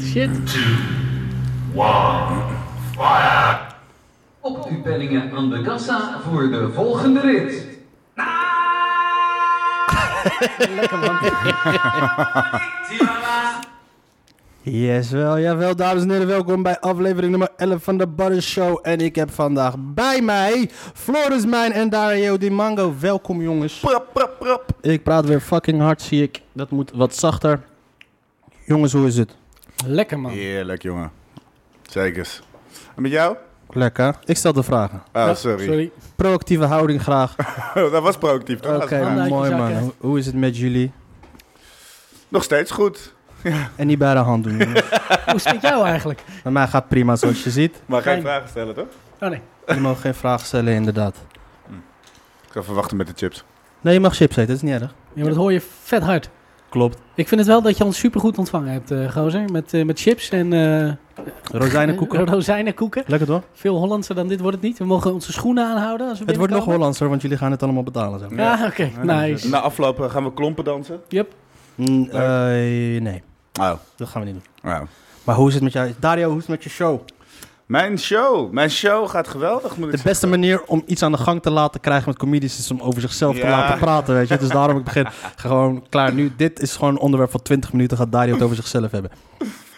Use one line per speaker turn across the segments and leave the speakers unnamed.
shit.
Op uw penningen aan de kassa voor de volgende rit.
Lekker man. Yes, wel, jawel, dames en heren. Welkom bij aflevering nummer 11 van de Butter Show. En ik heb vandaag bij mij Floris Mijn en Dario Di Mango. Welkom, jongens. Ik praat weer fucking hard, zie ik. Dat moet wat zachter. Jongens, hoe is het?
Lekker man.
Heerlijk, jongen. Zekers. En met jou?
Lekker. Ik stel de vragen.
Ah,
Ja,
sorry.
Proactieve houding graag.
dat was proactief. toch?
Oké,
Dat was-
Handen uit je
mooi
zakken.
man. Hoe- Hoe is het met jullie?
Nog steeds goed.
En niet bij de hand doen. jongens.
Hoe is het met jou eigenlijk?
Bij mij gaat prima, zoals je ziet.
Maar geen
Fijn.
vragen stellen, toch?
Oh nee.
Je mag geen vragen stellen, inderdaad.
Ik ga even wachten met de chips.
Nee, je mag chips eten, dat is niet erg.
Ja, maar dat hoor je vet hard.
Klopt.
Ik vind het wel dat je ons supergoed ontvangen hebt, eh, gozer. Met, eh, met chips en eh,
Rozijnenkoeken.
rozijnenkoeken.
Lekker toch?
Veel Hollandser dan dit wordt het niet. We mogen onze schoenen aanhouden als we
Het wordt nog
binnenkomen.
Hollandser, want jullie gaan het allemaal betalen. Zeg. maar.
Holland.
Ja, oké. Nice.
Nou,
Na afloop eh, gaan we klompen dansen.
Yep.
Mm, eh, nee,
Oh.
dat gaan we niet doen. Maar hoe is het met jou? Dario, hoe is het met je show?
Mijn show. Mijn show gaat geweldig, moet ik
De beste manier om iets aan de gang te laten krijgen met comedies is om over zichzelf te
Ja.
laten praten, weet je. Dus daarom ik begin gewoon klaar nu. Dit is gewoon een onderwerp van 20 minuten, gaat Dario het over zichzelf hebben.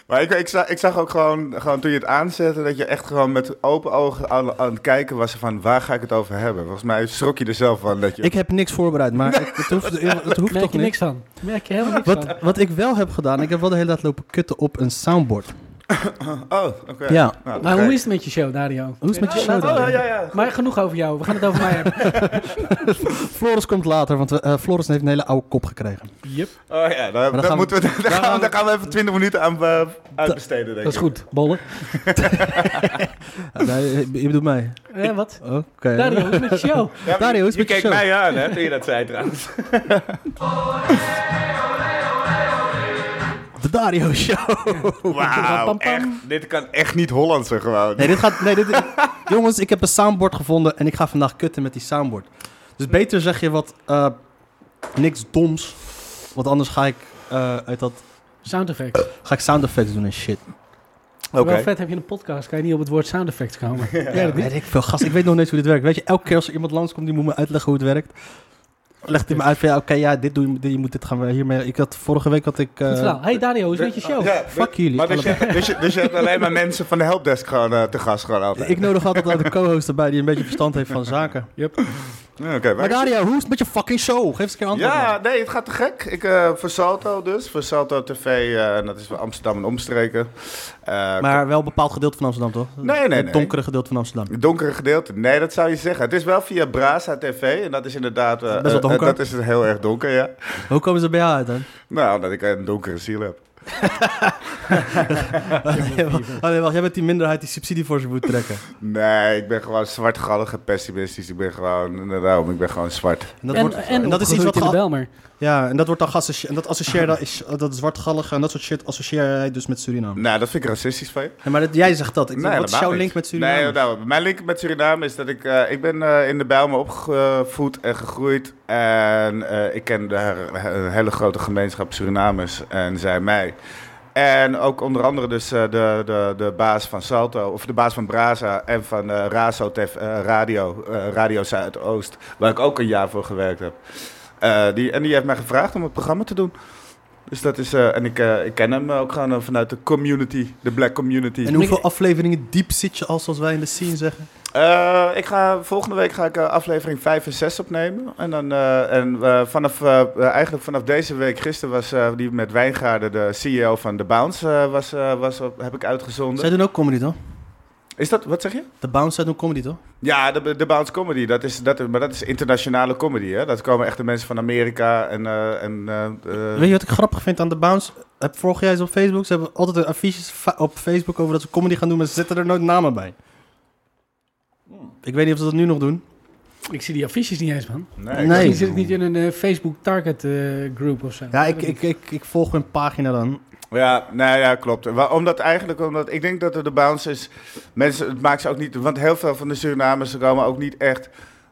Maar ik, ik, zag, ik zag ook gewoon, gewoon toen je het aanzette, dat je echt gewoon met open ogen aan, aan het kijken was van waar ga ik het over hebben. Volgens mij schrok je er zelf van dat je...
Ik heb niks voorbereid, maar het, het hoeft, het hoeft
Merk
toch
je
niks.
niks van. Merk je helemaal niks van.
Wat, wat ik wel heb gedaan, ik heb wel de hele tijd lopen kutten op een soundboard.
Oh, oké.
Ja.
Nou,
Maar
oké.
hoe is het met je show, Dario?
Hoe is het met je
Ja,
show
laten we-
dan?
Oh, ja, ja.
Maar genoeg over jou. We gaan het over mij hebben.
Floris komt later, want eh, Floris heeft een hele oude kop gekregen.
Yep.
Oh ja, daar, daar
gaan we-
moeten we, daar, gaan we, daar gaan we even 20 minuten aan eh, uitbesteden, denk ik.
Dat is goed. Bollen.
Ja, nee, je bedoelt mij.
Eh, wat?
Oké.
Dario, hoe is het met je show?
Ja,
Dario, hoe is het
je
met je
keek
show?
mij aan, hè, toen je dat zei trouwens.
De Dario Show.
Wauw,
pam, pam.
echt. Dit kan echt niet Hollandse gewoon.
Nee, dit gaat. Nee, dit, jongens, ik heb een soundboard gevonden en ik ga vandaag kutten met die soundboard. Dus beter zeg je wat. eh, niks doms. Want anders ga ik. eh, uit dat,
Sound effects.
ga ik sound effects doen en shit.
Oké.
Wel vet heb je een podcast. Kan je niet op het woord sound effects komen. Ja, dat niet.
Weet ik veel, gast. Ik weet nog niet hoe dit werkt. Weet je, elke keer als er iemand langskomt, die moet me uitleggen hoe het werkt. Legt hij me uit van ja, oké, ja, dit doe je, dit- je moet dit gaan we- hiermee. Ik had vorige week had ik. eh,
Goed verhaal. Hey Dario, hoe is het met je show?
Ja,
fuck jullie.
Maar dus,
allebei.
je, dus, je, dus je hebt alleen maar mensen van de helpdesk gewoon eh, te gast gewoon altijd.
Ik nodig altijd uit de co-host erbij die een beetje verstand heeft van zaken.
Ja, oké,
Maar
waar-
Dario, hoe is het met je fucking show? Geef eens een keer antwoord.
ja,
man.
nee, het gaat te gek. Ik, eh, voor Salto dus, voor Salto TV, eh, en dat is voor Amsterdam en omstreken. Eh,
Maar wel een bepaald gedeelte van Amsterdam, toch?
Nee, nee,
Het
nee.
donkere gedeelte van Amsterdam.
Het donkere gedeelte? Nee, dat zou je zeggen. Het is wel via Brasa TV en dat is inderdaad... eh,
Best wel
eh,
donker.
dat is heel erg donker, ja.
Hoe komen ze bij jou uit dan?
Nou, omdat ik een donkere ziel heb.
Oh, nee, wacht, jij bent die minderheid die subsidie voor ze moet trekken.
Nee, ik ben gewoon zwartgallig en pessimistisch. Ik ben gewoon, daarom, ik ben gewoon zwart.
En dat,
en
wordt,
en,
dat is iets wat
in de
geha-
Belmer.
ja, en dat wordt dan geassocieerd. En dat associeer dat, is, dat zwartgallige en dat soort shit associeer jij dus met Suriname.
Nou, dat vind ik racistisch van je.
Nee, maar dat, jij zegt dat. Ik denk,
Nee,
wat is
helemaal
jouw
niet.
link met Suriname?
Nee, nou, mijn link met Suriname is dat ik... eh, ik ben eh, in de Bijlmer opgevoed en gegroeid. En eh, ik ken daar een hele grote gemeenschap Surinamers en zij mij. En ook onder andere dus eh, de, de, de baas van Salto, of de baas van Brasa en van eh Razo TV, eh, Radio, eh, Radio Zuidoost, waar ik ook een jaar voor gewerkt heb. Eh, die, en die heeft mij gevraagd om het programma te doen. Dus dat is, eh, en ik, eh, ik ken hem ook gewoon eh, vanuit de community, de black community.
En hoeveel afleveringen diep zit je al, zoals wij in de scene zeggen?
Eh, ik ga, volgende week ga ik eh, aflevering 5 en 6 opnemen. En, dan, eh, en eh, vanaf, eh, eh, eigenlijk vanaf deze week, gisteren was eh, die met Wijngaarden, de CEO van The Bounce, eh, was, eh, was op, heb ik uitgezonden.
Zij doen ook comedy, toch?
Is dat, wat zeg je?
De Bounce, zij doen comedy, toch?
Ja, de, de Bounce Comedy, dat is, dat, is- maar dat is internationale comedy. Hè? Dat komen echt de mensen van Amerika en... eh, en eh, eh,
Weet je wat ik grappig vind aan de Bounce? Heb vorig jaar eens op Facebook. Ze hebben altijd een affiches fa- op Facebook over dat ze comedy gaan doen, maar ze zetten er nooit namen bij.
Hmm.
Ik weet niet of ze dat nu nog doen.
Ik zie die affiches niet eens, man.
nee,
Nee.
ik-
Misschien zit ik niet in een eh, Facebook target eh, group of zo.
Ja, ik, ik, ik, ik volg hun pagina dan.
Ja, nou ja, klopt. Wa- Omdat eigenlijk, omdat ik denk dat er de bounce is. Mensen, het maakt ze ook niet. Want heel veel van de Surinamers komen ook niet echt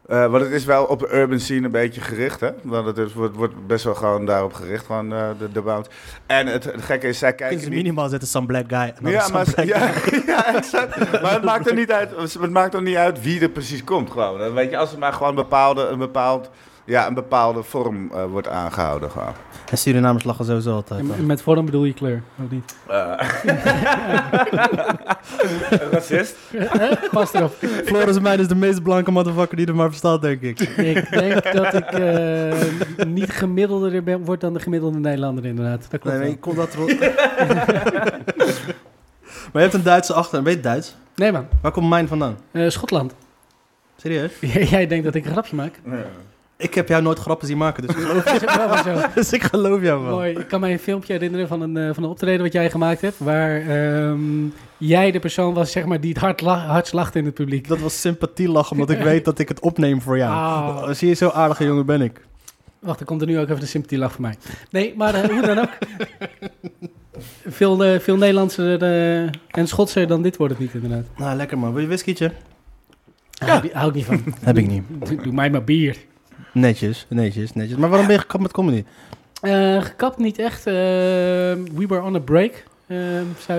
Eh, want het is wel op de urban scene een beetje gericht, hè? Want het is- wordt, wordt best wel gewoon daarop gericht, gewoon eh, de, de bounce. En het, het gekke is, zij kijken
Kunnen ze
niet-
minimaal zetten, some black guy. en dan
Ja,
some
maar,
black
ja,
guy.
ja, exact. maar het maakt er niet uit. Het maakt er niet uit wie er precies komt. Gewoon. Dan Weet je, als er maar gewoon bepaalde, een, bepaald, ja, een bepaalde vorm eh, wordt aangehouden. Gewoon.
En Surinamers lachen sowieso altijd.
En-
man.
en met vorm bedoel je kleur, of niet?
Racist?
Eh, Pas erop.
Floris Mijn is de meest blanke motherfucker die er maar verstaat, denk ik.
Ik denk dat ik eh, niet gemiddelder ben, word dan de gemiddelde Nederlander inderdaad. Dat klopt
Nee,
wel.
nee,
nee,
ik kon dat rond. maar je hebt een Duitse achternaam. Ben je Duits?
man,
Waar komt mijn vandaan?
Eh, Schotland.
Serieus?
Jij denkt dat ik een grapje maak?
Ik heb jou nooit grappen zien maken, dus,
Dat is ook wel weer zo.
dus ik geloof jou wel.
Mooi. Ik kan mij een filmpje herinneren van een, eh, van een optreden wat jij gemaakt hebt. Waar ehm, jij de persoon was zeg maar, die het hard, la- hardst lachte in het publiek.
Dat was sympathie lachen, omdat ik weet dat ik het opneem voor jou.
Ah.
Zie je, zo aardige jongen ben ik.
Wacht, er komt er nu ook even de sympathielach voor mij. Nee, maar eh, hoe dan ook. Veel, eh, veel Nederlandser eh, en Schotser dan dit wordt het niet inderdaad.
Nou, lekker man. Wil je whiskietje?
Ja. Hou, hou ik niet van.
Heb ik niet.
Doe, doe mij maar bier.
Netjes, netjes, netjes. Maar waarom ben je gekapt met comedy?
Eh, gekapt niet echt. Eh, we were on a break. Eh, zo,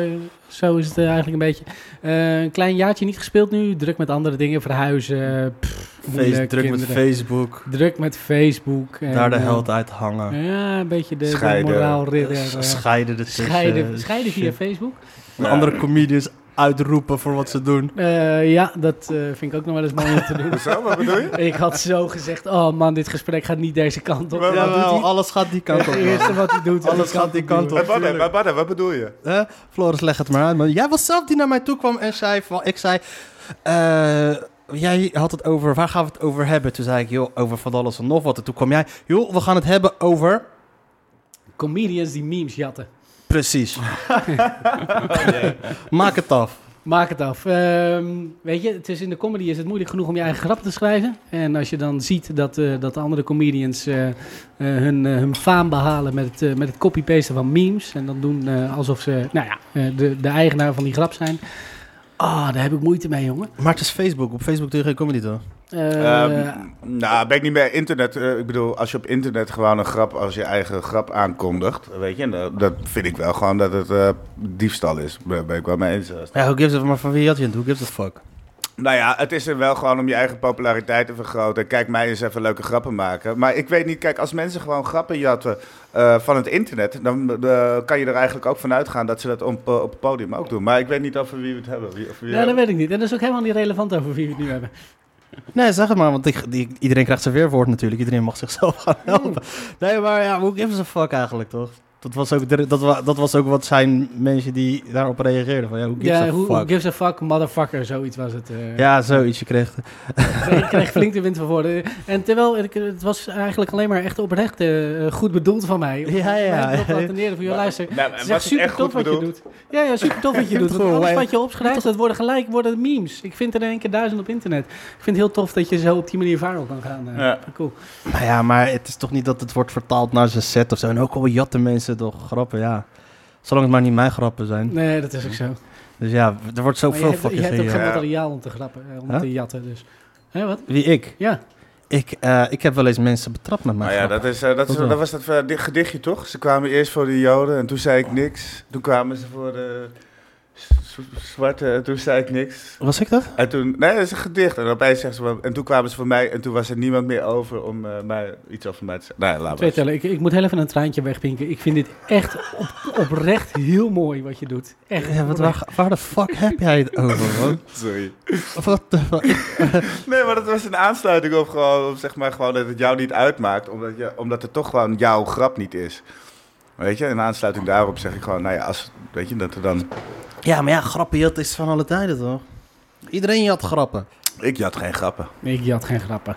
zo is het eh, eigenlijk een beetje. Eh, een klein jaartje niet gespeeld nu. Druk met andere dingen. Verhuizen. Pff,
Face,
moeilijk,
druk met
kinderen.
Facebook.
Druk met Facebook. en,
daar de
eh,
held uit hangen.
Ja, een beetje de, de
Scheiden.
moraal ridder. eh,
scheiden ertussen.
scheiden, scheiden via
Shit.
Facebook.
De Andere comedians uitroepen voor wat ze doen.
Eh, ja, dat eh, vind ik ook nog wel eens mooi om te doen.
Zo, wat bedoel je?
ik had zo gezegd, oh man, dit gesprek gaat niet deze kant op.
Maar
En wat doet
Jawel,
hij?
alles gaat die kant op.
Het
man.
eerste wat hij doet. is
Alles gaat die kant
Eh,
op.
Badde, maar Badde, wat bedoel je?
Hè? Floris, leg het maar uit. man. Jij was zelf die naar mij toe kwam en zei... Van, ik zei... eh, jij had het over... Waar gaan we het over hebben? Toen zei ik, joh, over van alles en nog wat. En toen kwam jij... Joh, we gaan het hebben over...
Comedians die memes jatten.
Precies. Maak het af.
Maak het af. Ehm, weet je, het is in de comedy is het moeilijk genoeg om je eigen grap te schrijven. En als je dan ziet dat, eh, dat de andere comedians eh, eh, hun, eh, hun faam behalen met het, eh, met het copy-pasten van memes. En dan doen eh, alsof ze nou ja, eh, de, de eigenaar van die grap zijn. Ah, daar heb ik moeite mee, jongen.
Maar het is Facebook. Op Facebook doe je geen comedy, toch?
Eh,
Ehm, nou, ben ik niet meer internet. eh, ik bedoel, als je op internet gewoon een grap als je eigen grap aankondigt, weet je, en, eh, dat vind ik wel gewoon dat het eh, diefstal is. Daar ben ik wel mee eens.
Ja, who gives a... Maar van wie had je het? Who gives a fuck?
Nou ja, het is er wel gewoon om je eigen populariteit te vergroten. Kijk, mij eens even leuke grappen maken. Maar ik weet niet, kijk, als mensen gewoon grappen jatten eh, van het internet, dan eh, kan je er eigenlijk ook van uitgaan dat ze dat op, eh, op het podium ook doen. Maar ik weet niet over wie we het hebben. Wie, of wie
ja, dat weet ik niet. En dat is ook helemaal niet relevant over wie we het nu hebben.
Nee, zeg het maar, want ik- die, iedereen krijgt zijn weerwoord natuurlijk. Iedereen mag zichzelf gaan
Hmm.
helpen. Nee, maar ja, who gives a fuck eigenlijk, toch? Dat was ook, de- dat, wa- dat was ook wat zijn mensen die daarop reageerden. Van, ja, who gives
Ja,
a
who, who
fuck?
gives a fuck, motherfucker, zoiets was het. eh.
Ja, zoiets. Je kreeg...
Ik kreeg flink de wind van voren. En terwijl, ik- het was eigenlijk alleen maar echt oprecht eh, goed bedoeld van mij. Om
Ja, ja.
mij erop te attenderen van, joh, luister,
Nou,
het
was
is echt
het
super
echt
tof
goed
wat je
bedoeld?
doet. Ja, ja, super tof wat je
hebt
doet.
het
Want
gewoon,
alles
wij-
wat je opschrijft, dat worden gelijk worden memes. Ik vind er in één keer duizend op internet. Ik vind het heel tof dat je zo op die manier viral kan gaan. eh.
Ja.
Cool.
Nou ja, maar het is toch niet dat het wordt vertaald naar zijn set of zo. En ook al jatten mensen toch grappen, ja. Zolang het maar niet mijn grappen zijn.
Nee, dat is ook zo. Maar
Dus ja, er wordt
je
zoveel
hebt, je
fucking
hebt ook
gejaagd.
geen
Ja.
materiaal om te grappen, eh, om
Huh?
te jatten. Dus. Hè, wat?
Wie ik?
Ja.
Ik, eh, ik heb wel eens mensen betrapt met mijn
Nou ja,
grappen.
dat, is, eh, dat, is-
Wat dan?
dat was dat eh, di- gedichtje toch? Ze kwamen eerst voor de Joden en toen zei ik niks. Toen kwamen ze voor de z- z- zwarte en toen zei ik niks.
Was ik dat?
En toen, nee, dat is een gedicht. En opeens zeggen ze, en toen kwamen ze voor mij en toen was er niemand meer over om eh, mij iets over mij te zeggen. Nou, ja, laat
Twee
maar.
tellen. Ik, ik moet heel even een traantje wegpinken. Ik vind dit echt op, oprecht heel mooi wat je doet. Echt.
Ja, wat, waar, waar de fuck heb jij het over, man?
Sorry.
Wat de fuck?
Nee, maar dat was een aansluiting op gewoon, op zeg maar gewoon dat het jou niet uitmaakt, omdat, je, omdat het toch gewoon jouw grap niet is. Weet je, in aansluiting daarop zeg ik gewoon, nou ja, als, weet je, dat er dan...
Ja, maar ja, grappen jat is van alle tijden, toch? Iedereen jat grappen.
Ik jat geen grappen.
Nee, ik had geen grappen.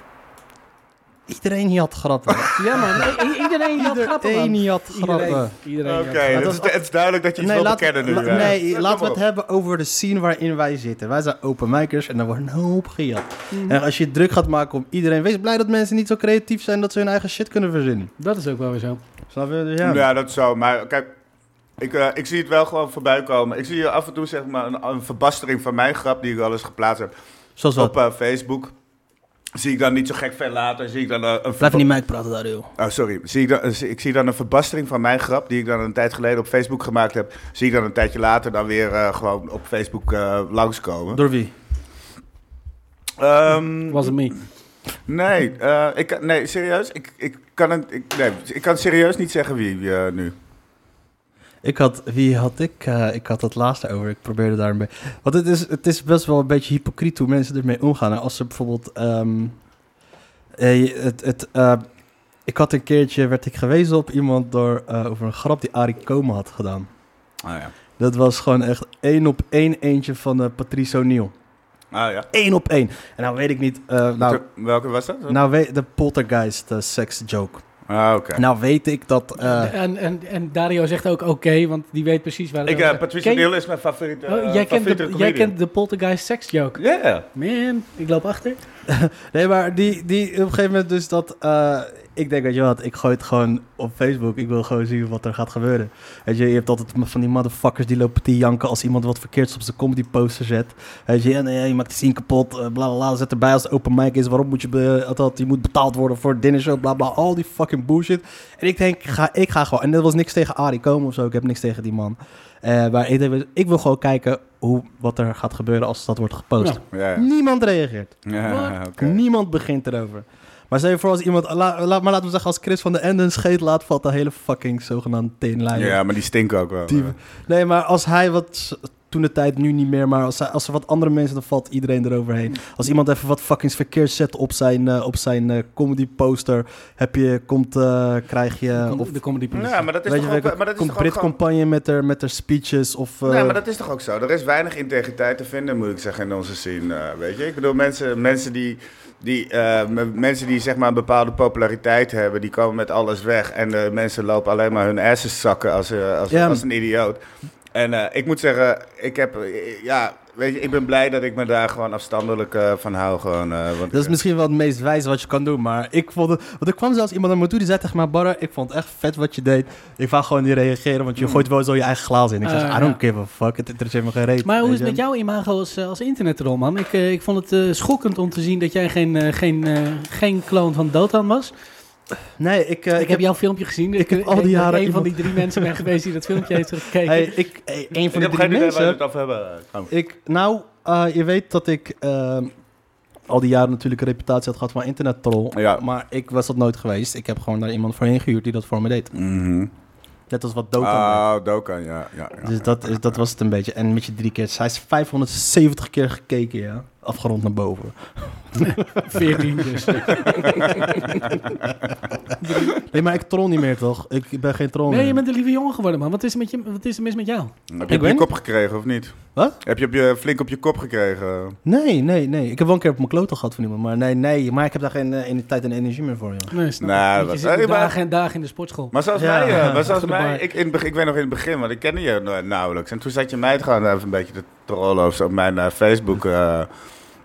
Iedereen jat grappen.
Ja man, I- i- iedereen had grappen man.
Iedereen jat
Iedereen,
grappen.
iedereen had
Oké,
grappen.
dat
dat
is-
is- het is duidelijk dat je iets wil bekennen nu.
la-
eh, ja.
nee,
Ja,
laten we
kom
het
op.
hebben over de scene waarin wij zitten. Wij zijn open micers en daar wordt een hoop gejat. En als je het druk gaat maken om iedereen... Wees blij dat mensen niet zo creatief zijn dat ze hun eigen shit kunnen verzinnen.
Dat is ook wel weer zo.
Snap je? Dus
Ja,
ja.
dat zo. Maar kijk, ik, eh, ik zie het wel gewoon voorbij komen. Ik zie hier af en toe zeg maar een, een verbastering van mijn grap die ik al eens geplaatst heb
Zoals wat.
op eh, Facebook. Zie ik dan niet zo gek ver later, zie ik dan eh, een...
Blijf niet mij praten daar, joh.
Oh, sorry. Zie ik, dan, eh, zie- ik zie dan een verbastering van mijn grap, die ik dan een tijd geleden op Facebook gemaakt heb. Zie ik dan een tijdje later dan weer eh, gewoon op Facebook eh, langskomen.
Door wie?
Ehm,
Was het me.
nee, eh, ik, kan- nee, serieus? Ik, ik, kan het, ik, nee, ik kan serieus niet zeggen wie eh, nu.
Ik had, wie had ik? eh, ik had het laatste over. Ik probeerde daar een beetje. Want het is, het is best wel een beetje hypocriet hoe mensen ermee omgaan. En Als ze bijvoorbeeld. ehm, eh, je- het, het, eh, ik had een keertje, werd ik gewezen op iemand door, eh, over een grap die Arie Komen had gedaan.
Ah ja.
Dat was gewoon echt één op één eentje van eh Patrice O'Neill.
Ah ja.
Eén op één. En nou weet ik niet. eh, nou,
Welke was dat?
nou weet de poltergeist eh, sex joke.
Ah, oké.
Nou weet ik dat. eh,
en, en, en Dario zegt ook oké, want die weet precies waar het
Ik,
over
eh,
gaat.
Patrice eh,
Ken-
O'Neill is mijn favoriete.
Oh, jij, kent de, jij kent de poltergeist sex joke.
Ja.
Man, ik loop achter.
Nee, maar die, die op een gegeven moment dus dat... eh, ik denk, weet je wat, ik gooi het gewoon op Facebook. Ik wil gewoon zien wat er gaat gebeuren. Weet je, je hebt altijd m- van die motherfuckers die lopen te janken... als iemand wat verkeerds op zijn comedy poster zet. Weet je, ja, nee, je maakt die scene kapot, eh, bla bla bla. Zet erbij als het open mic is, waarom moet je, be- dat, je moet betaald worden voor het dinnershow, bla bla. Al die fucking bullshit. En ik denk, ga, ik ga gewoon... En dat was niks tegen Arie Komen of zo, ik heb niks tegen die man. Eh, maar ik, denk, ik wil gewoon kijken hoe, wat er gaat gebeuren als dat wordt gepost.
Ja.
Ja, ja.
Niemand reageert.
Ja, oké.
Niemand begint erover. Maar stel je voor als iemand, la- la- maar laten we zeggen als Chris van de Ende een scheet laat, valt de hele fucking zogenaamde teenlijn.
Ja, maar die stinken ook wel. eh.
Die- Nee, maar als hij wat, toen de tijd nu niet meer, maar als, hij, als er wat andere mensen, dan valt iedereen eroverheen. Als iemand even wat fucking verkeerd zet op zijn, eh, op zijn eh, comedy poster, heb je, komt, eh, krijg je, of
Of de comedy police.
Ja, maar dat is
weet je
toch ook,
welke,
maar dat is
komt
toch ook
Brit
gewoon-
campagne met haar, met haar speeches of... eh,
Nee, maar dat is toch ook zo? Er is weinig integriteit te vinden, moet ik zeggen, in onze scene. eh, weet je? Ik bedoel, mensen, mensen, die, die, eh, m- mensen die zeg maar een bepaalde populariteit hebben, die komen met alles weg. En eh, mensen lopen alleen maar hun assen zakken als, eh, als,
Ja.
als een idioot. En eh, ik moet zeggen, ik heb, eh, ja, weet je, ik ben blij dat ik me daar gewoon afstandelijk eh, van hou. Gewoon, eh, want
Dat is
ik-
misschien wel het meest wijze wat je kan doen. Maar ik vond het. Want er kwam zelfs iemand naar me toe die zei tegen mij: Barra, ik vond het echt vet wat je deed. Ik wou gewoon niet reageren, want je gooit wel zo je eigen glaas in. Ik zeg:
Eh,
I don't
ja.
give a fuck, het interesseert me geen reet.
Maar hoe
weet
is het met
je.
jouw imago als, eh, als internetrol, man? Ik, eh, ik vond het eh, schokkend om te zien dat jij geen, eh, geen, eh, geen kloon van Dotan was.
Nee, ik, eh,
ik, heb jouw filmpje gezien.
ik heb al
denk
die
dat ik
jaren
een van
iemand-
die drie mensen ben geweest die dat filmpje heeft gekeken.
Hey, ik, hey, een van
Ik
de
heb
drie
geen idee waar we
mensen.
het over hebben. eh, trouwens.
Ik, nou, eh, je weet dat ik ehm, al die jaren natuurlijk een reputatie had gehad van internettroll.
Ja.
Maar ik was dat nooit geweest. Ik heb gewoon daar iemand voor heen gehuurd die dat voor me deed.
Mhm.
Net als wat dood
Ah, Dokan, ja. ja, ja.
Dus dat, is, dat was het een beetje. En met je drie keer. Hij is 570 keer gekeken, ja. Afgerond naar boven.
14 dus.
Nee, maar ik troll niet meer, toch? Ik ben geen troll
Nee, je
meer.
bent een lieve jongen geworden, man. Wat is er, met je, wat is er mis met jou?
Heb je
Ik
op je
ben-
kop gekregen of niet?
Wat?
Heb je, op je flink op je kop gekregen?
Nee, nee, nee. Ik heb wel een keer op mijn klote gehad van iemand. Maar nee, nee. Maar ik heb daar geen eh, en- tijd en energie meer voor, joh.
Nee, snap
Nou,
ik.
dat-
je zit
hey, maar-
dagen en dagen in de sportschool.
Maar zoals
Ja,
mij, eh, maar zoals
achter de
mij
bar.
ik, in, het begin- ik weet nog in het begin, want ik kende je nou- nauwelijks. En toen zat je mij gewoon even een beetje te trollen of zo op mijn eh, Facebook. eh.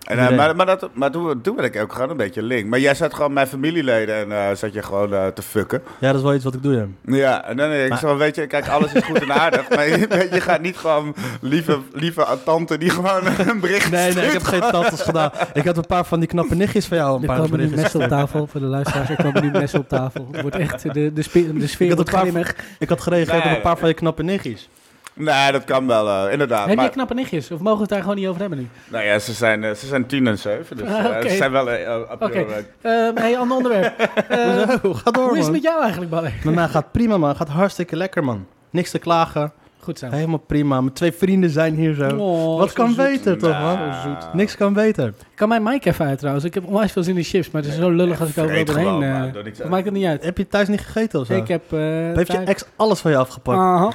en, eh,
Nee.
maar maar, dat, maar toen, toen werd ik ook gewoon een beetje link. Maar jij zat gewoon mijn familieleden en eh, zat je gewoon eh, te fucken.
Ja, dat is wel iets wat ik doe, ja.
Ja, en dan eh, ik
Maar-
zo, weet je, kijk, alles is goed en aardig. maar je, weet je, je gaat niet gewoon lieve, lieve tante die gewoon eh, een bericht
Nee, nee. Ik heb
stuurt.
geen tantes gedaan. Ik had een paar van die knappe nichtjes van jou. Een
Er
paar
komen nu
berichten.
messen op tafel. Voor de luisteraars, er komen nu messen op tafel. Het wordt echt, de, de, spe- de
Ik
sfeer
had
wordt
een paar-
Ah,
grimmig.
Ik had gereageerd
Nee.
op een paar van je knappe nichtjes.
Nee, dat kan wel, eh, inderdaad.
Heb
maar-
jij knappe nichtjes? Of mogen we het daar gewoon niet over hebben nu?
Nou ja, ze zijn, eh, ze zijn tien en zeven, dus
Ah,
eh,
oké.
ze zijn wel... eh, eh, april,
Oké.
eh,
Ehm hey, ander onderwerp. Ehm,
Hoezo? Ga door,
hoe is het
man.
met jou eigenlijk, Balle?
Met mij gaat prima, man. Gaat hartstikke lekker, man. Niks te klagen.
Goed zo.
Helemaal prima. Mijn twee vrienden zijn hier zo.
Oh,
eh, Wat
zo
kan
zoet.
beter, toch, man?
Nou.
Niks kan beter.
Kan mijn mic even uit trouwens? Ik heb onwijs veel zin in chips, maar het is zo lullig als ik
vreet
overal
gewoon,
doorheen... eh,
maar doe niks aan.
maakt het niet uit.
Heb je thuis niet gegeten of zo?
Ik heb... eh
Heeft je
thuis-
ex alles van je afgepakt?
Aha.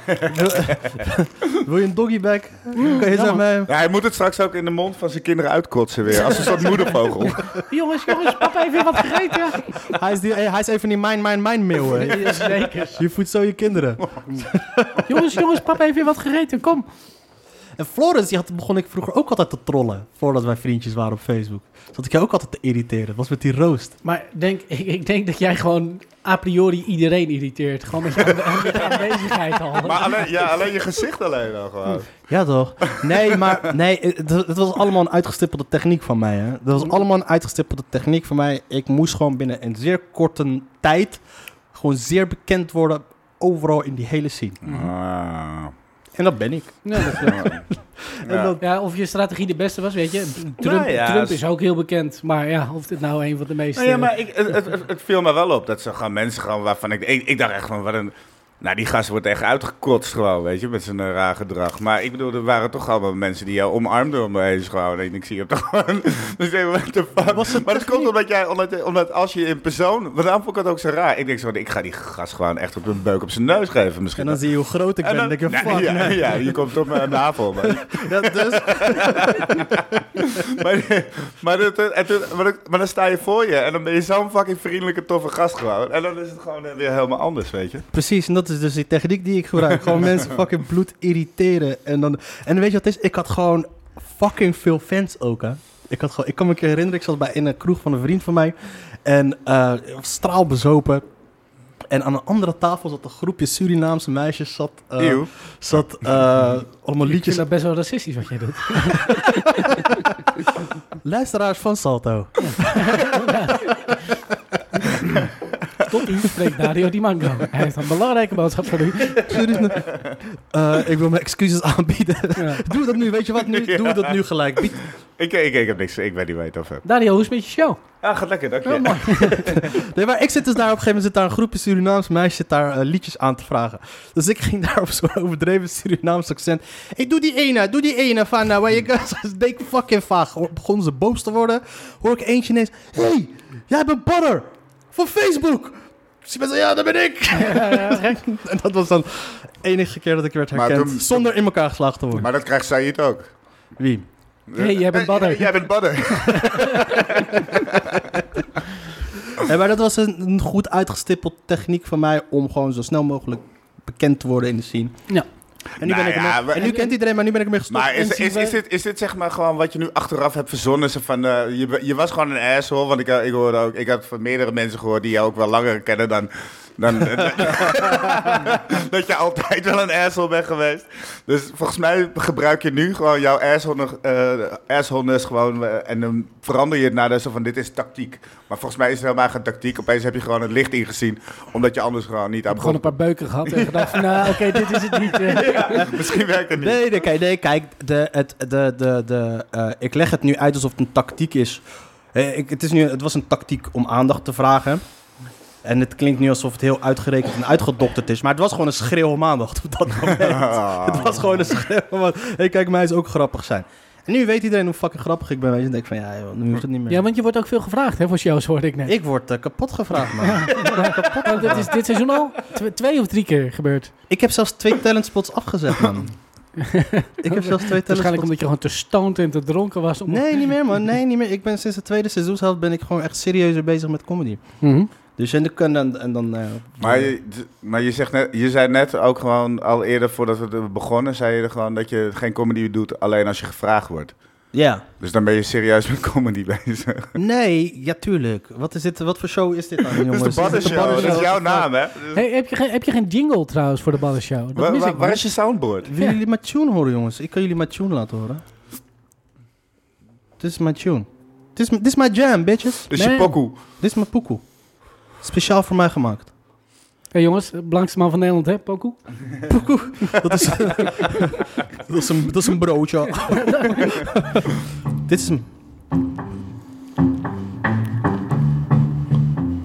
Wil je een doggybag? kan je zo
Mm, jammer.
mee?
Ja, hij moet het straks ook in de mond van zijn kinderen uitkotsen weer. Als een soort moedervogel.
Jongens, jongens, papa heeft weer wat gegeten.
Hij is, die, eh, hij is even die mijn, mijn, mijn meeuw. hè.
Ja, Zeker.
Je voedt zo je kinderen.
Jongens, jongens, papa heeft weer wat gegeten. Kom.
En Floris, die had, begon ik vroeger ook altijd te trollen. Voordat wij vriendjes waren op Facebook. Zat ik jou ook altijd te irriteren. Dat was met die roast.
Maar denk, ik, ik denk dat jij gewoon a priori iedereen irriteert. Gewoon met je, aan- met je aanwezigheid al.
Maar alleen, ja, alleen je gezicht alleen al gewoon.
Ja, toch? Nee, maar nee, het, het was allemaal een uitgestippelde techniek van mij. Hè? Dat was allemaal een uitgestippelde techniek van mij. Ik moest gewoon binnen een zeer korte tijd gewoon zeer bekend worden overal in die hele scene.
Ah.
En dat ben ik.
Ja, dat klopt.
En dat,
ja, of je strategie de beste was, weet je. Trump,
Nou ja,
Trump
s-
is ook heel bekend. Maar ja, of dit nou een van de meest...
Nou ja,
eh,
maar ik, het, het, het- het viel me wel op dat ze gewoon mensen gewoon waarvan ik, ik... Ik dacht echt van, wat een... Nou, die gast wordt echt uitgekotst gewoon, weet je, met zijn eh, raar gedrag. Maar ik bedoel, er waren toch allemaal mensen die jou omarmden om me heen gewoon. En ik zie hem toch gewoon... Dus ik denk, what the fuck?
Was het
maar dat komt
techniek?
omdat jij, omdat, omdat als je in persoon... Want daarom vond ik het ook zo raar. Ik denk zo, ik ga die gast gewoon echt op een beuk op zijn neus geven misschien.
en dan zie je hoe groot ik ben.
En
En
dan-
dan denk je,
Nee,
fuck,
ja,
nee.
ja, je komt op mijn navel. Maar
Ja, dus,
maar, maar, dat- en toen- maar, dat- maar dan sta je voor je en dan ben je zo'n fucking vriendelijke, toffe gast gewoon. En dan is het gewoon weer helemaal anders, weet je.
precies, en dat is dus die techniek die ik gebruik. Gewoon mensen fucking bloed irriteren. En, dan, en weet je wat het is? Ik had gewoon fucking veel fans ook, hè. Ik, had gewoon, ik kan me een keer herinneren, ik zat bij, in een kroeg van een vriend van mij. En eh, ik was straalbezopen. En aan een andere tafel zat een groepje Surinaamse meisjes. Zat, eh,
Eeuw.
zat eh, allemaal
Ik vind
liedjes.
dat best wel racistisch wat jij doet.
Luisteraars van Salto.
Tot u spreekt Dario Di Mango. Hij heeft een belangrijke boodschap voor u.
Eh, ik wil mijn excuses aanbieden.
Ja.
Doe dat nu, weet je wat? Nu, Doe dat nu gelijk. Bied-
Ik, ik, ik heb niks, ik weet niet waar je het over hebt.
Dario, hoe is het met je show?
Ah, gaat lekker, dank je.
Oh, mooi.
Nee, maar ik zit dus daar op een gegeven moment zit daar een groepje Surinaamse meisjes zit daar eh, liedjes aan te vragen. Dus ik ging daar op zo'n overdreven Surinaams accent. Ik doe die ene, doe die ene van nou, waar je dus deed ik fucking vaag. Hoor- Begon ze boos te worden. Hoor ik eentje ineens, hey, jij bent Badder van Facebook. Dus ik ben zo, ja, dat ben ik. en dat was dan de enige keer dat ik werd
Maar
herkend.
toen-
zonder in elkaar geslagen te worden.
Maar dat krijgt Sayid ook.
Wie?
hey, jij bent badder.
Eh, Jij bent badder.
Ja, maar dat was een, een goed uitgestippeld techniek van mij om gewoon zo snel mogelijk bekend te worden in de scene.
Ja.
En nu,
Nou
ben ik
ja,
ermee-
we-
en nu kent iedereen, maar nu ben ik ermee gestopt.
Maar is,
En zien
is,
we-
is, dit, is dit zeg maar gewoon wat je nu achteraf hebt verzonnen? Zo van, eh, je, je was gewoon een asshole, want ik, eh, ik hoorde ook... Ik had van meerdere mensen gehoord die jou ook wel langer kennen dan... dan dat je altijd wel een asshole bent geweest. Dus volgens mij gebruik je nu gewoon jouw asshole- eh, assholeness gewoon... eh, en dan verander je het naar de zo van, dit is tactiek. Maar volgens mij is het helemaal geen tactiek. Opeens heb je gewoon het licht ingezien, omdat je anders gewoon niet aan
Ik heb gewoon een paar beuken gehad en gedacht van, nou, oké, dit is het niet. eh.
Misschien werkt het niet.
Nee, nee, kijk, nee, kijk de, het, de, de, de, eh, ik leg het nu uit alsof het een tactiek is. Eh, ik, het, is nu, het was een tactiek om aandacht te vragen. En het klinkt nu alsof het heel uitgerekend en uitgedokterd is. Maar het was gewoon een schreeuw om aandacht op dat moment.
Ah.
Het was gewoon een schreeuw om aandacht. Hey, kijk, mij is ook grappig zijn. En nu weet iedereen hoe fucking grappig ik ben. Weet je, dan denk ik van, ja, joh, nu hoeft het niet meer.
Ja, want je wordt ook veel gevraagd, hè, voor shows, hoorde ik net.
Ik word eh, kapot gevraagd, man.
Oh, dat is dit seizoen al tw- twee of drie keer gebeurd.
Ik heb zelfs twee talentspots afgezet, man. ik heb zelfs twee
Waarschijnlijk
talentspots...
omdat je gewoon te stoned en te dronken was. Om...
Nee, niet meer, man. Nee, niet meer. Ik ben sinds de tweede seizoenshelft ben ik gewoon echt serieuzer bezig met comedy.
Mhm.
Dus en dan... kan- En, en dan eh,
Maar, je, d- maar je, zegt net, je zei net ook gewoon al eerder voordat we er begonnen, zei je er gewoon dat je geen comedy doet alleen als je gevraagd wordt.
Ja.
Dus dan ben je serieus met comedy bezig.
Nee, ja, tuurlijk. Wat, is dit, wat voor show is dit dan,
Dus
jongens?
de
Is dit
Baddershow, dat is
Baddershow?
jouw naam, hè? Dus-
Hey, heb, je geen, heb je geen jingle trouwens voor de ballenshow? Dat
Waar,
mis
waar-
ik.
waar
man.
is je soundboard?
Willen jullie mijn tune horen, jongens? Ik kan jullie mijn tune laten horen. Dit is mijn tune. Dit is m- dit is mijn jam, bitches.
Dus je
Nee.
pokoe.
Dit is mijn poekoe. Speciaal voor mij gemaakt.
Hey, jongens, belangrijkste man van Nederland, hè, Poku?
Dat is, dat is, een, dat is een broodje. Dit is hem.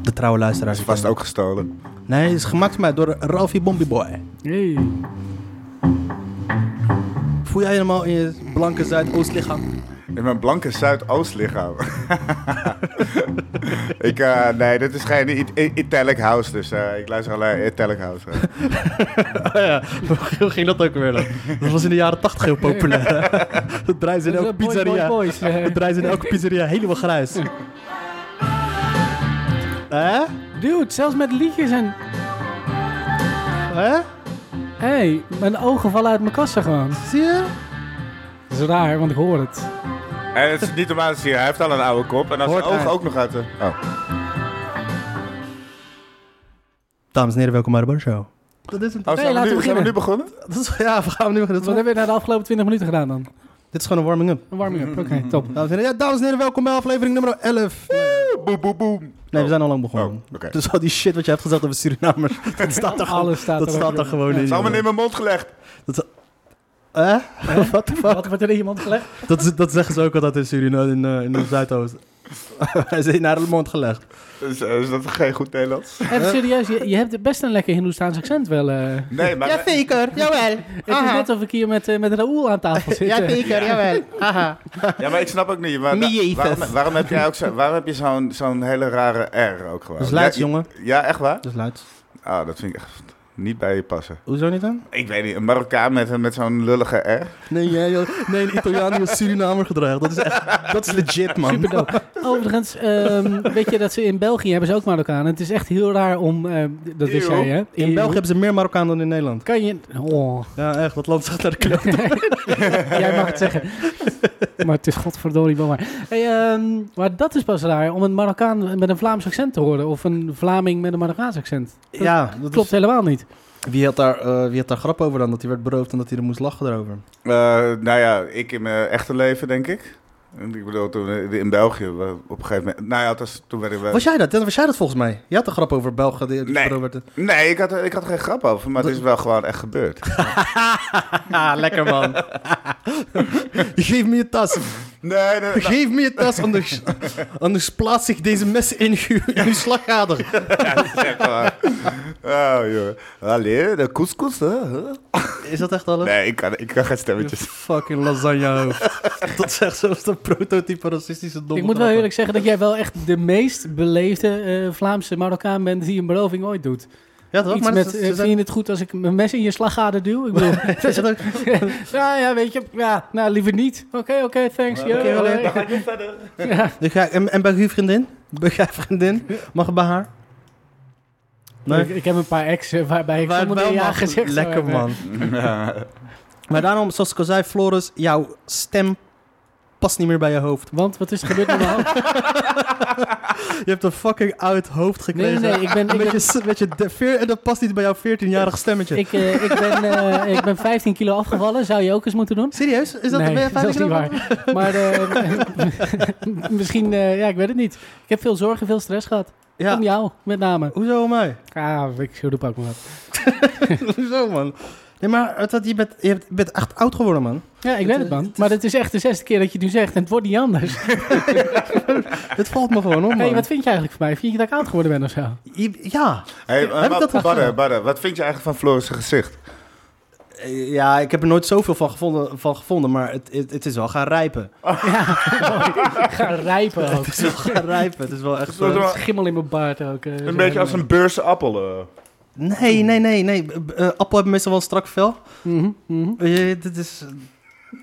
De trouwe luisteraars.
Dat is vast ook gestolen.
Nee, het is gemaakt voor mij door Ralphie Bombieboy.
Hey.
Voel jij helemaal in je blanke Zuidoost-lichaam?
In mijn blanke Zuidoost ik, eh, nee, dit is geen I- I- Italic House, dus eh, ik luister alleen Italic House.
Oh ja, hoe ging dat ook weer dan? Dat was in de jaren tachtig heel populair. Dat draaien ze in elke
Boy, boy,
pizzeria.
boys, eh.
Dat draaien ze in elke pizzeria helemaal grijs. Eh? Hè?
Dude, zelfs met liedjes en...
Hè? Eh?
Hey, mijn ogen vallen uit mijn kassen gewoon.
Zie je?
Dat is raar, want ik hoor het.
En het is niet normaal te zien. Hij heeft al een oude kop. En als zijn
Hoort
ogen
uit.
ook nog uit de... Oh.
Dames en heren, welkom bij de Bar Show. Dat is het.
Oh, zijn,
laten we
we nu, zijn we
beginnen.
nu begonnen?
Dat is, ja, we gaan nu beginnen.
Wat hebben we na de afgelopen 20 minuten gedaan dan?
Dit is gewoon een warming-up.
Een warming-up. Oké, top.
Dames en heren, ja, dames en heren, welkom bij aflevering nummer 11. Nee,
Boem, boem, boem.
we zijn al lang begonnen.
Oh, oké.
Dus al die shit wat je hebt gezegd over Surinamers, dat staat er, gewoon-
Alles staat
dat
er
staat
ook
er
in.
gewoon in.
Het is allemaal in mijn mond gelegd.
Eh? What the fuck?
Wat wordt er in iemand gelegd?
Dat, is- dat zeggen ze ook altijd in Suriname, in, eh, in de Zuidoost. Hij is naar de mond gelegd.
Is, eh, is dat geen goed Nederlands?
Eh?
Even serieus, je, je hebt best een lekker Hindoestaans accent wel. eh.
Nee, maar...
zeker. Jawel.
Het is net of ik hier met, eh, met Raoul aan tafel zit. eh.
zeker. Jawel. Aha.
Ja, maar ik snap ook niet. Waar,
Me Jesus.
waarom, waarom heb jij ook zo, waarom heb je zo'n zo'n hele rare R ook gewoon?
Dat is Leids,
Ja, je-
Dus jongen.
Ja, echt waar?
Dat is luid.
Ah, dat vind ik echt niet bij je passen.
Hoezo niet dan?
Ik weet niet, een Marokkaan met, een- met zo'n lullige R.
Nee, jij, joh. nee, een Italiaan die als Surinamer gedragen. Dat is echt, dat is legit, man.
Super dope. Overigens, ehm, weet je dat ze in België hebben ze ook Marokkanen. Het is echt heel raar om, eh, dat wist
Eeuw.
jij hè?
In België hebben ze meer Marokkaan dan in Nederland.
Kan je... Oh,
Ja, echt. Dat land zegt naar de kloot.
jij mag het zeggen. Maar het is godverdorie wel waar. Hey, ehm, maar dat is pas raar, om een Marokkaan met een Vlaams accent te horen. Of een Vlaming met een Marokkaans accent.
Ja, dat
Klopt helemaal niet.
is- Wie, had daar, eh, wie had daar grap over dan? Dat hij werd beroofd en dat hij er moest lachen erover.
Eh, nou ja, ik in mijn echte leven, denk ik. Ik bedoel, toen eh, in België, eh, op een gegeven moment... Nou ja, dat is- toen werden we...
Was jij dat? Was jij dat volgens mij? Je had een grap over Belgen. Die, die
Nee.
beroofd werd.
Nee, ik had, er- ik had er geen grap over, maar het is wel gewoon echt gebeurd.
Ah, lekker man. Geef me je tas.
Nee, nee, nee.
Geef me je tas, anders, anders plaats ik deze mes in uw, in uw slagader.
Zeg maar. Oh, joh. Allee, de couscous, hè? Huh?
Is dat echt alles?
Nee, ik kan, ik kan geen
Je
stemmetjes.
Fucking lasagne hoofd. Dat is echt zoals een prototype racistische domme
Ik moet wel
grappen.
eerlijk zeggen dat jij wel echt de meest beleefde eh, Vlaamse Marokkaan bent die een beroving ooit doet.
Ja, toch?
Iets
Maar
met,
dat
eh,
is-
vind je het goed als ik mijn mes in je slagader duw? Ik bedoel,
dat is- dat is-
ja, ja, weet je, ja, nou liever niet. Oké, oké, thanks. yo.
oké, wel even.
Ja. Ja.
Ik ga- en, en bij uw vriendin? Bij uw vriendin? Mag het bij haar?
Ik, ik heb een paar exen waarbij ik
Waar het
sommige
wel
ja
mag.
gezegd zou
Lekker
hebben.
man. Maar daarom, zoals ik al zei, Floris, jouw stem past niet meer bij je hoofd.
Want wat is er gebeurd met mijn hand?
Je hebt een fucking oud hoofd
Nee, nee,
gekregen.
nee, ik ben, ik
Met
ben,
je, s- met je de- veer- en dat past niet bij jouw 14-jarig stemmetje.
ik, eh, ik, ben, eh, ik ben 15 kilo afgevallen. Zou je ook eens moeten doen?
Serieus? Is dat
nee,
ben je
dat is niet
15
waar. Maar eh, misschien, eh, ja, ik weet het niet. Ik heb veel zorgen, veel stress gehad.
Ja.
Om jou, met name.
Hoezo om mij?
Ah, ik roep ook maar wat.
Hoezo, man? Nee, maar het, dat- je, bent, je hebt- je bent echt oud geworden, man.
Ja, ik weet het, man. Maar het is echt de zesde keer dat je het nu zegt en het wordt niet anders.
Het valt me gewoon op, Oh, man.
Hey, wat vind je eigenlijk van mij? Vind je dat ik oud geworden ben of zo?
Je- Ja.
Hey,
Heb ik
wat,
dat al
Badde,
gedaan?
Badde, wat vind je eigenlijk van Floris' gezicht?
ja, ik heb er nooit zoveel van gevonden, van gevonden maar het, het, het is wel gaan rijpen.
Ja, ga rijpen ook.
Het is wel gaan rijpen. Het is wel echt zo...
Schimmel in mijn baard ook. eh,
Een
zo
beetje als
helemaal.
een beurse appel.
eh. Nee, nee, nee, nee. B- eh, appel hebben meestal wel een strak vel.
Mhm, mhm.
Weet je, dit is...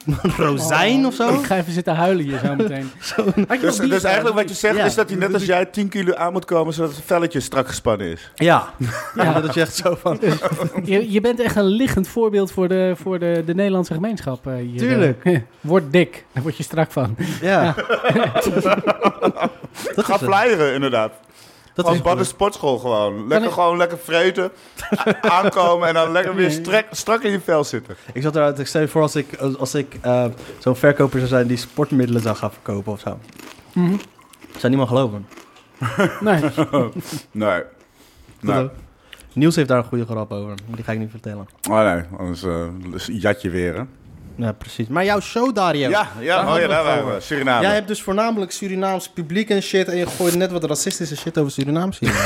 Een rozijn of zo?
Ik ga even zitten huilen hier zo meteen. Had je
Dus,
nog bier
dus
bij?
eigenlijk wat je zegt
Ja.
is dat hij net als jij 10 kilo aan moet komen zodat het velletje strak gespannen is.
Ja. ja.
Ja.
Dat je echt zo van...
je, je bent echt een liggend voorbeeld voor de, voor de, de Nederlandse gemeenschap eh, hier.
Tuurlijk.
Word dik, daar word je strak van.
Ja. dat
Ga
is het.
flyeren inderdaad.
Dat
Als
is
Badde sportschool gewoon. Lekker
ik-
gewoon lekker vreten, a- aankomen en dan lekker weer strek, strak in je vel zitten.
Ik zat eruit, ik stel je voor als ik, als, als ik eh, zo'n verkoper zou zijn die sportmiddelen zou gaan verkopen of zo.
Mhm.
Zou niemand geloven.
Nee.
Nee. Nee.
Niels heeft daar een goede grap over, maar die ga ik niet vertellen.
Oh nee, anders eh, is jat je weer hè.
Ja, precies. Maar jouw show, Dario.
Ja, ja, oh ja, daar waren we. Suriname.
Jij hebt dus voornamelijk Surinaams publiek en shit en je gooit net wat racistische shit over Surinaams hier.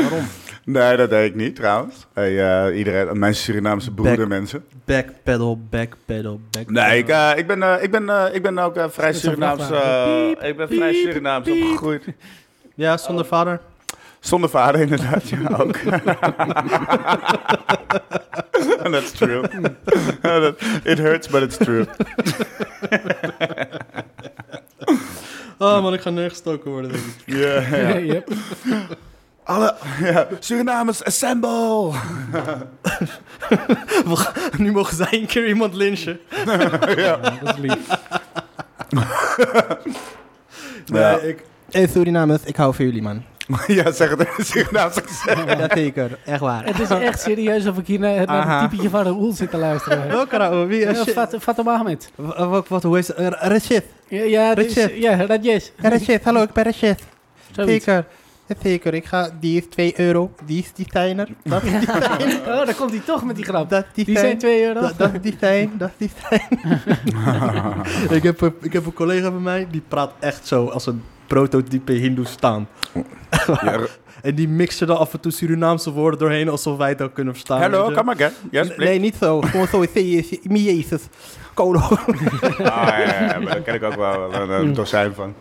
Waarom?
Nee, dat deed ik niet trouwens. Hey, eh, iedereen, mijn Surinaamse broedermensen.
Backpedal, backpedal, backpedal.
Nee, ik, eh, ik, ben, eh, ik, ben, eh, ik ben ook eh, vrij
Dat is een
Surinaams.
vrachtwagen.
eh,
Piep,
ik ben
piep,
vrij Surinaams
piep.
opgegroeid.
Ja, zonder vader.
Zonder vader inderdaad, ja ook. And that's true. It hurts, but it's true.
Oh man, ik ga neergestoken worden denk ik.
Ja, ja.
Yep.
Alle ja, Surinamers, assemble!
We gaan- nu mogen zij een keer iemand lynchen.
Ja, dat is lief.
Ja.
Nee, ik... Hey Surinamers, ik hou van jullie, man.
ja, zeg het Surinaams accent.
Dat zeker, echt waar.
Het is echt serieus of ik hier eh, naar, naar
Aha.
het typetje van Raoul zit te luisteren.
Welke nou? Wie?
Ja,
eh, shit.
Fat- Fatou Ahmed.
Wat, wat, wat- hoe is het? Eh, Rashid.
Ja, ja, het is-
Richard.
ja Radjes.
Eh, Rashid, hallo, ik ben Rashid.
Zoiets.
Zeker. Eh, Zeker, ik ga, die is 2 euro. Die is designer. Dat is design.
Oh, daar komt hij toch met die grap.
Dat design.
Die zijn 2 euro.
Dat, dat is design. Dat is design. ik, heb, een- ik heb een collega van mij, die praat echt zo als een prototype Hindoestaan.
Ja,
En die mixen dan af en toe Surinaamse woorden doorheen alsof wij het ook kunnen
Ah,
verstaan.
Hello,
weet je.
come again. Yes,
N-
please.
nee, niet zo. Gewoon zo. "Zie- zie- Mi Jezus. Kolo.
Ah, ja, ja, ja, maar daar ken ik ook wel een, een dozijn van.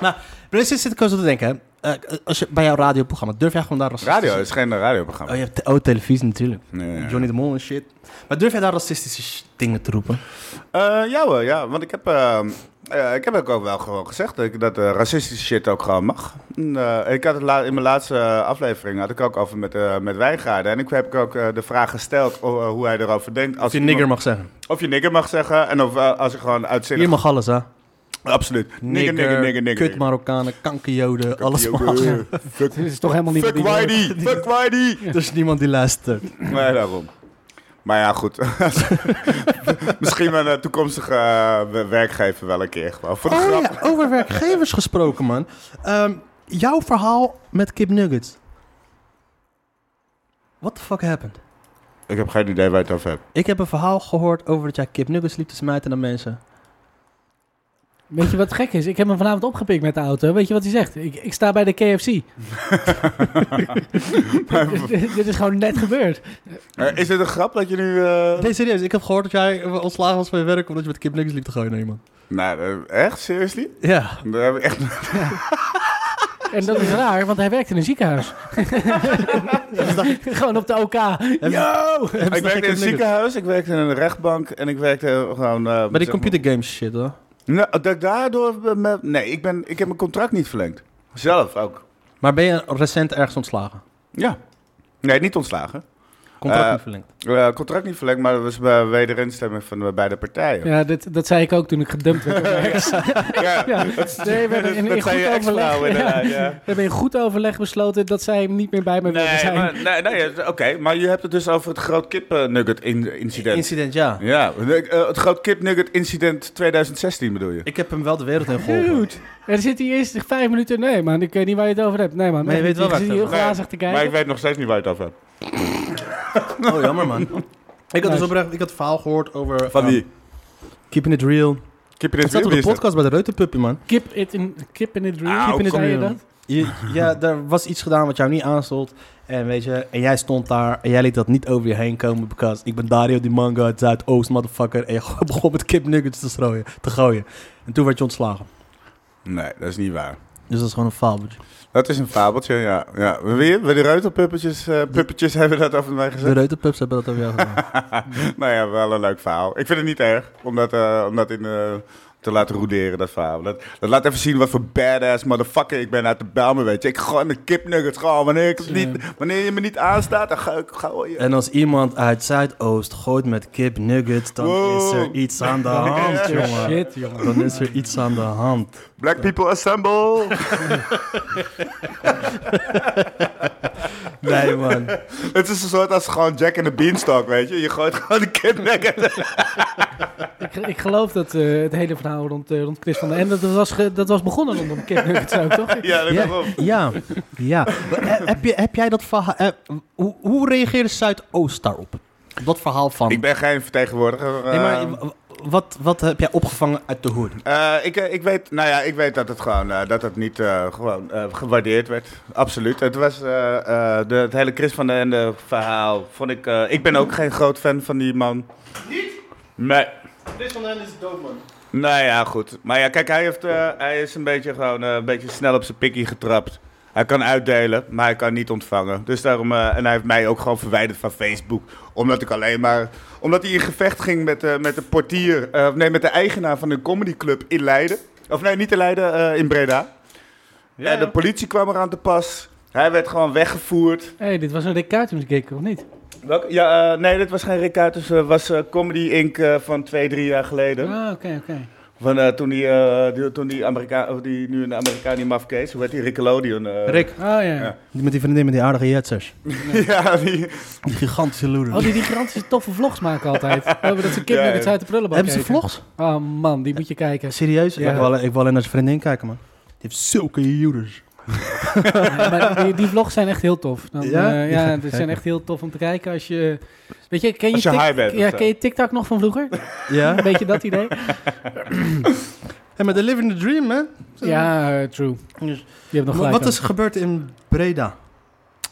Maar dus zit ik zo te denken. hè. Eh, als je, bij jouw radioprogramma, durf jij gewoon daar racistisch...
Radio is geen eh,
Oh,
radioprogramma.
je hebt te- oh, televisie natuurlijk.
Nee, ja.
Johnny de Mol en shit. Maar durf jij daar racistische sh- dingen te roepen?
Eh, ja hoor, ja. Want ik heb, eh, eh, ik heb ook wel gewoon gezegd dat, ik- dat eh, racistische shit ook gewoon mag. En, eh, ik had het la- in mijn laatste eh, aflevering had ik ook over met, eh met Wijngaarden. En ik heb ik ook eh, de vraag gesteld o- eh, hoe hij erover denkt. Als
Als je
iemand-
nigger mag zeggen.
Of je nigger mag zeggen. En of eh, als je gewoon
Hier
uitzinnig...
mag alles, hè?
Absoluut. Nigger, nigger, nigger, nigger.
Kut Marokkanen, kankerjoden, alles
Yo,
mag.
eh, Fuck,
Dit is toch helemaal niet
fuck
wat die wil.
Whitey, fuck Whitey.
Er is Dus niemand die luistert.
Nee, daarom. Maar ja, goed. Misschien mijn eh, toekomstige eh, werkgever wel een keer. Gewoon voor de
Oh
grap.
ja, over werkgevers gesproken, man. Ehm, jouw verhaal met Kip Nuggets. What the fuck happened?
Ik heb geen idee waar je het over hebt.
Ik heb een verhaal gehoord over dat jij Kip Nuggets liep te smijten aan mensen.
Weet je wat gek is? Ik heb hem vanavond opgepikt met de auto. Weet je wat hij zegt? Ik, ik sta bij de KFC. Dit- dit, dit is gewoon net gebeurd.
Eh, is dit een grap dat je nu... eh,
Nee, serieus. Ik heb gehoord dat jij eh, ontslagen was van je werk omdat je met Kip Nuggets liep te gooien naar iemand.
Nou, eh, echt? Seriously?
Ja.
Daar heb ik echt...
En dat is raar, want hij werkt in een ziekenhuis. gewoon op de OK. Yo!
Ik werkte in een ziekenhuis, ik werkte in een rechtbank en ik werkte gewoon... eh,
Bij die
zeg maar-
computergames shit, hoor.
Nou, dat ik daardoor... be- me- Nee, ik, ben, ik heb mijn contract niet verlengd. Zelf ook.
Maar ben je recent ergens ontslagen?
Ja. Nee, niet ontslagen.
Contract
Eh,
niet verlengd.
Eh, contract niet verlengd, maar dat was bij wederinstemming van de beide partijen.
Ja, dit, dat zei ik ook toen ik gedumpt werd. op werk.
Ja.
Ja. Nee, we hebben in, in
dat zijn
goed
je
overleg.
ex-vrouwen inderdaad,
ja.
ja.
We hebben in goed overleg besloten dat zij hem niet meer bij me wilden
Nee,
zijn.
maar, nee, nee het- oké, maar je hebt het dus over het groot kipnugget in, incident.
Incident, ja.
ja, nee, eh, het groot kipnugget incident 2016 bedoel je?
Ik heb hem wel de wereld in geholpen.
Dude, er zit hier eerst vijf minuten. Nee, man, ik weet niet waar je het over hebt. Nee, man,
Maar je weet wel
ik
waar
zit
het
hier heel
over
glazig te
Maar ik
kijken.
weet nog steeds niet waar je het over hebt.
Oh, jammer, man. Ik had dus
Nice.
oprecht, ik had het verhaal gehoord over...
Van
ehm,
wie?
Keeping it real.
Oh. Kip
Het zat op de
in
podcast bij de Reuterpuppy, man.
Kip it in, kip in the dream.
Ah,
kip in the
kom
dream.
je
dat?
Je- ja, er was iets gedaan wat jou niet aanstond. En weet je, en jij stond daar en jij liet dat niet over je heen komen. Because ik ben Dario die manga uit Zuidoost, motherfucker. En je begon met kip nuggets te, strooien, te gooien. En toen werd je ontslagen.
Nee, dat is niet waar.
Dus dat is gewoon een fabeltje.
Dat is een fabeltje, ja. ja. Weer, we de ruiterpuppetjes eh, puppetjes hebben dat over mij
De
gezegd.
Reuterpups hebben dat over jou gedaan.
nou ja, wel een leuk verhaal. Ik vind het niet erg om dat, eh, om dat in, eh, te laten roederen, dat verhaal. Dat, dat laat even zien wat voor badass motherfucker ik ben uit de Belmen, weet je. Ik gooi mijn kipnuggets gewoon. Wanneer, ik het niet, wanneer je me niet aanstaat, dan ga ik gooi je.
en als iemand uit Zuidoost gooit met kip nuggets, dan
Wow.
is er iets aan de hand, jongen.
Oh, Shit, jongen.
Dan is er iets aan de hand.
Black people assemble!
Nee, man.
het is een soort als gewoon Jack in the Beanstalk, weet je. Je gooit gewoon de kipnuggets.
Ik, ik geloof dat eh, het hele verhaal rond, eh, rond Chris van der Ende... Dat was, ge- dat was begonnen rondom Kip Nuggets ook, toch?
ja, dat
Ja,
daarom.
ja. ja. Maar, eh, heb, je, heb jij dat verhaal... eh, hoe, hoe reageerde Zuidoost daarop? Op dat verhaal van...
Ik ben geen vertegenwoordiger.
Nee, maar
eh,
w- w- wat, wat heb jij opgevangen uit de hoed?
Eh, ik, eh, ik, weet, nou ja, ik weet dat het gewoon eh, dat het niet eh, gewoon, eh, gewaardeerd werd. Absoluut. Het was eh, eh, de, het hele Chris van den Ende verhaal. Vond ik, eh, ik ben ook geen groot fan van die man. Niet? Nee.
Chris van den is dood, man.
Nou ja, goed. Maar ja, kijk, hij, heeft, eh, hij is een beetje, gewoon, eh, een beetje snel op zijn pikkie getrapt. Hij kan uitdelen, maar hij kan niet ontvangen. Dus daarom, eh, en hij heeft mij ook gewoon verwijderd van Facebook. Omdat ik alleen maar. Omdat hij in gevecht ging met, eh, met de portier. eh, nee, met de eigenaar van een comedyclub in Leiden. Of nee, niet in Leiden, eh, in Breda. En de politie kwam eraan te pas. Hij werd gewoon weggevoerd.
Hé, hey, dit was een Rick Kuitens gig, of niet?
Welk- Ja, eh, nee, dit was geen Rick Kuijters. Het was eh, Comedy Inc. eh, van twee, drie jaar geleden.
Ah, oké, oké.
Van, eh, toen die, eh, die, toen die, Amerika of die nu een Amerikaan die mafkees, hoe heet die? Nickelodeon. eh
Rick.
Ah,
Ja.
ja.
Die Met die vriendin met die aardige jetsers.
ja, die,
Die gigantische loeder.
Oh, die, die gigantische toffe vlogs maken altijd. Oh, dat ze kipnuggets
Ja.
uit de prullenbak
Hebben ze
eten.
vlogs?
Oh man, die moet je kijken.
Serieus?
Ja.
Ik, wil, ik wil alleen naar zijn vriendin kijken, man. Die heeft zulke juders.
Ja, maar die, die vlogs zijn echt heel tof. Dan,
Ja?
ja,
Die ga ik
ja die
kijken.
zijn echt heel tof om te kijken als je... Weet je, ken je,
Als je
Tik-
high bent of
ja,
zo.
ken je TikTok nog van vroeger?
Ja?
Een beetje dat idee?
En met de Living the Dream, hè?
Ja, eh, true. Je
Dus-
hebt nog
Maar
gelijk.
Wat
aan.
is er gebeurd in Breda?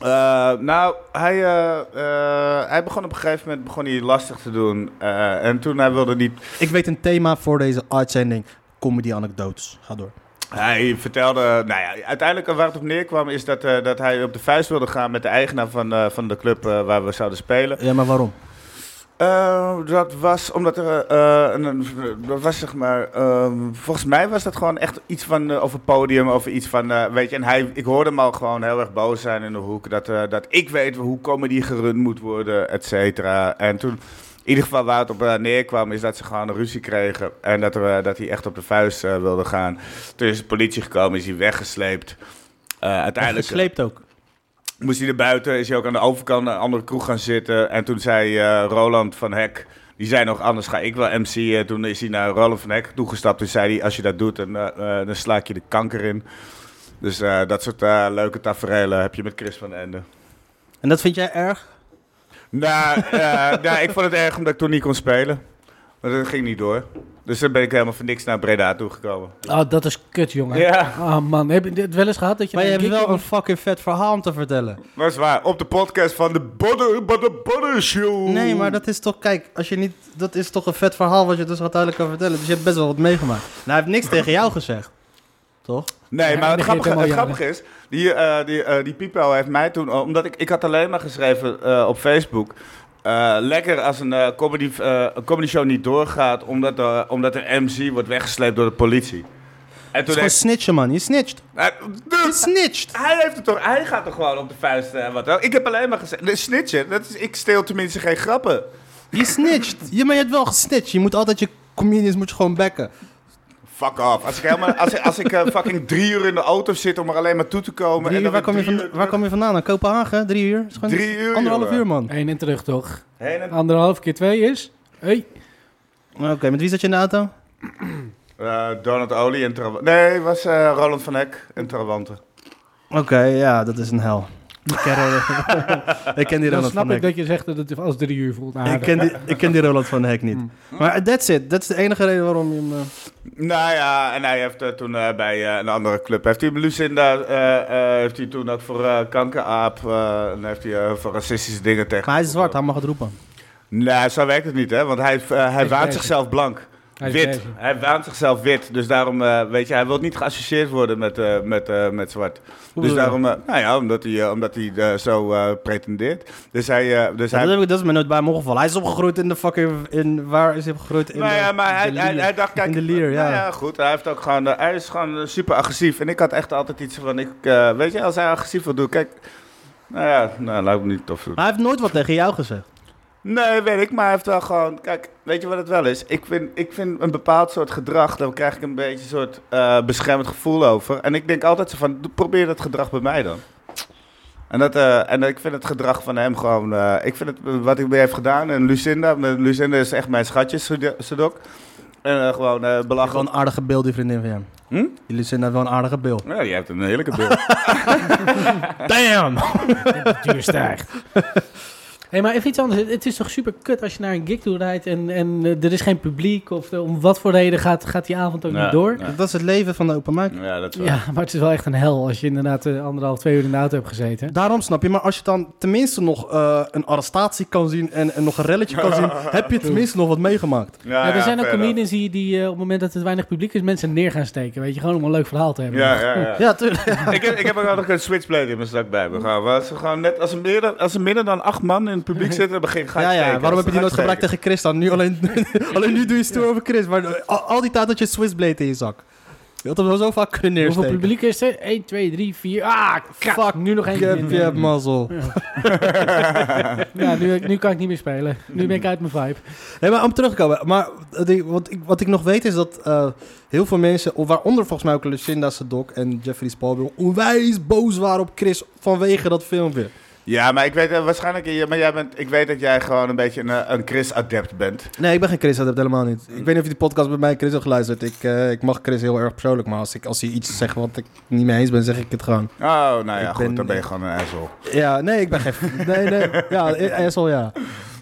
Eh, nou, hij, eh, eh, hij begon op een gegeven moment begon hij lastig te doen. Eh, en toen hij wilde niet...
Ik weet een thema voor deze uitzending. Comedy anekdotes. Ga door.
Hij vertelde... Nou ja, uiteindelijk waar het op neerkwam is dat, eh, dat hij op de vuist wilde gaan met de eigenaar van, eh, van de club eh, waar we zouden spelen.
Ja, maar waarom?
Eh, dat was omdat er. eh, een- een- dat was zeg maar. ehm, volgens mij was dat gewoon echt iets van. eh, over podium, over iets van. eh, weet je, en hij, ik hoorde hem al gewoon heel erg boos zijn in de hoek. Dat, eh, dat ik weet hoe comedy gerund moet worden, et cetera. En toen. In ieder geval waar het op eh, neerkwam is dat ze gewoon een ruzie kregen. En dat, er, eh, dat hij echt op de vuist eh, wilde gaan. Toen is de politie gekomen, is hij weggesleept. Eh, uiteindelijk
Gesleept ook.
moest hij naar buiten, is hij ook aan de overkant naar een andere kroeg gaan zitten. En toen zei eh, Roland van Hek, die zei nog anders ga ik wel MC'en. Toen is hij naar Roland van Hek toegestapt. Toen zei hij, als je dat doet, dan, eh, eh, dan sla ik je de kanker in. Dus eh, dat soort eh, leuke tafereelen heb je met Chris van Ende.
En dat vind jij erg?
Nou, eh, nou, ik vond het erg omdat ik toen niet kon spelen. Maar dat ging niet door. Dus dan ben ik helemaal voor niks naar Breda toegekomen.
Oh, dat is kut, jongen.
Ja,
Oh man, heb je dit wel eens gehad? Dat je
Maar je
een
hebt
gig
wel
in-
een fucking vet verhaal om te vertellen.
dat is waar. Op de podcast van de Butter, Butter, Butter Show.
Nee, maar dat is toch, kijk, als je niet, dat is toch een vet verhaal wat je dus uiteindelijk kan vertellen. Dus je hebt best wel wat meegemaakt. Nou, hij heeft niks tegen jou gezegd. Toch?
Nee,
Ja,
maar het
dat geeft
grappige, het
helemaal
grappige is, die, eh die, eh die Pipo heeft mij toen, eh, omdat ik, ik had alleen maar geschreven eh, op Facebook, eh, lekker als een, eh, comedy, eh, een comedy show niet doorgaat, omdat, eh, omdat een MC wordt weggesleept door de politie. En
Het is
toen
gewoon
heeft,
snitchen, man. Je snitcht.
hij,
Je
dus,
snitcht.
hij heeft het toch, hij gaat toch gewoon op de vuist, eh, wat wel. Ik heb alleen maar gezegd, dus snitchen, dat is, ik steel tenminste geen grappen.
Je snitcht. Je, maar je hebt wel gesnitcht. Je moet altijd je comedians moet je gewoon bekken.
Oh, Fuck off. Als ik, helemaal, als, ik- als ik eh, fucking drie uur in de auto zit om er alleen maar toe te komen.
Drie
en
uur,
dan
waar, kom je
weer
van,
drie eh?
waar kom je vandaan? Naar Kopenhagen? Drie uur? Is gewoon
Drie uur,
Anderhalf
jongen.
uur, man.
Heen en terug, toch?
Heen en-
Anderhalf keer twee is... Hey.
Oké, met wie zat je in de auto?
Eh, Donald Olie en Trawante. Nee, was eh, Roland van Hek en Trawante.
Oké, ja, dat is een hel. Ik ken, Roland- ik ken die
Dan
Roland
snap
van
ik
Hek.
dat je zegt dat het als drie uur voelt. Nou,
Ik ken, die, ik ken die Roland van Hek niet.
Hmm.
Maar that's it. Dat is de enige reden waarom je hem... eh,
Nou ja, en hij heeft eh, toen eh, bij eh, een andere club. Heeft hij Lucinda. eh, eh, heeft hij toen ook voor eh, kankeraap. eh, en heeft hij eh, voor racistische dingen tegen.
Maar hij is zwart, hij mag het roepen.
Nee, zo werkt het niet, hè? Want hij, eh, hij
is
waant
bezig.
zichzelf blank.
Hij is
wit.
bezig.
Hij waant zichzelf wit. Dus daarom, eh, weet je, hij wil niet geassocieerd worden met, eh, met, eh, met zwart. dus
bedoel je?
daarom, eh, nou ja, omdat hij, eh, omdat hij eh, zo eh, pretendeert. Dus hij. eh, dus
Ja,
hij
dat, heb ik, dat is me nooit bij me opgevallen. Hij is opgegroeid in de fucking... In, waar is hij opgegroeid? In
Nou ja,
de-
maar hij,
de
hij,
Lier.
hij dacht, kijk,
In de Lier, ja.
nou ja, goed. Hij, heeft ook gewoon, eh, hij is gewoon eh, super agressief. En ik had echt altijd iets van, ik, eh, weet je, als hij agressief wil doen, kijk. Nou ja, nou, laat ik hem niet tof doen.
Maar hij heeft nooit wat tegen jou gezegd.
Nee, weet ik, maar hij heeft wel gewoon, kijk, weet je wat het wel is? Ik vind, ik vind een bepaald soort gedrag, daar krijg ik een beetje een soort eh, beschermend gevoel over. En ik denk altijd zo van, doe- probeer dat gedrag bij mij dan. En, dat, eh, en ik vind het gedrag van hem gewoon, eh, ik vind het, eh, wat hij mee heeft gedaan. En Lucinda, eh, Lucinda is echt mijn schatje, Sudo- Sudok. En eh, gewoon eh belachelijk.
Gewoon een aardige beeld, die vriendin van hem.
Hm?
Die Lucinda heeft wel een aardige beeld.
Ja, je hebt een heerlijke beeld.
Damn!
duur stijgt. Hé, maar even iets anders. Het- Het is toch super kut als je naar een gig toe rijdt en, en eh, er is geen publiek of eh, om wat voor reden gaat, gaat die avond ook niet door.
Ja,
Dat is het leven van de open mic.
ja, dat is
Ja.
wel.
maar het is wel echt een hel als je inderdaad eh, anderhalf, twee uur in de auto hebt gezeten.
Daarom snap je, maar als je dan tenminste nog eh, een arrestatie kan zien en, en nog een relletje kan zien, heb je tenminste nog wat meegemaakt.
Ja,
Ja, er
ja,
zijn ook
verder.
comedians die, die eh, op het moment dat het weinig publiek is, mensen neer gaan steken. Weet je, gewoon om een leuk verhaal te hebben.
Ja, ja, ja.
Ja, tuurlijk.
ik, heb, ik heb ook altijd een switchblade in mijn zak bij me. Gewoon, waar ze gewoon net, als, er meer, als er minder dan acht man in het publiek zitten, begin ga ik
Ja, ja,
steken.
waarom heb je die
Ga ik
nooit gebruikt
steken.
tegen eh, Chris dan? Nu alleen, alleen nu doe je stoer over Chris, maar al, al die tijd had je Swissblade in je zak. Dat hebben we zo vaak kunnen
Hoeveel
neersteken.
publiek is er? 1, 2, 3, 4. Ah, kak.
Fuck,
nu nog één.
Ik heb je mazzel.
Ja, nu, nu kan ik niet meer spelen. Nu ben ik uit mijn vibe.
Nee, maar om terug te komen. Maar wat ik, wat ik, wat ik nog weet is dat eh, heel veel mensen, waaronder volgens mij ook Lucinda Sadok en Jeffrey Spalberg, onwijs boos waren op Chris vanwege dat filmpje.
Ja, maar ik weet eh, waarschijnlijk... je- Maar jij bent, ik weet dat jij gewoon een beetje een, eh, een Chris-adept bent.
Nee, ik ben geen Chris, dat heb ik helemaal niet. Ik weet niet of je die podcast bij mij Chris hebt geluisterd. Ik, eh, ik mag Chris heel erg persoonlijk, maar als, ik, als hij iets zegt wat ik niet mee eens ben, zeg ik het gewoon.
Oh, nou ja,
Ik
goed,
ben-
dan ben je gewoon een asshole.
Ja, nee, ik ben geen... Nee, nee, ja, asshole, ja.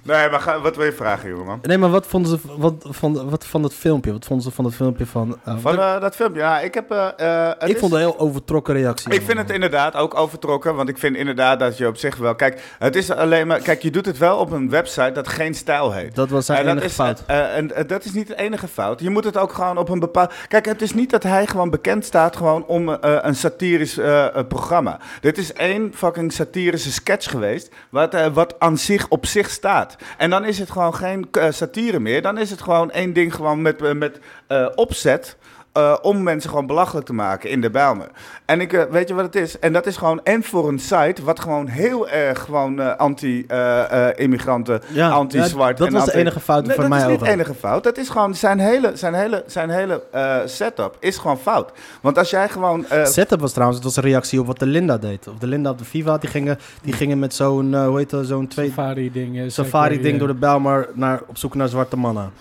Nee, maar ga- wat wil je vragen, jongeman?
Nee, maar wat vonden ze wat, van, wat van dat filmpje? Wat vonden ze van dat filmpje van... eh,
Van eh, dat filmpje, ja, ik heb... eh, eh, het
ik
is-
vond het een heel overtrokken reactie.
Ik vind het inderdaad ook overtrokken, want ik vind inderdaad dat je op zich wel... Kijk, het is alleen maar... Kijk, je doet het wel op een website dat geen stijl heet.
Dat was zijn
En dat
enige
is,
fout.
eh, eh, en eh, dat is niet de enige fout. Je moet het ook gewoon op een bepaald... Kijk, het is niet dat hij gewoon bekend staat gewoon om eh, een satirisch eh, eh, programma. Dit is één fucking satirische sketch geweest... wat, eh, wat aan zich op zich staat. En dan is het gewoon geen eh, satire meer. Dan is het gewoon één ding gewoon met, eh, met eh, opzet... eh, om mensen gewoon belachelijk te maken in de Bijlmer. En ik, eh, weet je wat het is? En dat is gewoon en voor een site wat gewoon heel erg gewoon eh, anti-immigranten,
Ja,
eh, anti-zwart.
ja, dat
en
was de
anti-
enige fout
Nee,
van mij
dat is
ook.
niet enige fout. Dat is gewoon zijn hele, zijn hele, zijn hele eh, setup is gewoon fout. Want als jij gewoon... eh,
Setup was trouwens, het was een reactie op wat de Linda deed. Of de Linda op de Viva, die gingen, die gingen met zo'n, eh, hoe heet dat, zo'n twee
Safari-ding. eh,
safari-ding
eh,
door de Bijlmer naar, op zoek naar zwarte mannen.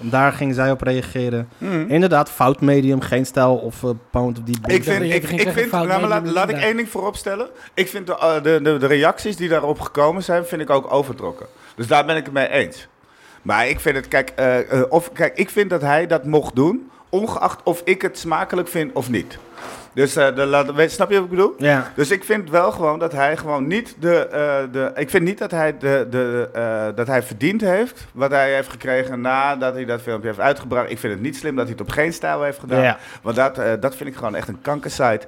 En daar ging zij op reageren. Inderdaad, fout medium, geen stijl of eh, pound of die
Hmm. ik
boek.
dat
vind, ik,
je even geen
ik vind,
fout
nou, maar laat,
neemt,
laat ik
inderdaad.
één ding vooropstellen. Ik vind de, eh, de, de, de reacties die daarop gekomen zijn, vind ik ook overtrokken. Dus daar ben ik het mee eens. Maar ik vind het, kijk, eh, eh, of, kijk, ik vind dat hij dat mocht doen, ongeacht of ik het smakelijk vind of niet. Dus eh, de, laat, weet- snap je wat ik bedoel?
Ja.
Dus ik vind wel gewoon dat hij gewoon niet de. eh, de ik vind niet dat hij, de, de, eh, dat hij verdiend heeft. Wat hij heeft gekregen nadat hij dat filmpje heeft uitgebracht. Ik vind het niet slim dat hij het op geen stijl heeft gedaan.
Ja.
Want dat, eh, dat vind ik gewoon echt een kankersite.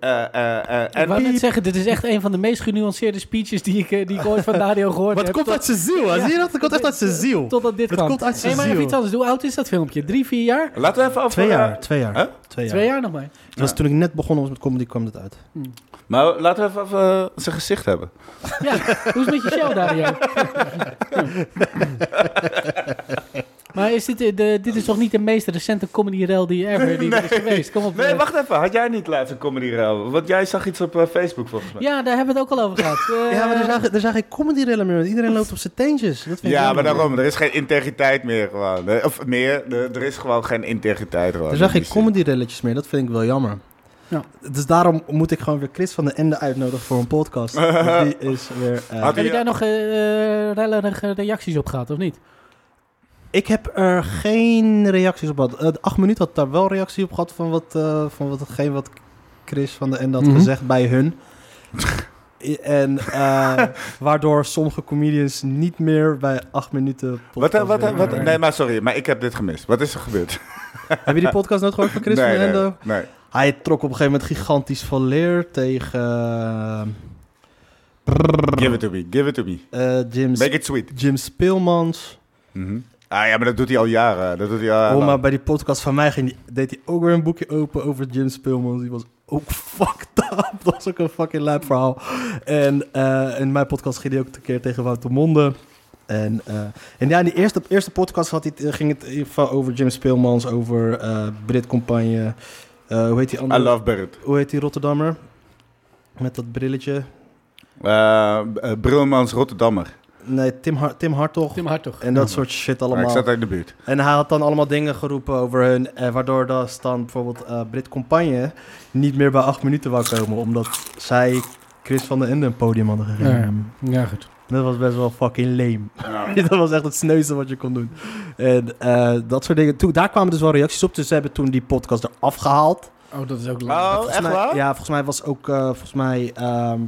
Eh, eh, eh,
Ik
en
wou net zeggen, dit is echt een van de meest genuanceerde speeches die ik, eh, die ik ooit van Dario gehoord
Maar
heb.
het komt
tot-
uit zijn ziel, hè?
Ja.
zie je dat? Het komt echt uit zijn ziel.
Totdat dit
Het
kwam.
komt uit zijn
Hey, maar even
ziel.
iets anders. Hoe oud is dat filmpje? Drie, vier jaar?
Laten we even over.
Twee
eh,
jaar, twee jaar.
Huh?
Twee jaar.
Twee jaar nog maar.
Dat was toen ik net begonnen was met comedy, kwam dit uit.
maar laten we even over eh, zijn gezicht hebben.
Ja, hoe is het met je show, Dario? maar is dit, eh, de, dit is toch niet de meest recente comedy rel die ever die er is geweest? Kom op.
Nee,
eh.
wacht even. Had jij niet laatst een comedy rel? Want jij zag iets op eh, Facebook volgens mij.
Ja, daar hebben we het ook al over gehad. Eh,
ja, maar er zijn, er zijn geen comedy-rillen meer. want Iedereen loopt op zijn teentjes. Dat vind
Ja,
ik jammer.
maar daarom, er is geen integriteit meer gewoon. Eh, Of meer, eh, er is gewoon geen integriteit gewoon.
Er zijn
in
geen
die zin.
comedy-relletjes meer, dat vind ik wel jammer.
Ja.
Dus daarom moet ik gewoon weer Chris van de Ende uitnodigen voor een podcast. Want die is weer... eh,
Had-
Heb je daar nog eh eh, rellerige reacties op gehad, of niet?
Ik heb er geen reacties op gehad. Eh, de acht minuten had daar wel reactie op gehad van, wat, eh, van wat, hetgeen wat Chris van de Ende had
Mhm.
gezegd bij hun. en eh, waardoor sommige comedians niet meer bij acht minuten...
Wat,
podcast
wat, wat,
willen werken.
nee, maar sorry, maar ik heb dit gemist. Wat is er gebeurd?
Heb je die podcast nooit gehoord van Chris
nee,
van de
nee,
Ende?
nee.
Hij trok op een gegeven moment gigantisch van leer tegen... eh,
Give it to me, give it to me.
eh, Jim
Make it sweet.
Jim Speelmans.
Mhm. Ah ja, maar dat doet hij al jaren. Dat doet hij al
oh, maar
lang.
bij die podcast van mij ging die, deed hij ook weer een boekje open over Jim Speelmans. Die was ook fucked up. Dat was ook een fucking lijp verhaal. En eh, in mijn podcast ging hij ook een keer tegen Wouter Monde. En, eh, en ja, in die eerste, eerste podcast had hij, het- eh, ging het in ieder geval over Jim Speelmans, over eh Brit Compagne. Eh, hoe heet die
I
andere?
love Barrett.
Hoe heet die Rotterdammer? Met dat brilletje.
Eh, eh, Brilmans Rotterdammer.
Nee, Tim, Har- Tim Hartog.
Tim Hartog.
en dat soort shit
Maar
allemaal.
ik zat uit de buurt.
En hij had dan allemaal dingen geroepen over hun, eh, waardoor dat dan bijvoorbeeld eh, Brit Compagne niet meer bij acht minuten wou komen, omdat zij Chris van der Ende een podium hadden gegeven.
Ja, goed.
Dat was best wel fucking lame. dat was echt het sneuste wat je kon doen. En eh, dat soort dingen. Toen, daar kwamen dus wel reacties op, dus ze hebben toen die podcast eraf gehaald.
Oh, dat is
Ah.
ook lang.
Oh,
Volgens
echt
mij-
waar?
Ja, volgens mij was ook, eh, volgens mij, ehm,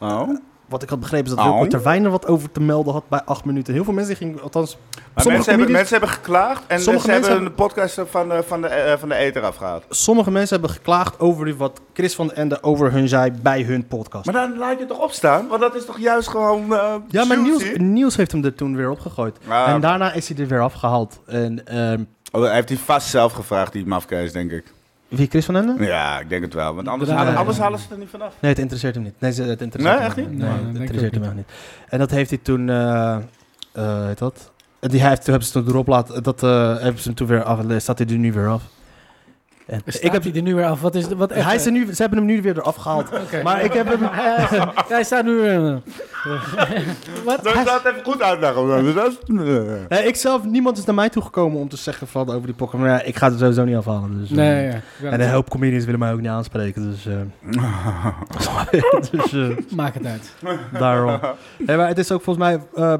Oh.
wat ik had begrepen is dat
Oh.
Wilco Terwijn er wat over te melden had bij acht minuten. Heel veel mensen gingen, althans,
Maar
sommige
mensen hebben,
comedians-
mensen hebben geklaagd en
Sommige
ze hebben
mensen
de podcast van de, van de, eh, van de eter afgehaald.
sommige mensen hebben geklaagd over die- wat Chris van den Ende over hun zei bij hun podcast.
Maar dan laat je het toch opstaan? Want dat is toch juist gewoon eh,
ja,
juicy?
maar Niels, Niels heeft hem er toen weer opgegooid.
Ah,
en
oké.
daarna is hij er weer afgehaald. En, ehm,
Oh, hij heeft die vast zelf gevraagd, die mafkees, denk ik.
Wie, Chris van Ende?
Ja, ik denk het wel. Want anders,
Draai-
halen, anders halen ze er niet vanaf.
Nee, het interesseert hem niet. Nee, ze- het interesseert
Nee, echt
hem
niet?
Nee,
Nee,
het
denk
interesseert
ik
hem echt niet. En dat heeft hij toen, eh eh, heet dat? Die hij heeft, toen hebben ze toen erop laten, dat eh, hebben ze hem toen weer af, staat hij er nu weer af. En
ik heb die er nu weer af. Wat is, wat echt,
hij is er nu, ze hebben hem nu weer eraf gehaald.
Oké.
Maar ik heb hem...
Eh, hij staat nu... eh, wat?
Zou ik dat even goed uitleggen? Dat is-
Nee, Eh, ik zelf, niemand is naar mij toegekomen om te zeggen van over die Pokémon. Maar ja, ik ga het sowieso niet afhalen. Dus, eh.
Nee, ja. Ik wou
En
net
een hoop comedians willen mij ook niet aanspreken, dus... eh. dus eh,
zeggen, Maak het uit.
Daarom. Nee, maar het is ook volgens mij... eh,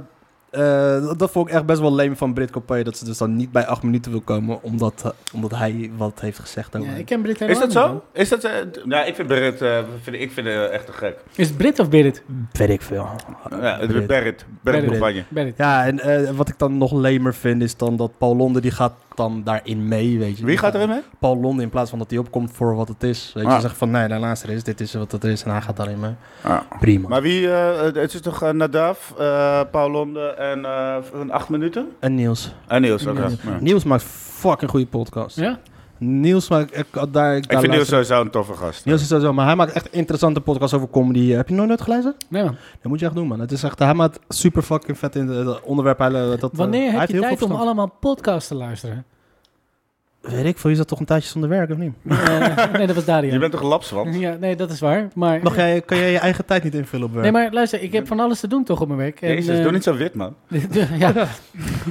eh, dat vond ik echt best wel lame van Brit Coppé. Dat ze dus dan niet bij acht minuten wil komen. Omdat, eh, omdat hij wat heeft gezegd over
Ja,
hem.
ik ken
Is
Brit helemaal
dat
niet, man.
zo? Is dat, eh, d- nou, ik vind Barrett, eh, vind, ik vind eh, echt te gek.
Is het Brit of Brit?
Weet ik veel.
Ja,
Brit.
Barrett, Barrett, campagne.
Brit.
Ja, en eh, wat ik dan nog lamer vind is dan dat Paul Londen die gaat dan daarin mee, weet je.
Wie gaat erin mee?
Paul Londen in plaats van dat hij opkomt voor wat het is. Weet je,
Ah.
zegt van nee, nou, luister eens, dit is wat het is en hij gaat daarin mee.
Ah.
Prima.
Maar wie, eh, het is toch eh, Nadav, eh Paul Londen en eh, van acht minuten? Ah,
En Niels.
En Niels, oké.
Niels.
Ja.
Niels maakt fucking goede podcast.
Ja?
Niels maakt... Ik, daar,
Ik
daar
vind
luister-
Niels sowieso een toffe gast.
Niels is sowieso, maar hij maakt echt interessante podcasts over comedy. Eh, Heb je nog nooit gelezen?
Nee, man.
Dat moet je echt doen, man. Het is echt, hij maakt super fucking vet in het onderwerp. Hij, eh, dat, eh, hij
Wanneer heb
heeft
je
heel
tijd
veel
om
verstand.
allemaal podcasts te luisteren?
Weet ik veel, je zat toch een tijdje zonder werk, of niet?
Eh, nee, dat was Dario.
Je bent toch lapswand?
Ja, nee, dat is waar. Maar...
Mag jij, kan jij je eigen tijd niet invullen op werk?
Nee, maar luister, ik heb van alles te doen toch op mijn werk. En,
Jezus,
eh,
doe niet zo wit, man.
ja.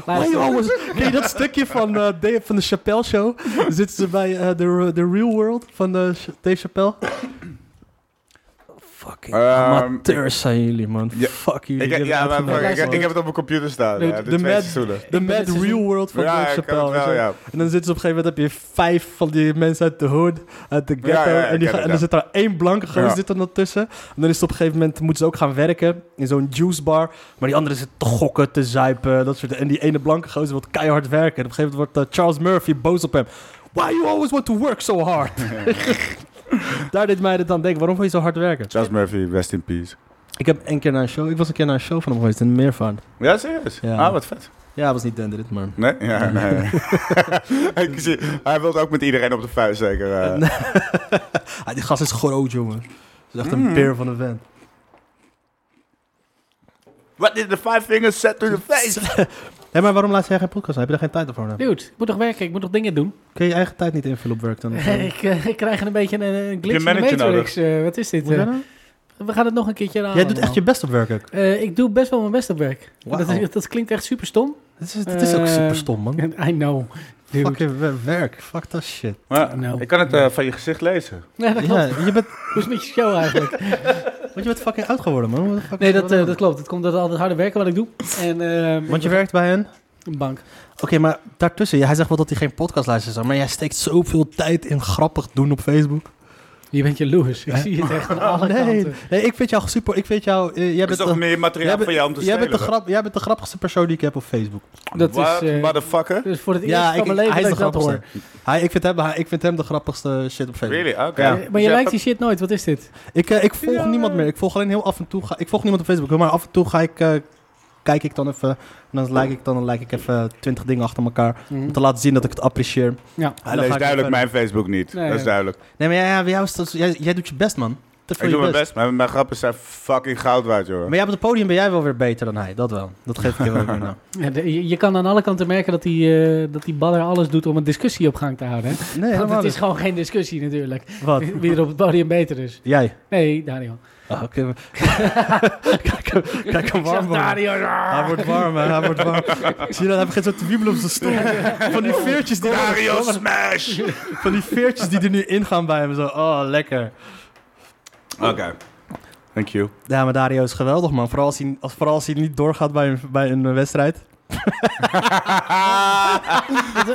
Luister.
Hey, jongens, ken je dat stukje van, eh, Dave, van de Chappelle Show? Dan Zitten ze bij eh, de de Real World van eh, Ch- Dave Chappelle? Fucking
Ehm,
amateurs zijn jullie, man.
Ja,
Fuck jullie.
Ik,
jullie
ja,
hebben
maar
het
ik,
uitgemaakt,
ik,
man.
heb het op mijn computer staan.
De-
ja, de,
de
twee
mad-
seizoenen.
De
ben
Mad
dit seizoen-
Real World van
Ja,
Dave
ik kan
Chappelle.
het wel,
weet je?
ja.
En dan zitten ze op een gegeven moment, heb je vijf van die mensen uit de hood, uit de ghetto.
Ja, ja, ja,
en, die
ik ken
gaan, en
het,
dan zit daar één blanke gozer
Ja.
zit er dan tussen. En dan is het op een gegeven moment, moeten ze ook gaan werken in zo'n juicebar. Maar die andere zit te gokken, te zuipen, dat soort En die ene blanke gozer wil keihard werken. En op een gegeven moment wordt eh, Charles Murphy boos op hem. Why you always want to work so hard? daar deed mij dit aan denken. Waarom wil je zo hard werken?
Charles Murphy, rest in peace.
Ik heb een keer naar een show, ik was een keer naar een show van hem geweest in Meervaart.
Ja, serieus?
Ja.
Ah, wat vet.
Ja, het was niet Dendrit, maar...
Nee? Ja, nee. ik zie, hij wilde ook met iedereen op de vuist, zeker. eh.
Nee. Ah, die gast is groot, jongen. Dat is echt
Mm.
een beer van de vent.
What did the five fingers set to the face?
Hé, maar waarom laat jij geen podcast? aan? Heb je daar geen tijd voor?
Dude, ik moet nog werken, ik moet nog dingen doen.
Kun je je eigen tijd niet invullen op werk dan? Of, eh,
ik, eh, ik krijg een beetje een, een glitch in de
manager
matrix. eh, wat is dit?
hoe
eh?
jij nou?
we gaan het nog een keertje aan.
Jij doet echt je best op werk ook.
Eh, ik doe best wel mijn best op werk.
Wauw.
Dat, is- dat klinkt echt super stom.
Dat is, dat is ook
Eh,
super stom, man.
I know. Dude.
Fucking wer- werk. Fuck dat shit.
Maar,
Nou.
Ik kan het eh, van je gezicht lezen.
Ja, dat klopt.
Ja, je, bent,
Hoe is het met je show eigenlijk?
want je bent fucking oud geworden, man. What the fuck
Nee,
is
dat,
er
eh,
aan?
dat klopt. Het komt door al het harde werken wat ik doe. En, eh,
Want je werkt bij hen?
Een bank.
Oké, maar daartussen, ja, hij zegt wel dat hij geen podcast luistert, maar jij steekt zoveel tijd in grappig doen op Facebook.
Je bent jaloers. Ik zie het echt aan alle
nee,
kanten.
nee, ik vind jou super. Ik vind jou. eh, jij
Er is
bent
toch
de,
meer materiaal
jij bent-
voor jou om te
jij, bent de
stelen?
grap, jij bent de grappigste persoon die ik heb op Facebook.
Dat
What,
is, eh,
motherfucker?
dat is voor het eerst
Ja,
van
ik,
mijn leven
hij is
dat
de
ik dat hoor.
grappigste. Hij, ik, vind hem, hij- ik vind hem de grappigste shit op Facebook.
Really? Oké.
Ja.
Maar je lijkt die shit nooit. Wat is dit?
Ik, eh, ik volg niemand meer. Ik volg alleen heel af en toe. Ga, ik volg niemand op Facebook, maar af en toe ga ik, eh, kijk ik dan even. En dan like ik, dan, dan like ik even twintig dingen achter elkaar. Om te laten zien dat ik het apprecieer.
Ja.
En
Hij
dan ga
leest
ik
duidelijk
verder.
mijn Facebook niet.
Nee,
dat
ja.
is duidelijk.
Nee, maar ja, ja, bij jou is dat, jij, jij doet je best, man. Te veel
Ik
je
doe mijn
best.
best, maar mijn grappen zijn fucking goud waard, joh.
Maar jij op het podium ben jij wel weer beter dan hij. Dat wel. Dat geef ik je wel weer nou.
Ja, de- je, je kan aan alle kanten merken dat die, eh dat die baller alles doet om een discussie op gang te houden. Hè?
Nee,
Want
helemaal
het is
niet.
gewoon geen discussie natuurlijk.
Wat?
Wie wie er op het podium beter is.
Jij.
Nee, Dario.
Ah, Oké. kijk, hem- kijk hem warm worden. Hij wordt warm, hè. Hij wordt warm. Zie je dat? Hij begint zo te wiebelen op zijn stoel. Van die veertjes die...
Mario Smash!
Van die veertjes die er nu ingaan bij hem. Zo, oh, lekker.
Oké. Thank you.
Ja, maar Dario is geweldig, man. Vooral als hij, als, vooral als hij niet doorgaat bij een, bij een eh, wedstrijd.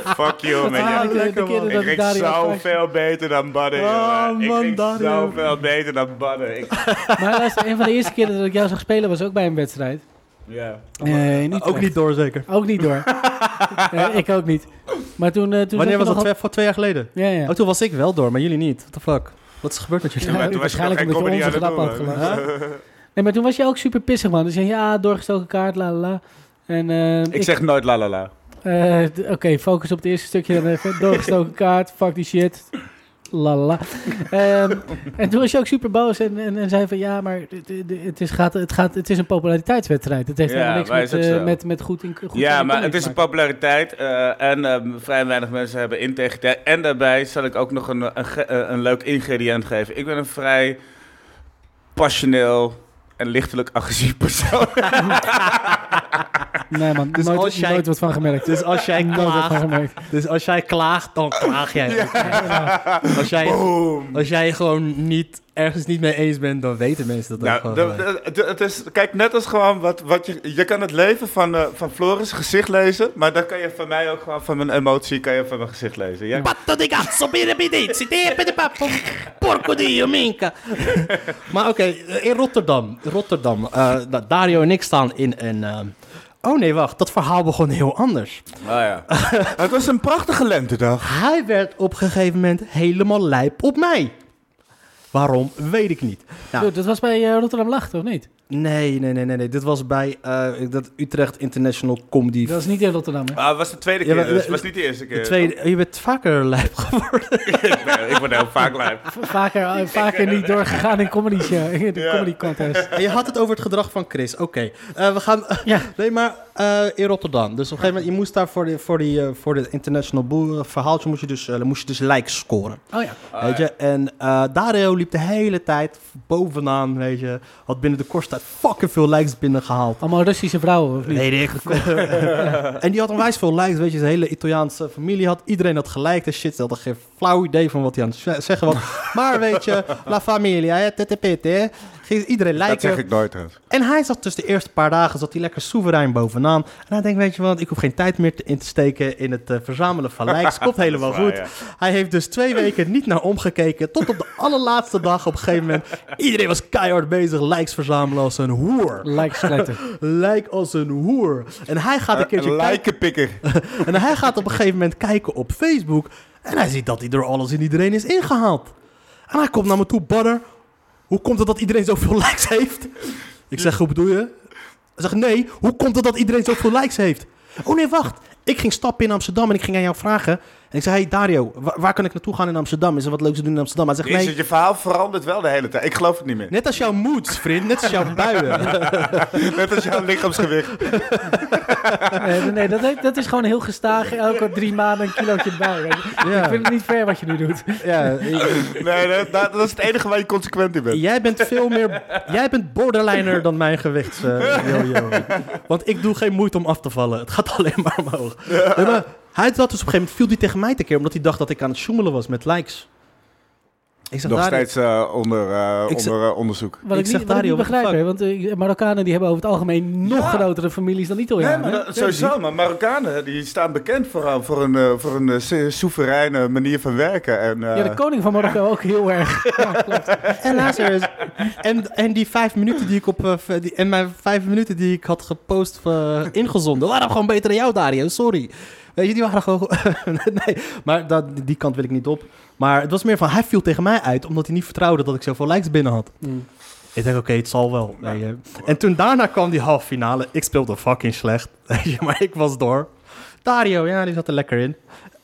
Fuck you, man.
eigenlijk
de,
lekker,
de keren
man.
Ik
dat
ging
Dario straks-
zoveel beter dan Badden,
Oh,
jongen.
man,
Ik ging
Dario.
zoveel beter dan Badden. Ik-
Maar luister, een van de eerste keren dat ik jou zag spelen was ook bij een wedstrijd.
Ja.
Eh, in
Ook
Utrecht.
niet door, zeker.
Ook niet door. Eh, ik ook niet. Maar toen, eh, toen zat
Wanneer was
je
dat?
nog
Twee, voor twee jaar geleden?
al- Ja, ja.
Oh, toen was ik wel door, maar jullie niet. What the fuck? Wat is er gebeurd met jullie?
Ja, maar toen was je nog
waarschijnlijk
geen
omdat je
comedy
onze
aan het
grap
doen,
had
hè?
gemaakt. Nee, maar toen was je ook super pissig, man. Dus je zei, ja, doorgestoken kaart, la la la. En, eh,
Ik zeg nooit la la la.
eh, d- Oké, focus op het eerste stukje. Dan even. Doorgestoken kaart, fuck die shit. la la la. Ehm, en toen was je ook super boos en, en, en zei van ja, maar dit- dit- dit- het is, gaat, het, gaat, het is een populariteitswedstrijd. Het heeft
Ja,
helemaal niks
maar is
met,
ook
eh,
zo.
met, met goed in goed
ja,
in
maar het
comics
is een
maken.
populariteit eh, en ehm, vrij weinig mensen hebben integriteit. En daarbij zal ik ook nog een, een, ge- eh, een leuk ingrediënt geven. Ik ben een vrij passioneel en lichtelijk agressief persoon.
Nee man,
Dus
nooit,
als jij-
nooit wat van gemerkt.
Dus als jij
Nooit wat van
klaagt,
gemerkt.
dus als jij klaagt dan klaag jij. ook. Als, jij
Boom!
als jij gewoon niet, ergens niet mee eens bent, dan weten mensen dat ook
Nou,
gewoon.
de-
gelijk.
de- de- het is, kijk, net als gewoon wat, wat je... Je kan het leven van, eh, van Floris gezicht lezen, maar dan kan je van mij ook gewoon van mijn emotie, kan je van mijn gezicht lezen. Ja,
Patto di cazzo, piramidizzi, tepe de eh, pappo, porco dio, minca. Maar oké, in Rotterdam. Rotterdam. eh, nou, Dario en ik staan in een... ehm, oh nee, wacht. Dat verhaal begon heel anders.
Ah, ja. het was een prachtige lentedag.
Hij werd op een gegeven moment helemaal lijp op mij. Waarom, weet ik niet. Nou,
Zo, dat was bij eh, Rotterdam Lacht, of niet?
nee, nee, nee, nee, nee. Dit was bij eh, dat Utrecht International Comedy.
Dat is niet in Rotterdam, hè?
Ah, het was de tweede
Ja,
keer,
maar-
dus het was niet de eerste keer.
De tweede, je bent vaker lijp geworden.
ik, ben, ik word heel vaak lijp.
V- Vaker, eh, vaker niet doorgegaan in comedy show, in de
Ja.
comedy contest.
En je had het over het gedrag van Chris. Oké, eh, we gaan...
Ja.
Nee, maar eh, in Rotterdam. Dus op een gegeven moment, je moest daar voor, de, voor, die, eh, voor het international boeren verhaaltje, moest je dus, eh, moest je dus like scoren.
Oh ja.
Ah,
weet je? En eh, Dario liep de hele tijd bovenaan, weet je. Had binnen de kortste tijd fucking veel likes binnengehaald.
Allemaal Russische vrouwen, of niet?
Nee, ik. en die had onwijs veel likes, weet je. Zijn hele Italiaanse familie had. Iedereen had gelijk en shit. Ze hadden geen flauw idee van wat hij aan het ze- zeggen was. maar weet je, la familia, hè, tete pete, hè. Ging Iedereen
Dat zeg
liken.
ik nooit. hè.
En hij zat dus de eerste paar dagen zat hij lekker soeverein bovenaan. En hij denkt, weet je wat, ik hoef geen tijd meer te- in te steken in het eh, verzamelen van likes. Komt helemaal
Dat is
goed.
waar,
Hij heeft dus twee weken niet naar omgekeken. Tot op de allerlaatste dag op een gegeven moment. Iedereen was keihard bezig likes verzamelen als een hoer.
Like sletten.
Like als een hoer. En hij gaat een keertje
Eh, Een
kijken.
lijkenpikker.
En hij gaat op een gegeven moment kijken op Facebook. En hij ziet dat hij door alles en iedereen is ingehaald. En hij komt naar me toe, banner. Hoe komt het dat iedereen zoveel likes heeft? Ik zeg, hoe bedoel je? Hij zegt, nee, hoe komt het dat iedereen zoveel likes heeft? Oh nee, wacht. Ik ging stappen in Amsterdam en ik ging aan jou vragen. En ik zei, hey Dario, wa- waar, kan ik naartoe gaan in Amsterdam? Is er wat leuks te doen in Amsterdam? Hij zegt,
Jezus,
nee,
je verhaal verandert wel de hele tijd. Ik geloof het niet meer.
net als jouw moods, vriend. Net als jouw buien.
Net als jouw lichaamsgewicht.
Nee, nee, dat, heeft- dat is gewoon heel gestaag. Elke drie maanden een kilootje bij. weet je. Ik vind het niet fair wat je nu doet.
ja, ik-
Nee, dat, dat- dat is het enige waar je consequent in bent.
Jij bent veel meer. Jij bent borderliner dan mijn gewicht, eh, Jojo. Want ik doe geen moeite om af te vallen. Het gaat alleen maar omhoog. Nee, maar hij had dus op een gegeven moment viel die tegen mij te keer, omdat hij dacht dat ik aan het sjoemelen was met likes. Ik zeg
Nog
daar-
steeds eh, onder, eh,
Ik zeg-
onder eh, onderzoek.
Wat
Ik
ik,
zeg
niet, wat ik
Dario,
niet
what the
begrijp,
fuck?
hè, want eh, Marokkanen die hebben over het algemeen nog
Ja.
grotere families dan
Oh
Italianen.
nee,
hè?
maar dat- sowieso, maar Marokkanen die staan bekend vooral voor een, eh, voor een eh, se- soevereine manier van werken. En, eh,
Ja, de koning van Marokko ook heel erg.
En later is- En, en die vijf minuten die ik op. eh, v- die, en mijn vijf minuten die ik had gepost, eh, ingezonden, waren gewoon beter dan jou, Dario. Sorry. Weet je, die waren gewoon. nee, maar dat, die kant wil ik niet op. Maar het was meer van hij viel tegen mij uit, omdat hij niet vertrouwde dat ik zoveel likes binnen had. Ik denk, oké, het zal wel. weet je. En toen daarna kwam die halve finale. Ik speelde fucking slecht. weet je, maar ik was door. Dario, ja, die zat er lekker in.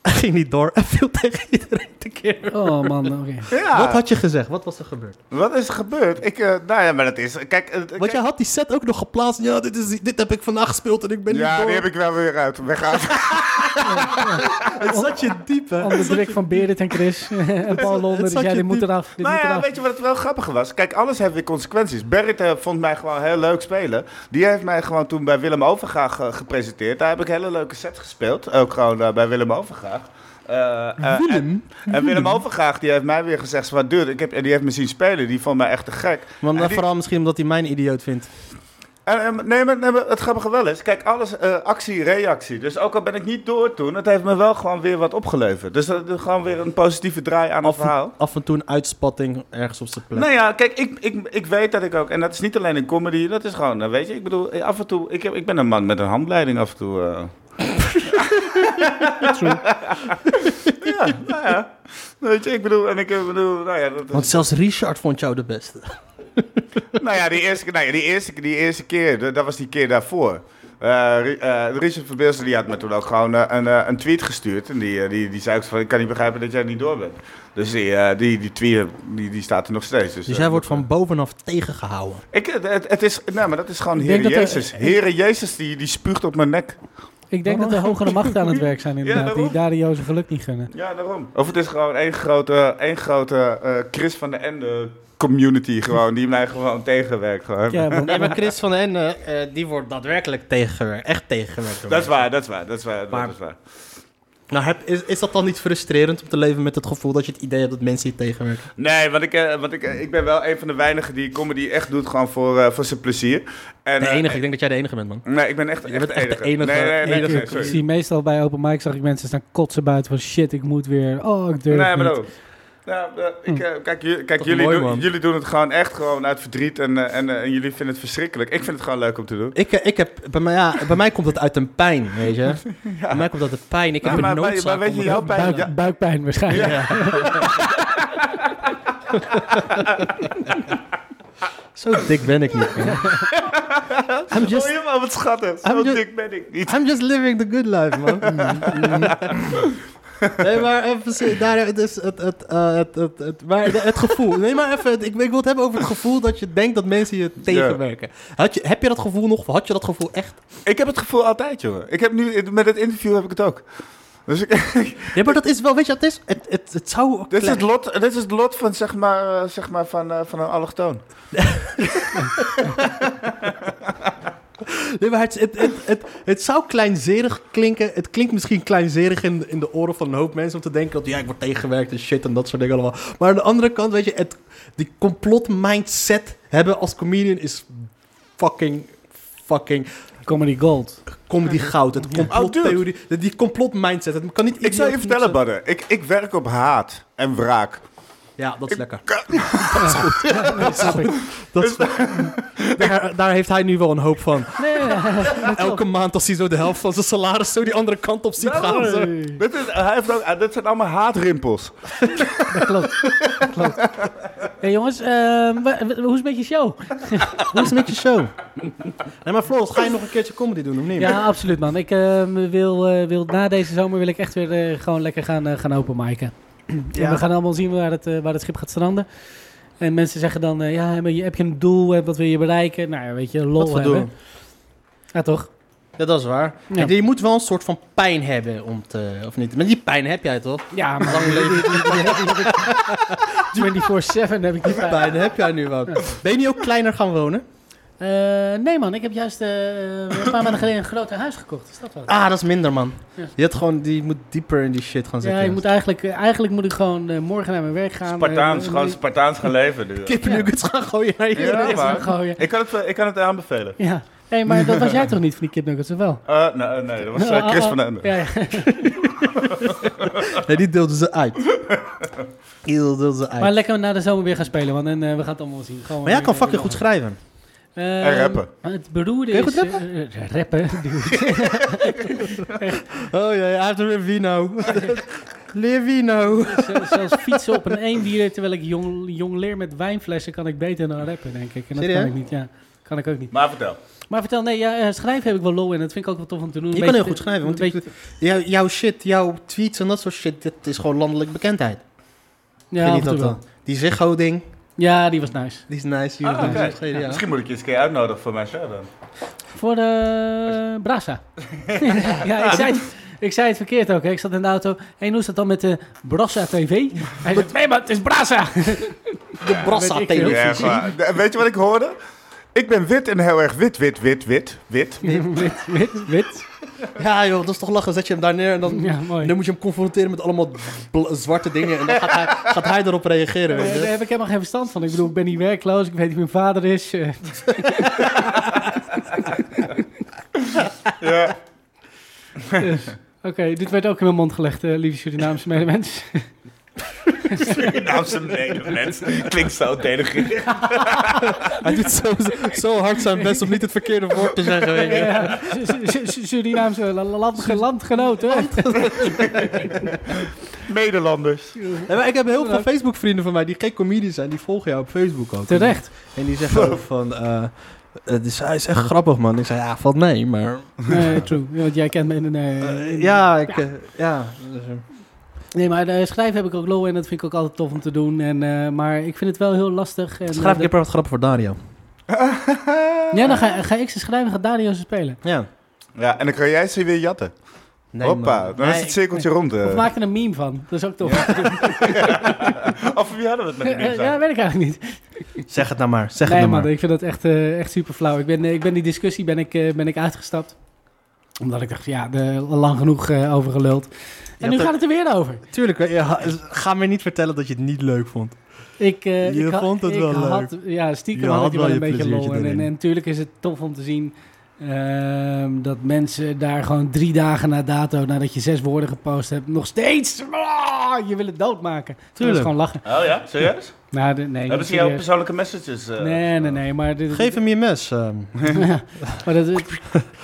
Ging niet door en viel tegen iedereen te keer.
Oh man, oké.
ja,
Wat had je gezegd? Wat was er gebeurd?
is er gebeurd? Ik, eh, nou ja, maar dat is... Kijk, eh,
Want
kijk-
jij had die set ook nog geplaatst. Ja, dit, is, dit heb ik vandaag gespeeld en ik ben
ja,
niet
die
door.
heb ik wel weer uit. Weggaan.
Het zat je diep, hè?
Onder de druk van Berend en Chris en Paul Londer.
het
Dus
zat
jij,
je Nou
dit moet
diep.
eraf. Dit
Maar Nou
moet
ja,
eraf.
weet je wat het wel grappig was? Kijk, alles heeft weer consequenties. Berrit eh, vond mij gewoon heel leuk spelen. Die heeft mij gewoon toen bij Willem Overgaag eh, gepresenteerd. Daar heb ik hele leuke sets gespeeld. Ook gewoon eh, bij Willem Overgaag. Eh, eh,
Willem?
En, en Willem Overgaag die heeft mij weer gezegd: van, dude, ik heb, en die heeft me zien spelen. Die vond mij echt te gek.
Want eh,
En die-
vooral misschien omdat hij mijn idioot vindt.
En, en- nee, maar, nee, maar het grappige wel is, kijk, alles eh, actie, reactie. Dus ook al ben ik niet door toen, het heeft me wel gewoon weer wat opgeleverd. Dus dat is gewoon weer een positieve draai aan het
Af,
verhaal.
af en toe een uitspatting ergens op zijn plek.
Nou ja, kijk, ik, ik, ik weet dat ik ook, en dat is niet alleen in comedy, dat is gewoon, eh, weet je, ik bedoel, af en toe, ik, heb, ik ben een man met een handleiding af en toe. eh. ja, nou ja. Weet je, ik bedoel, en ik eh, bedoel, nou ja, dat is-
Want zelfs Richard vond jou de beste.
Nou ja, die eerste, nou ja, die eerste, die eerste keer, dat dat was die keer daarvoor. Eh, Ri- eh, Richard van Beelsen die had me toen ook gewoon eh, een, eh, een tweet gestuurd. En die, eh, die, die zei ook van, ik kan niet begrijpen dat jij niet door bent. Dus die, eh, die, die tweet die, die staat er nog steeds. Dus,
Dus
eh,
jij wordt van bovenaf tegengehouden.
Ik, het, het- het is, nee, maar dat is gewoon
Ik
Heer
denk dat er-
Jezus. Heer Jezus die, die spuugt op mijn nek.
Ik denk dat er hogere machten aan het werk zijn inderdaad, die
daarom.
Dario zijn geluk niet gunnen.
Ja, daarom. Of het is gewoon één grote, één grote eh, Chris van de Ende community gewoon, die mij gewoon tegenwerkt. Gewoon.
Ja, want-
Nee, maar Chris van den Ende, eh, die wordt daadwerkelijk tegengewerkt. Echt tegengewerkt. door
Dat is
mij.
waar, dat is waar, dat is waar.
Maar-
dat is waar.
Nou, heb- is, is dat dan niet frustrerend om te leven met het gevoel dat je het idee hebt dat mensen je tegenwerken?
Nee, want ik, eh, want ik, eh, ik ben wel een van de weinigen die comedy echt doet gewoon voor, eh, voor zijn plezier. En,
De
eh,
enige, ik denk dat jij de enige bent, man.
Nee, ik ben echt,
Je
echt
bent
de
echt
enige.
de enige-
Nee, nee, nee,
enige
nee,
Ik
sorry.
zie meestal bij open mic zag ik mensen staan kotsen buiten van shit, ik moet weer. Oh, ik durf
Nee, maar
niet.
dat ook. Ja, eh, ik, eh, kijk, ju- kijk
Toch
jullie,
Hm. mooi,
doen-
man.
jullie doen het gewoon echt gewoon uit verdriet en, eh, en, eh, en jullie vinden het verschrikkelijk. Ik vind het gewoon leuk om te doen.
Ik, eh, ik heb, bij, mij, ja, bij mij komt dat uit een pijn, weet je. Bij mij komt dat uit pijn. Ik
Ja,
heb een
maar bij-
noodzaak
maar weet
om
je,
het-
jouw pijn-
Buik-
ja.
Buikpijn waarschijnlijk.
Zo dik ben ik niet, man. I'm
Oh,
just,
helemaal wat schattig. Zo
I'm ju-
dik ben ik niet.
I'm just living the good life, man. Mm, nee, maar even... se- Daar, het, is het, het, eh, het, het, het- maar de- het gevoel. Nee, maar even... het- Ik, ik wil het hebben over het gevoel dat je denkt dat mensen je tegenwerken. Had je, heb je dat gevoel nog? Of had je dat gevoel echt?
Ik heb het gevoel altijd, jongen. Ik heb nu, met het interview heb ik het ook. Dus ik,
Ja, maar dat is wel... Weet je wat het is? Het, het, het zou...
dit, is het lot, dit is het lot van, zeg maar, eh, zeg maar van, eh, van een allochtoon.
Nee, maar het, het, het, het, het zou kleinzerig klinken. Het klinkt misschien kleinzerig in, in de oren van een hoop mensen om te denken dat ja, ik word tegengewerkt en shit en dat soort dingen allemaal. Maar aan de andere kant, weet je, het, die complot mindset hebben als comedian is fucking, fucking
Comedy Gold.
comedy goud. Het complottheorie, die complot mindset. Het kan niet.
Oh, Ik zou je
idioot
vertellen,
genoeg
Badde. Ik, ik werk op haat en wraak.
zijn. Ja, dat Dus is lekker.
Nee, snap ik.
Dat is, daar, daar heeft hij nu wel een hoop van.
Nee,
Elke maand als hij zo de helft van zijn salaris zo die andere kant op ziet gaan. zo.
Dit, is, hij heeft ook, eh, dit zijn allemaal haatrimpels.
dat klopt. Dat klopt. Hey jongens, ehm, wa- wa- hoe is het met je show?
Hoe is het met je show? Nee, maar Floris, ga je nog een keertje comedy doen, of niet?
Ja, absoluut man. Ik ehm, wil, eh, wil, na deze zomer wil ik echt weer eh, gewoon lekker gaan, eh, gaan openmaken. En we gaan allemaal zien waar het, eh, waar het schip gaat stranden. En mensen zeggen dan, eh, ja, maar je- heb je een doel? Eh, Wat wil je bereiken? Nou ja, weet je, lol
Wat voor
hebben.
doel?
Ja, toch?
Ja, dat is waar.
Ja.
Ik- Je moet wel een soort van pijn hebben om te... Of niet? Maar die pijn heb jij toch?
Ja, maar lang leven. 24-7 heb ik die pijn.
Pijn heb jij nu ook. Ben je niet ook kleiner gaan wonen?
Eh, nee man, ik heb juist eh, een paar maanden geleden een groter huis gekocht. Is dat wat?
Ah, dat is minder, man.
Ja.
Je, hebt gewoon, die moet dieper in die shit gaan
ja,
zitten.
ik moet eigenlijk, eh, eigenlijk moet ik gewoon eh, morgen naar mijn werk gaan.
Spartaans,
eh,
gewoon
eh,
Spartaans gaan leven. nu.
Kippennuggets gaan gooien naar je.
Ja,
gaan
maar.
gooien.
Ik kan het, eh, ik kan het aanbevelen.
Ja. Hey, maar dat was jij toch niet van die kipnuggets, of wel? Nou, ah,
Eh, nee, eh, nee, dat was eh, Chris van den Ende.
Ja, ja.
Nee, die deelden ze uit. Die deelden ze uit.
Maar
Maar,
lekker na de zomer weer gaan spelen, want en, eh, we gaan het allemaal zien. Gewoon
jij
weer-
kan fucking goed schrijven.
Eh,
En rappen.
Het beroerde
Kun je
is...
goed rappen?
eh, eh, rappen?
Oh ja, hij heeft een Revino. Levino.
Zo- Zelfs fietsen op een eenwieler terwijl ik jong, jong leer met wijnflessen kan ik beter dan rappen, denk ik. En dat
Serieus?
kan ik niet, ja. Kan ik ook niet.
Maar vertel.
Maar vertel, nee, ja, eh, schrijven heb ik wel lol in. Dat vind ik ook wel tof om te doen.
Je
Een
kan heel
beetje-
goed schrijven, want
een
ik- jou- jouw shit, jouw tweets en dat soort shit, dat is gewoon landelijk bekendheid.
ja,
Vind
af
je
en
dat
toe
wel? Die Ziggo-ding,
Ja, die was nice.
die is nice. die
Ah,
is
oké.
nice, geniaal.
Misschien moet ik je eens een keer uitnodigen voor mijn show dan.
Voor de Brassa. ja, ik zei, het, ik zei het verkeerd ook. Hè. Ik zat in de auto. Hé, hey, hoe is dat dan met de Brassa TV? Hij zei, nee, maar het is Brassa.
De Brassa
weet ik veel.
televisie.
Ja, echt waar. De- Weet je wat ik hoorde? Ik ben wit en heel erg wit, wit, wit, wit, wit.
wit, wit, wit.
Ja joh, dat is toch lachen. Zet je hem daar neer en dan,
Ja, mooi.
dan moet je hem confronteren met allemaal bl- zwarte dingen. En dan gaat hij, gaat hij erop reageren,
Eh,
weet
Daar
je.
heb ik helemaal geen verstand van. Ik bedoel, ik ben niet werkloos. Ik weet niet wie mijn vader is. eh.
Ja.
Dus, Oké, dit werd ook in mijn mond gelegd, eh, lieve Surinaamse medemens.
Surinaamse Nederlands. Klinkt zo denigrerend.
Hij doet zo, zo hard zijn best om niet het verkeerde woord te zeggen, weet je.
Ja, Su- Su- Su- Surinaamse la- la- landge- landgenoten.
Nederlanders.
Nee, maar ik heb heel veel Facebook-vrienden van mij die geen comedians zijn, die volgen jou op Facebook ook.
Terecht.
En die zeggen ook van, eh, Eh, dus hij is echt grappig, man. Ik zei, ja, valt mee, maar...
Nee, true. Ja, Want jij kent me in nee,
Eh, ja, ik... eh, ja. dus, eh.
Nee, maar eh, schrijven heb ik ook low en dat vind ik ook altijd tof om te doen. En, eh, maar ik vind het wel heel lastig. En, eh,
Schrijf ik
dat-
heb er wat grappen voor Dario.
Ja, dan ga, ga ik ze schrijven, gaat Dario ze spelen.
Ja.
Ja, en dan kan jij ze weer jatten.
Nee,
Hoppa,
man.
dan is
Nee,
het cirkeltje rond. eh.
Of maak er een meme van. Dat is ook tof.
Of wie hadden we het met
Eh,
die
ja,
zijn?
weet ik eigenlijk niet.
Zeg het nou maar. Zeg
Nee,
het nou
man,
maar.
ik vind dat echt, eh, echt super flauw. Ik ben, eh, ik ben die discussie ben ik, eh, ben ik uitgestapt. Omdat ik dacht, ja, er lang genoeg eh over geluld. En nu
hebt
gaat het er weer over.
Tuurlijk, eh, ja, ga me niet vertellen dat je het niet leuk vond.
Ik, eh,
Je
ik ha-
vond het
ik
wel
had, Ja, stiekem
Je
had,
had
ik er
wel
wel een
je
beetje
pleziertje
lol. En, en,
erin.
en natuurlijk is het tof om te zien ehm, dat mensen daar gewoon drie dagen na dato, nadat je zes woorden gepost hebt, nog steeds, ah, je wil het doodmaken. Dat is
Tuurlijk.
gewoon lachen.
Oh ja, serieus?
Nou, de- nee,
Hebben ze jouw
serieus.
persoonlijke messages? eh,
Nee, nee, nee, maar... dit-
Geef hem je mes. ehm.
Ja, maar dat, en eh,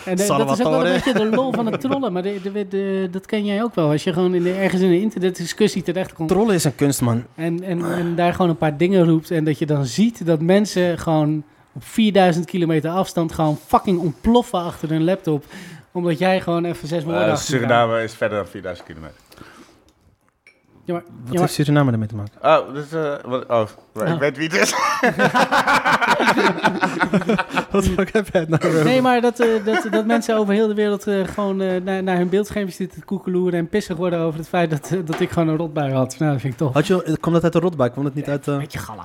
dat is ook wel
Salvatore.
een beetje de lol van het trollen. Maar de, de- de- dat ken jij ook wel. Als je gewoon in de, ergens in een internetdiscussie terechtkomt...
Trollen is een kunst, man.
En, en, en daar gewoon een paar dingen roept. En dat je dan ziet dat mensen gewoon op 4000 kilometer afstand... gewoon fucking ontploffen achter hun laptop. Omdat jij gewoon even zes woorden
eh,
achter elkaar-
Suriname is verder dan 4000 kilometer.
Ja, maar,
Wat
ja, maar-
heeft Suriname daarmee te maken?
Oh, dus, eh, wat, oh, maar
Oh.
ik weet wie het is.
Wat fuck heb jij het nou over?
Nee, maar dat, eh, dat, dat mensen over heel de wereld eh, gewoon eh, naar, naar hun beeldschermpjes zitten te koekeloeren... en pissig worden over het feit dat, eh, dat ik gewoon een rotbui had. Nou, dat vind ik tof.
Had je, kwam dat uit de rotbuik? Kwam dat niet uit... eh,
Beetje galla.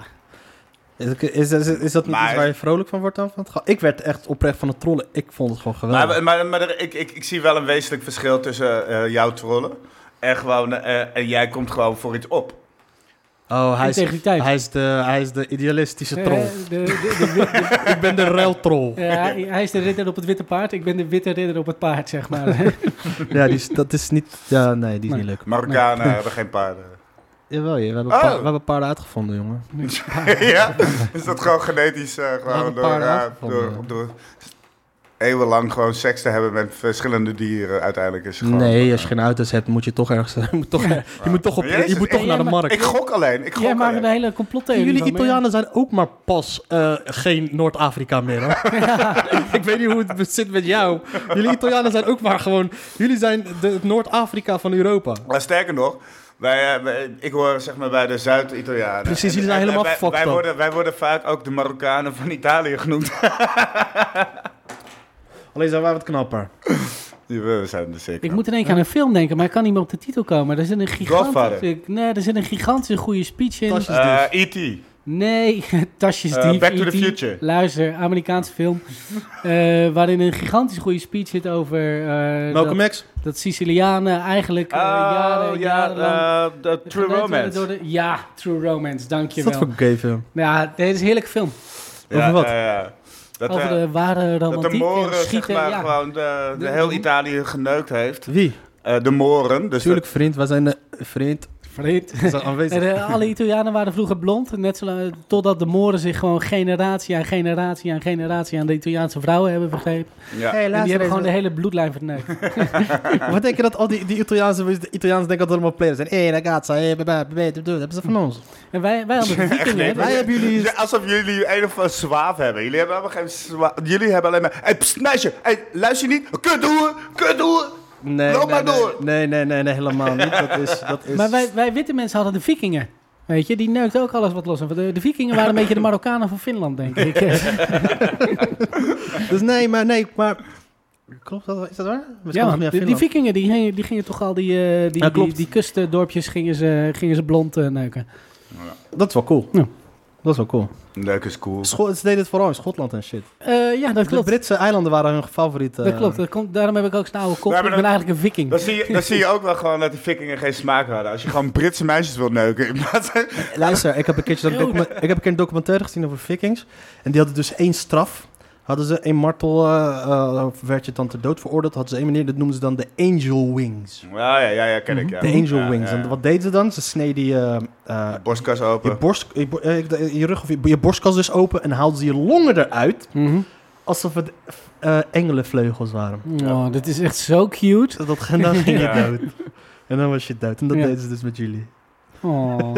is, is, is, is dat niet
Maar-
iets waar je vrolijk van wordt dan? Van het ge- ik werd echt oprecht van het trollen. Ik vond het gewoon geweldig.
Maar, maar, maar er- ik, ik, ik zie wel een wezenlijk verschil tussen eh, jouw trollen en, gewoon, eh, en jij komt gewoon voor iets op.
oh, hij is,
Integriteit.
hij, is de, hij is de idealistische
Eh,
troll.
de- de- de wit- de-
ik ben de ruiltrol.
eh, hij- hij is de ridder op het witte paard. Ik ben de witte ridder op het paard, zeg maar.
ja, die is, dat is niet... Ja, nee, die is
Nee.
niet leuk.
Marokkanen hebben geen paarden.
Jawel, je, we, hebben
Oh.
pa- we hebben paarden uitgevonden, jongen.
ja? Is dat gewoon genetisch eh,
hadden een
gewoon door,
paar
eh,
uitgevonden.
door, door eeuwenlang gewoon seks te hebben met verschillende dieren uiteindelijk is gewoon...
Nee, als je geen auto's hebt, moet je toch ergens... Je moet toch, je moet toch, op,
Jezus,
je
ik-
moet toch naar de
Ja, maar-
markt.
Ik gok alleen, ik gok
Jij maakt
alleen.
een hele complottheorie
Jullie
van me, ja.
Italianen zijn ook maar pas eh, geen Noord-Afrika meer. Hè? ik weet niet hoe het zit met jou. Jullie Italianen zijn ook maar gewoon. Jullie zijn de, het Noord-Afrika van Europa.
Maar sterker nog, wij, eh, wij- ik hoor zeg maar bij de Zuid-Italianen.
Precies, jullie
En-
zijn
en
helemaal
wij,
fucked
wij
up.
worden, wij worden vaak ook de Marokkanen van Italië genoemd.
Alleen zijn wij wat knapper.
We zijn er zeker.
Ik moet in één keer aan een film denken, maar ik kan niet meer op de titel komen. Er zit een gigantische,
Godfather.
nee, er zit een gigantische goede speech in.
Tasjes
Eh, E.T.
Nee, tasjes
Eh,
diep.
Back to the
E.T..
Future.
Luister, Amerikaanse film. eh, waarin een gigantisch goede speech zit over eh, dat,
Malcolm X.
dat Sicilianen eigenlijk eh, jaren, jarenlang...
Oh, eh, de True
geneukt werden
Romance.
door de- ja, True Romance,
Is dat
dankjewel.
voor gay film?
Ja, dit is een heerlijke film.
Ja,
Over wat?
ja, ja. Dat,
Over
eh,
de ware
dat de
romantiek en
Moren zeg
schieten.
maar,
ja.
gewoon de, de
De-
heel
de-
Italië geneukt heeft.
Wie?
Eh, de Moren. Dus
Tuurlijk, vriend. Wij zijn de vriend.
Vreed.
We zijn aanwezig.
En, eh, alle Italianen waren vroeger blond, net zolang, totdat de Moren zich gewoon generatie aan generatie aan generatie aan de Italiaanse vrouwen hebben vergeven.
dat- ja.
Hey,
En die
luister
hebben
eens.
gewoon de hele bloedlijn verneukt.
Wat denk je dat al die, die Italiaanse, de Italiaans denken dat er allemaal players zijn? Hé, hey, ragazza, hé, hey, baba, baba, dat hebben ze van ons.
En wij, wij hadden de vikingen. hè.
Wij hebben jullie...
dus-
Ja, alsof jullie een of andere zwaaf hebben. Jullie hebben helemaal geen zwaaf. Jullie hebben alleen maar... Hé, hey, pst, meisje. Hey, luister je niet. Kutdoer. Kutdoer.
Nee,
Loop
nee,
maar
nee.
door.
Nee, nee, nee, nee, helemaal niet. Dat is... Dat is...
Maar wij, wij witte mensen hadden de vikingen. Weet je, die neukten ook alles wat los. De, de vikingen waren een beetje de Marokkanen van Finland, denk ik. Eh,
Dus nee, maar nee, maar... Klopt dat? Is dat waar? Misschien
ja,
nog
man,
meer
die, die
Finland.
vikingen die gingen, die gingen toch al die, eh, die,
Ja,
die,
klopt.
die kustdorpjes gingen ze, gingen ze blond eh, neuken.
Dat is wel cool.
Ja.
Dat is wel cool.
Leuk is cool.
Scho- ze deden het vooral in Schotland en shit.
Eh, ja, dat
De
klopt.
Britse eilanden waren hun favoriet. eh,
Dat klopt. Dat komt, daarom heb ik ook zo'n oude kop.
Ja,
Ik
maar
ben
dat-
eigenlijk een viking.
Dan zie, je, dan zie je ook wel gewoon dat die vikingen geen smaak hadden. Als je gewoon Britse meisjes wilt neuken. In plaats van...
Luister, ik heb, een keertje dat document- ik heb een keer een documentaire gezien over vikings. En die hadden dus één straf. Hadden ze één martel, eh, eh, werd je dan ter dood veroordeeld. Hadden ze één manier, dat noemden ze dan de angel wings.
Ja, ja, ja, ja, ken ik. Ja.
De angel
Ja,
wings.
ja, ja.
En wat deden ze dan? Ze sneden je, eh,
Borstkas
je,
open.
borst, je, bo- eh, ik- je rug of je, je borstkas dus open en haalden ze je longen eruit.
Mhm.
Alsof het eh, engelenvleugels waren.
Oh, dit is echt zo cute.
Dat, en dan ging je
Ja.
dood. En dan was je dood. En dat
Ja.
deden ze dus met jullie.
Oh.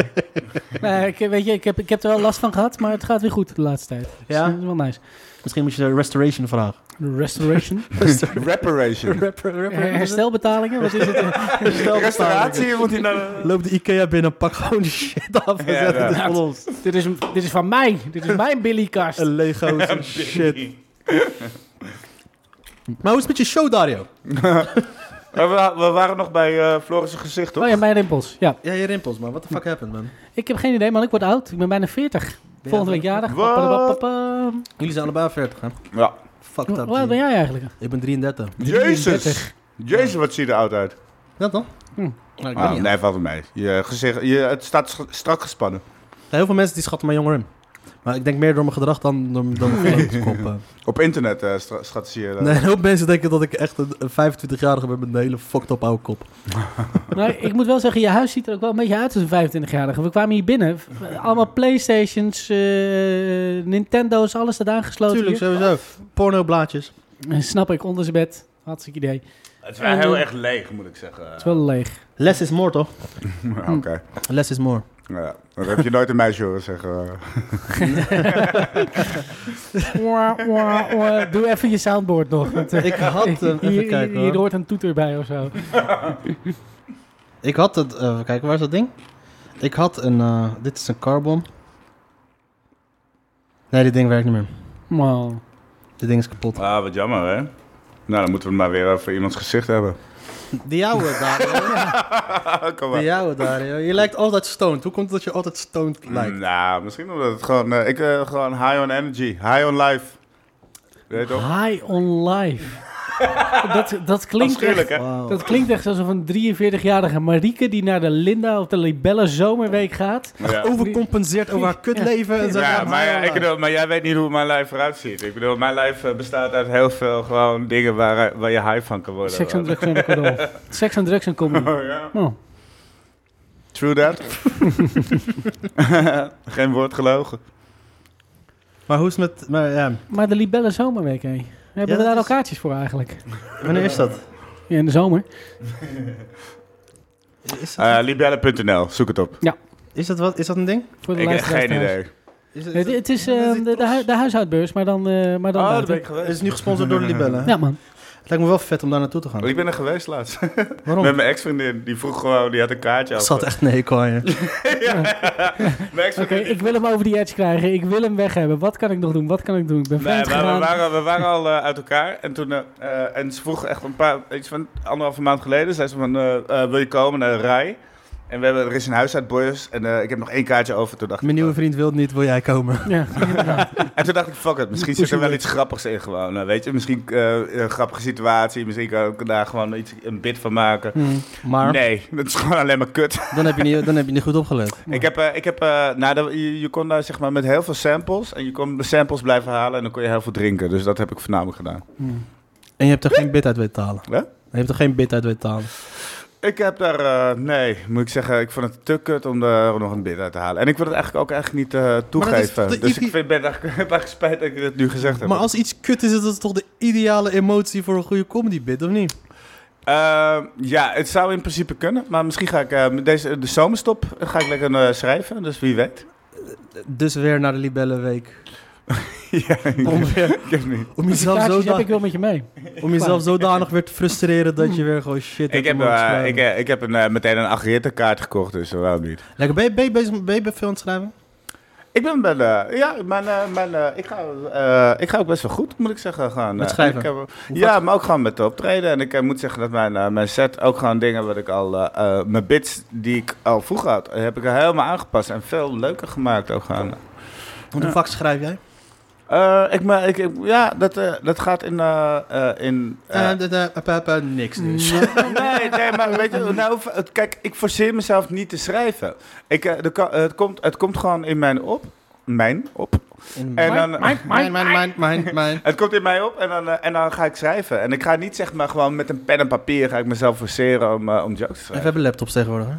nee, ik, weet je, ik heb, ik heb er wel last van gehad, maar het gaat weer goed de laatste tijd. Dus
Ja?
dat is wel nice.
Misschien moet je de restoration vragen.
De restoration.
Reparation.
Herstelbetalingen, wat is het?
Restauratie moet hij naar...
Loop de Ikea binnen, pak gewoon die shit af en
Ja,
zet
ja.
het van ons.
dit, is, dit is van mij. Dit is mijn Billy-kast.
Een Lego's en shit. Maar hoe is het met je show, Dario?
Maar we, we waren nog bij eh Floris' gezicht, toch?
Oh ja, mijn rimpels. Ja.
Ja, je rimpels, man. What the fuck happened, man?
Ik heb geen idee, man. Ik word oud. Ik ben bijna 40. Volgende week jarig.
Wat?
Papalapapapa.
Jullie zijn allebei 40, hè?
Ja.
Fuck
Hoe oud ben jij eigenlijk?
Ik ben 33.
Jezus.
33.
Jezus, wat zie je er oud uit.
Dat dan?
Hm.
Nou, ik weet
Ah,
niet.
nee, valt mee. Je gezicht, je, het staat sch- strak gespannen.
Heel veel mensen die schatten mij jonger in. Maar ik denk meer door mijn gedrag dan door, door mijn geloof. eh.
Op internet eh stra- schat ze je... eh,
Nee, een hoop mensen denken dat ik echt een een 25-jarige ben met een hele fucked up oude kop.
Maar ik moet wel zeggen, je huis ziet er ook wel een beetje uit als een 25-jarige. We kwamen hier binnen. Allemaal Playstations, eh, Nintendo's, alles staat aangesloten.
Tuurlijk,
hier.
sowieso. Pornoblaadjes.
Eh, Snap ik, onder zijn bed. Hartstikke idee. Het
Het is
En,
wel heel
eh,
erg leeg, moet ik zeggen.
is wel leeg.
Less is more, toch?
Oké.
Less is more.
Ja, dat heb je nooit een meisje horen zeggen. eh.
Wah, wah, wah. Doe even je soundboard nog. want, eh,
Ik had hem. Even
hier,
kijken,
hier,
hoor.
hier hoort een toeter bij of zo.
Ik had het. eh, even kijken, waar is dat ding? Ik had een. eh, dit is een carbon. Nee, dit ding werkt niet meer.
Wow.
Dit ding is kapot.
Ah, wat jammer, hè? Nou, dan moeten we het maar weer over iemands gezicht hebben.
Die jouwe, Dario.
Ah, Kom
Die
maar.
jouwe, Dario. Je lijkt altijd stoned. Hoe komt het dat je altijd stoned
Nou,
lijkt?
misschien omdat het gewoon... eh, ik, eh, gewoon high on energy. High on life. Weet je toch?
High on life. dat, dat, klinkt
Afschuwelijk,
echt,
hè?
Wauw.
dat klinkt echt alsof een 43-jarige Marieke die naar de Linda of de Libelle zomerweek gaat.
Ja.
Overcompenseert over haar kutleven. En zegt,
Ja,
"Ah,
maar, ja,
Dario."
ik bedoel, maar jij weet niet hoe mijn lijf eruit ziet. Ik bedoel, mijn lijf eh, bestaat uit heel veel gewoon dingen waar, waar je high van kan worden.
Seks en drugs en alcohol. Seks en drugs en comedy.
Oh, ja.
Oh.
True that. Geen woord gelogen.
Maar hoe is het met. Maar, ja.
Maar de Libelle zomerweek, hé. We hebben
Ja,
we daar
dat
al
is-
kaartjes voor eigenlijk.
Wanneer is dat?
Ja, in de zomer.
Is dat,
Eh libelle.nl, zoek het op.
is dat, wat, is dat een ding?
Voor de
Ik heb
luisteraars
geen
thuis.
idee.
Is,
Het,
is dat-
het is
dat
eh,
die
de, de, hu- de huishoudbeurs, maar dan, eh maar dan
Oh, daar
buiten.
ben ik
Het
geweest.
is nu gesponsord door de Libellen.
Ja, man.
Het lijkt me wel vet om daar naartoe te gaan.
Ik ben er geweest laatst.
Waarom?
Met mijn ex-vriendin. Die vroeg gewoon, die had een kaartje.
Ik
over.
zat echt een hekel aan je.
ja. Mijn
Oké,
ex-vriendin-
ik wil hem over die edge krijgen. Ik wil hem weg hebben. Wat kan ik nog doen? Wat kan ik doen? Ik ben
Nee,
vreemd
maar we,
gegaan.
waren, we waren al eh, uit elkaar. En, toen, eh, eh, en ze vroeg echt een paar, iets van anderhalve maand geleden. Zei ze van, eh, eh, wil je komen naar de Rai? En we hebben, er is een huis uit Boyers. En eh, ik heb nog één kaartje over. Toen dacht ik, eh,
Mijn nieuwe vriend wil niet, wil jij komen?
Ja, inderdaad.
En toen dacht ik, fuck het, misschien zit er wel iets grappigs in gewoon. Nou, weet je, misschien eh, een grappige situatie, misschien kan ik daar gewoon iets, een bit van maken.
Hmm.
Maar
Nee, dat is gewoon alleen maar kut.
dan, heb je niet, dan heb je niet goed opgelet.
Ik heb, eh, ik heb eh, nou, dat- je, je kon daar zeg maar met heel veel samples, en je kon de samples blijven halen en dan kon je heel veel drinken. Dus dat heb ik voornamelijk gedaan.
En je hebt er geen bit uit weten te halen.
Hè?
Je hebt er geen bit uit weten te halen.
Ik heb daar, eh, nee, moet ik zeggen, ik vond het te kut om er nog een bit uit te halen. En ik wil het eigenlijk ook eigenlijk niet eh, toegeven.
de
dus
idee-
ik vind, ben eigenlijk, heb eigenlijk spijt dat ik dit nu gezegd heb.
Maar als iets kut is, is dat toch de ideale emotie voor een goede comedy bit, of niet?
Eh, ja, het zou in principe kunnen. Maar misschien ga ik eh, met deze, de zomerstop ga ik lekker eh, schrijven. Dus wie weet.
Dus weer naar de Libellenweek.
ja,
Om, weer,
ik heb niet.
om, jezelf,
Kaartjes heb
zoda
ik wel met je mee.
om jezelf zodanig weer te frustreren dat je weer gewoon shit
Ik
hebt
heb,
om aan te
eh,
schrijven.
ik, eh, ik heb een, eh, meteen een Agrietta-kaart gekocht, dus waarom niet?
Lekker, ben je, ben je bezig ben je veel aan het schrijven?
Ik ben, ben eh, ja, mijn, eh, mijn, eh, ik, ga, eh, ik ga ook best wel goed, moet ik zeggen. eh, Gaan,
Met schrijven?
ja, maar ook gewoon met optreden. En ik eh, moet zeggen dat mijn, eh, mijn set ook gewoon dingen wat ik al, eh, eh, mijn bits die ik al vroeger had, eh, heb ik helemaal aangepast en veel leuker gemaakt ook gaan.
Want hoe vaak schrijf jij?
Eh, ik, maar ik, ik- ja, dat, eh, dat gaat in. eh, eh, in eh,
Eh, eh, eh, eh, eh, eh, niks dus.
nee, nee, maar weet je, nou, het- kijk, ik forceer mezelf niet te schrijven. Ik, eh, de ka- het, komt, het komt gewoon in mij op. Mijn op.
In
En
mijn,
dan,
mijn, mijn, mijn, mijn.
het komt in mij op en dan, eh, en dan ga ik schrijven. En ik ga niet zeg maar gewoon met een pen en papier ga ik mezelf forceren om, eh, om jokes te
We
schrijven.
hebben laptops tegenwoordig, hè?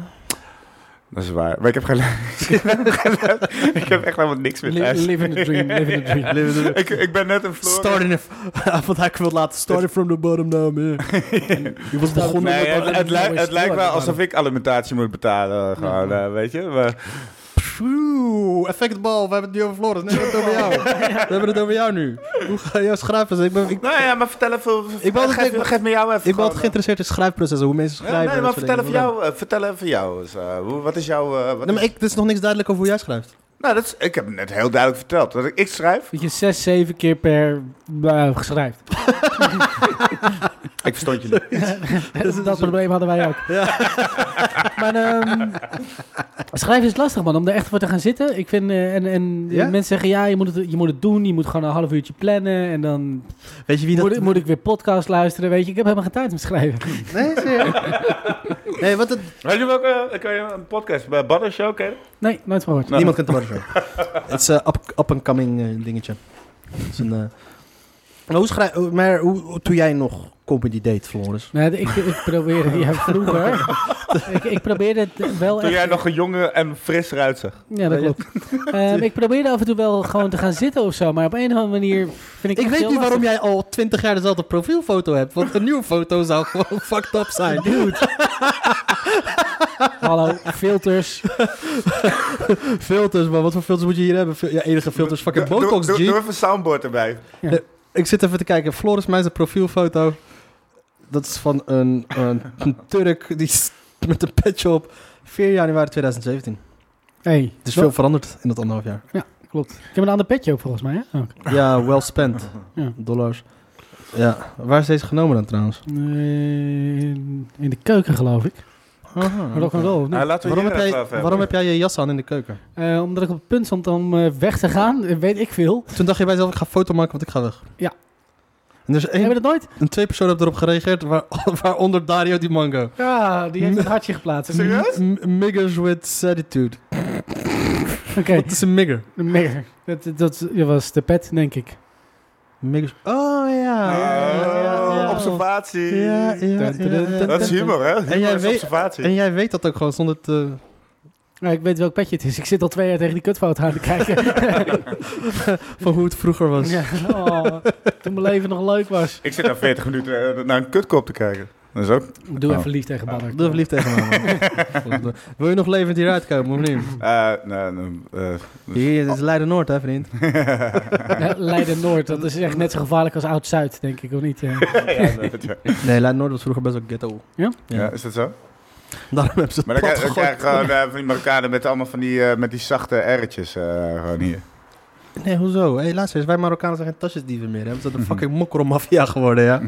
Dat is waar. Maar ik heb geluisterd. ik heb geluisterd. ik heb echt helemaal niks meer
Li-
thuis.
live in the dream, live in the dream.
ik, ik ben net een Floris.
Starting if, wat ik wil laten. Starting from the bottom now, man. Je was begonnen
Nee,
met...
het, het, lijkt- het lijkt wel
Starting.
alsof ik alimentatie moet betalen, gewoon, eh, weet je. Maar,
Pjoe, effectbal. We hebben het nu over Floris. Nee, we hebben het over jou. We hebben het over jou nu. Hoe ga jij schrijven? Ik ben, ik,
nou ja, maar vertel even,
Ik wou dat
geef,
ik-
geef me jou even.
ik ben
gewoon,
altijd geïnteresseerd in schrijfprocessen, hoe mensen
eh, ja,
schrijven.
nee,
dat
maar
soort
vertel
dingen.
even, jou, eh, vertel even jou. eens, eh, hoe- wat is jouw... eh, wat
Nee,
is-
maar ik, er is nog niks duidelijk over hoe jij schrijft.
Nou, dat is, ik heb net heel duidelijk verteld. Dat ik, ik schrijf.
Dat je zes, zeven keer per eh, schrijft.
Ik verstond je niet.
Dat, dus- probleem hadden wij ook. maar ehm, schrijven is lastig, man. Om er echt voor te gaan zitten. Ik vind, eh, en, en
Ja?
mensen zeggen, ja, je moet, het, je moet het doen. Je moet gewoon een half uurtje plannen. En dan
Weet je wie dat...
moet, ik- moet ik weer podcast luisteren. Weet je, ik heb helemaal geen tijd om te schrijven.
Nee, serieus? Nee, wat het...
Weet je welke? Ik kan je een podcast bij Butter Show kennen.
Nee, nooit van gehoord.
Niemand kent de Barbershop. Het is een up-and-coming eh, dingetje. Het is een, eh, maar hoe schrijf... Maar hoe, hoe- toen jij nog comedy deed, Floris?
Nee, ik, ik probeerde ja, vroeger. ik, ik probeerde het
Oh,
wel
Toen
echt.
jij nog een jonge en fris eruit zag.
Ja, dat klopt. Ehm, ik probeerde af en toe wel gewoon te gaan zitten of zo. Maar op een of andere manier vind ik.
Ik
het
weet
heel
niet waarom
lastig.
jij al twintig jaar dezelfde profielfoto hebt. Want een nieuwe foto zou gewoon fucked up zijn.
Dude. Hallo, filters.
Filters, maar wat voor filters moet je hier hebben? Fil- Ja, enige filters, fucking
Doe-
Botox,
doe- Doe
G.
even een soundboard erbij.
Ik zit even te kijken. Floris mij zijn profielfoto. Dat is van een, een, een Turk die s- met een petje op. 4 januari 2017.
Hey,
Er is veel veranderd in dat anderhalf jaar.
Klopt. Ik heb een ander petje op volgens mij. Hè? Oh. Ook.
Ja, well spent.
Ja.
Dollars. Ja, waar is deze genomen dan trouwens?
Eh, in de keuken geloof ik. Rock and roll. of niet?
Nou, laten we
Waarom, heb
hier
jij,
even over
waarom
hebben.
heb jij je jas aan in de keuken?
Eh, omdat ik op het punt stond om eh, weg te gaan, eh, weet ik veel.
Toen dacht je bij jezelf, ik ga foto maken, want ik ga weg.
Ja.
En er is
Hebben we
één,
dat nooit?
een twee personen hebben erop gereageerd, waar, waaronder Dario Di Mango.
Ja, die heeft een hartje geplaatst.
Serieus?
M- Miggers with Satitude.
Oké,
Wat is een migger?
meer. Dat, dat, dat was de pet, denk ik.
Miggers. Oh ja.
Ah,
ja, ja,
Oh,
ja.
Observatie.
Ja, ja, ja.
Dat is humor, hè? Humor
En jij
is
weet-
observatie.
En jij weet dat ook gewoon zonder te...
Nou, ik weet welk petje het is. Ik zit al twee jaar tegen die kutfoto aan te kijken.
van hoe het vroeger was.
ja, oh, toen mijn leven nog leuk was.
Ik zit al 40 minuten eh, naar een kutkop te kijken. Dat is ook...
Doe
Oh.
even lief tegen Badder.
Doe even lief tegen me. man. Wil je nog levend hieruit komen of niet?
eh, nou, nou, eh,
Hier, dit is Leiden Noord, hè, vriend?
Ja, Leiden Noord, dat is echt net zo gevaarlijk als Oud-Zuid, denk ik, of niet? eh?
Oh.
ja, dat- ja.
Nee, Leiden Noord was vroeger best wel ghetto.
Ja, is dat zo?
Daarom hebben ze het
Maar dan
plat
krijg dan
gegooid.
krijg je gewoon eh, van die Marokkanen met allemaal van die, eh, met die zachte R'tjes eh, gewoon hier.
Nee, hoezo? Hé, luister eens, wij Marokkanen zijn geen tasjesdieven meer. Hè? We zijn een fucking mokkermafia geworden, ja.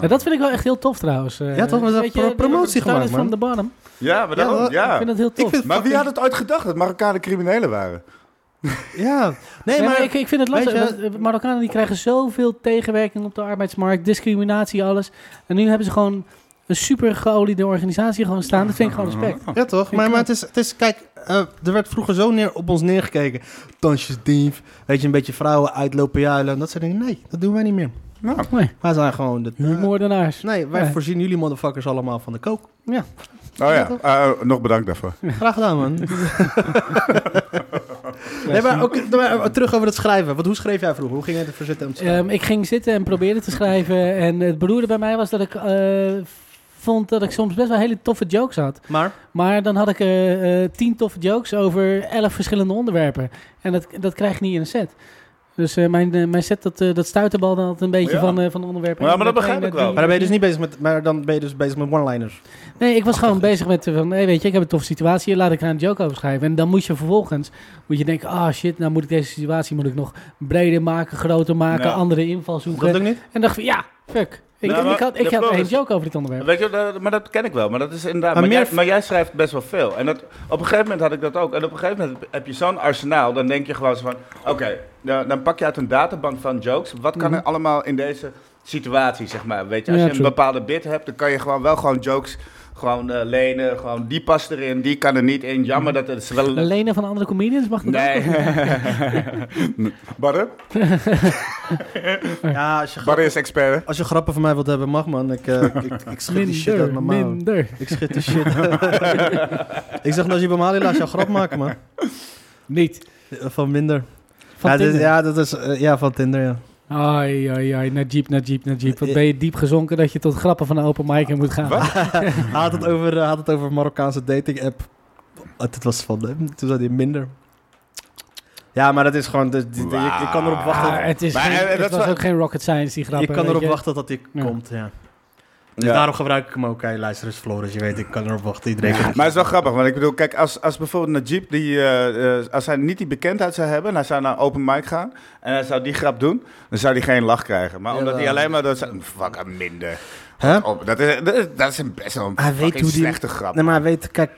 Ja, dat vind ik wel echt heel tof trouudens. eh.
Ja, toch? We hebben
Weet
pro-
je, de-
promotie
de- de- de-
gemaakt, man.
van de bottom.
Ja, maar daarom,
wel-
ja.
Ik vind dat heel tof.
Ik vind-
Maar wie had het ooit gedacht dat Marokkanen criminelen waren?
Ja. Nee,
Nee,
maar...
maar ik, ik vind het lastig.
weet je-
want, eh, Marokkanen die krijgen zoveel tegenwerking op de arbeidsmarkt, discriminatie, alles. En nu hebben ze gewoon een super geoliede organisatie gewoon staan. Dat vind ik gewoon respect.
Ja, toch? Maar, maar het, is, het is... Kijk, eh, er werd vroeger zo neer, op ons neergekeken. Tasjesdief, weet je, een beetje vrouwen uitlopen juilen. en Dat soort dingen. Nee, dat doen wij niet meer.
Nou,
Wij zijn gewoon... De,
Nu moordenaars.
Nee, wij
Nee.
voorzien jullie motherfuckers allemaal van de kook.
oh ja, eh, nog bedankt daarvoor.
Graag gedaan, man. nee, maar ook maar eh, terug over het schrijven. Want hoe schreef jij vroeger? Hoe ging jij ervoor zitten om te schrijven?
Ehm, ik ging zitten en probeerde te schrijven. En het beroerde bij mij was dat ik eh, vond dat ik soms best wel hele toffe jokes had.
Maar?
Maar dan had ik eh, eh, tien toffe jokes over elf verschillende onderwerpen. En dat, dat krijg je niet in een set. Dus eh, mijn, eh, mijn set, dat, eh dat stuiterbal dan altijd een beetje
Ja.
van, eh, van de onderwerpen.
Ja, maar dat begrijp ik wel.
Maar dan ben je dus niet bezig met, maar dan ben je dus bezig met one-liners.
Nee, ik was gewoon bezig met eh, van, hey, weet je, ik heb een toffe situatie, hier, laat ik daar een joke over schrijven. En dan moet je vervolgens, moet je denken, ah shit, nou moet ik deze situatie moet ik nog breder maken, groter maken,
Ja.
andere invalshoeken.
Dat ook niet?
En dacht van, ja, fuck. Ik,
Nou, maar
ik had, ik
de
had
flow
één
is-
joke over dit onderwerp.
Weet je, dat- maar dat ken ik wel. Maar, dat is inderdaad,
Maar
maar,
meer-
jij, maar jij schrijft best wel veel. En dat, op een gegeven moment had ik dat ook. En op een gegeven moment heb je zo'n arsenaal. Dan denk je gewoon zo van... Oké, nou, dan pak je uit een databank van jokes. Wat kan er allemaal in deze situatie, zeg maar. Weet je, als
Ja,
je een
true.
bepaalde bit hebt, dan kan je gewoon wel gewoon jokes gewoon eh, lenen. Gewoon die past erin, die kan er niet in. Jammer dat het is wel een...
Lenen van andere comedians mag dat
Nee.
ook?
Barre?
Ja, als je, grap-
Barre is expert.
als je grappen van mij wilt hebben, mag man. Ik, eh, ik, ik schud die shit uit
Minder,
mijn mouw.
minder.
Ik schud die shit. ik zeg Najib Amali, laat jou grap maken, man.
Niet.
Eh, Van minder.
Van
ja, dit-
Tinder.
ja, dat is, eh, ja, van Tinder, ja.
Ai, ai, ai, Najib, Najib, Najib. Wat
Eh,
ben je diep gezonken dat je tot grappen van de open mic in moet gaan.
Hij had het over, eh, had het over een Marokkaanse dating app. Het was van hem. Toen zei hij minder. Ja, maar dat is gewoon... dat- die- die- ik, ik kan erop
Ah,
wachten.
het is
Maar,
geen-
eh,
het
dat
was
zou-
ook geen rocket science, die
Ik
grappen.
kan
weet
erop
je.
wachten dat die
Ja.
komt, ja. Dus
Ja.
daarom gebruik ik hem ook. Hey, luister eens, Floris, je weet, ik kan erop wachten. Iedereen kan-
Maar het is wel grappig, want ik bedoel, kijk, als, als bijvoorbeeld Najib, die, eh, eh, als hij niet die bekendheid zou hebben, en hij zou naar een open mic gaan, en hij zou die grap doen, dan zou hij geen lach krijgen. Maar omdat
Jawel.
hij alleen maar dat zou- fuck, ah, minder.
Hè?
Oh, dat, is, dat is- dat is een best wel een
Hij weet
fucking
hoe die-
slechte grap.
Nee, maar hij weet, kijk,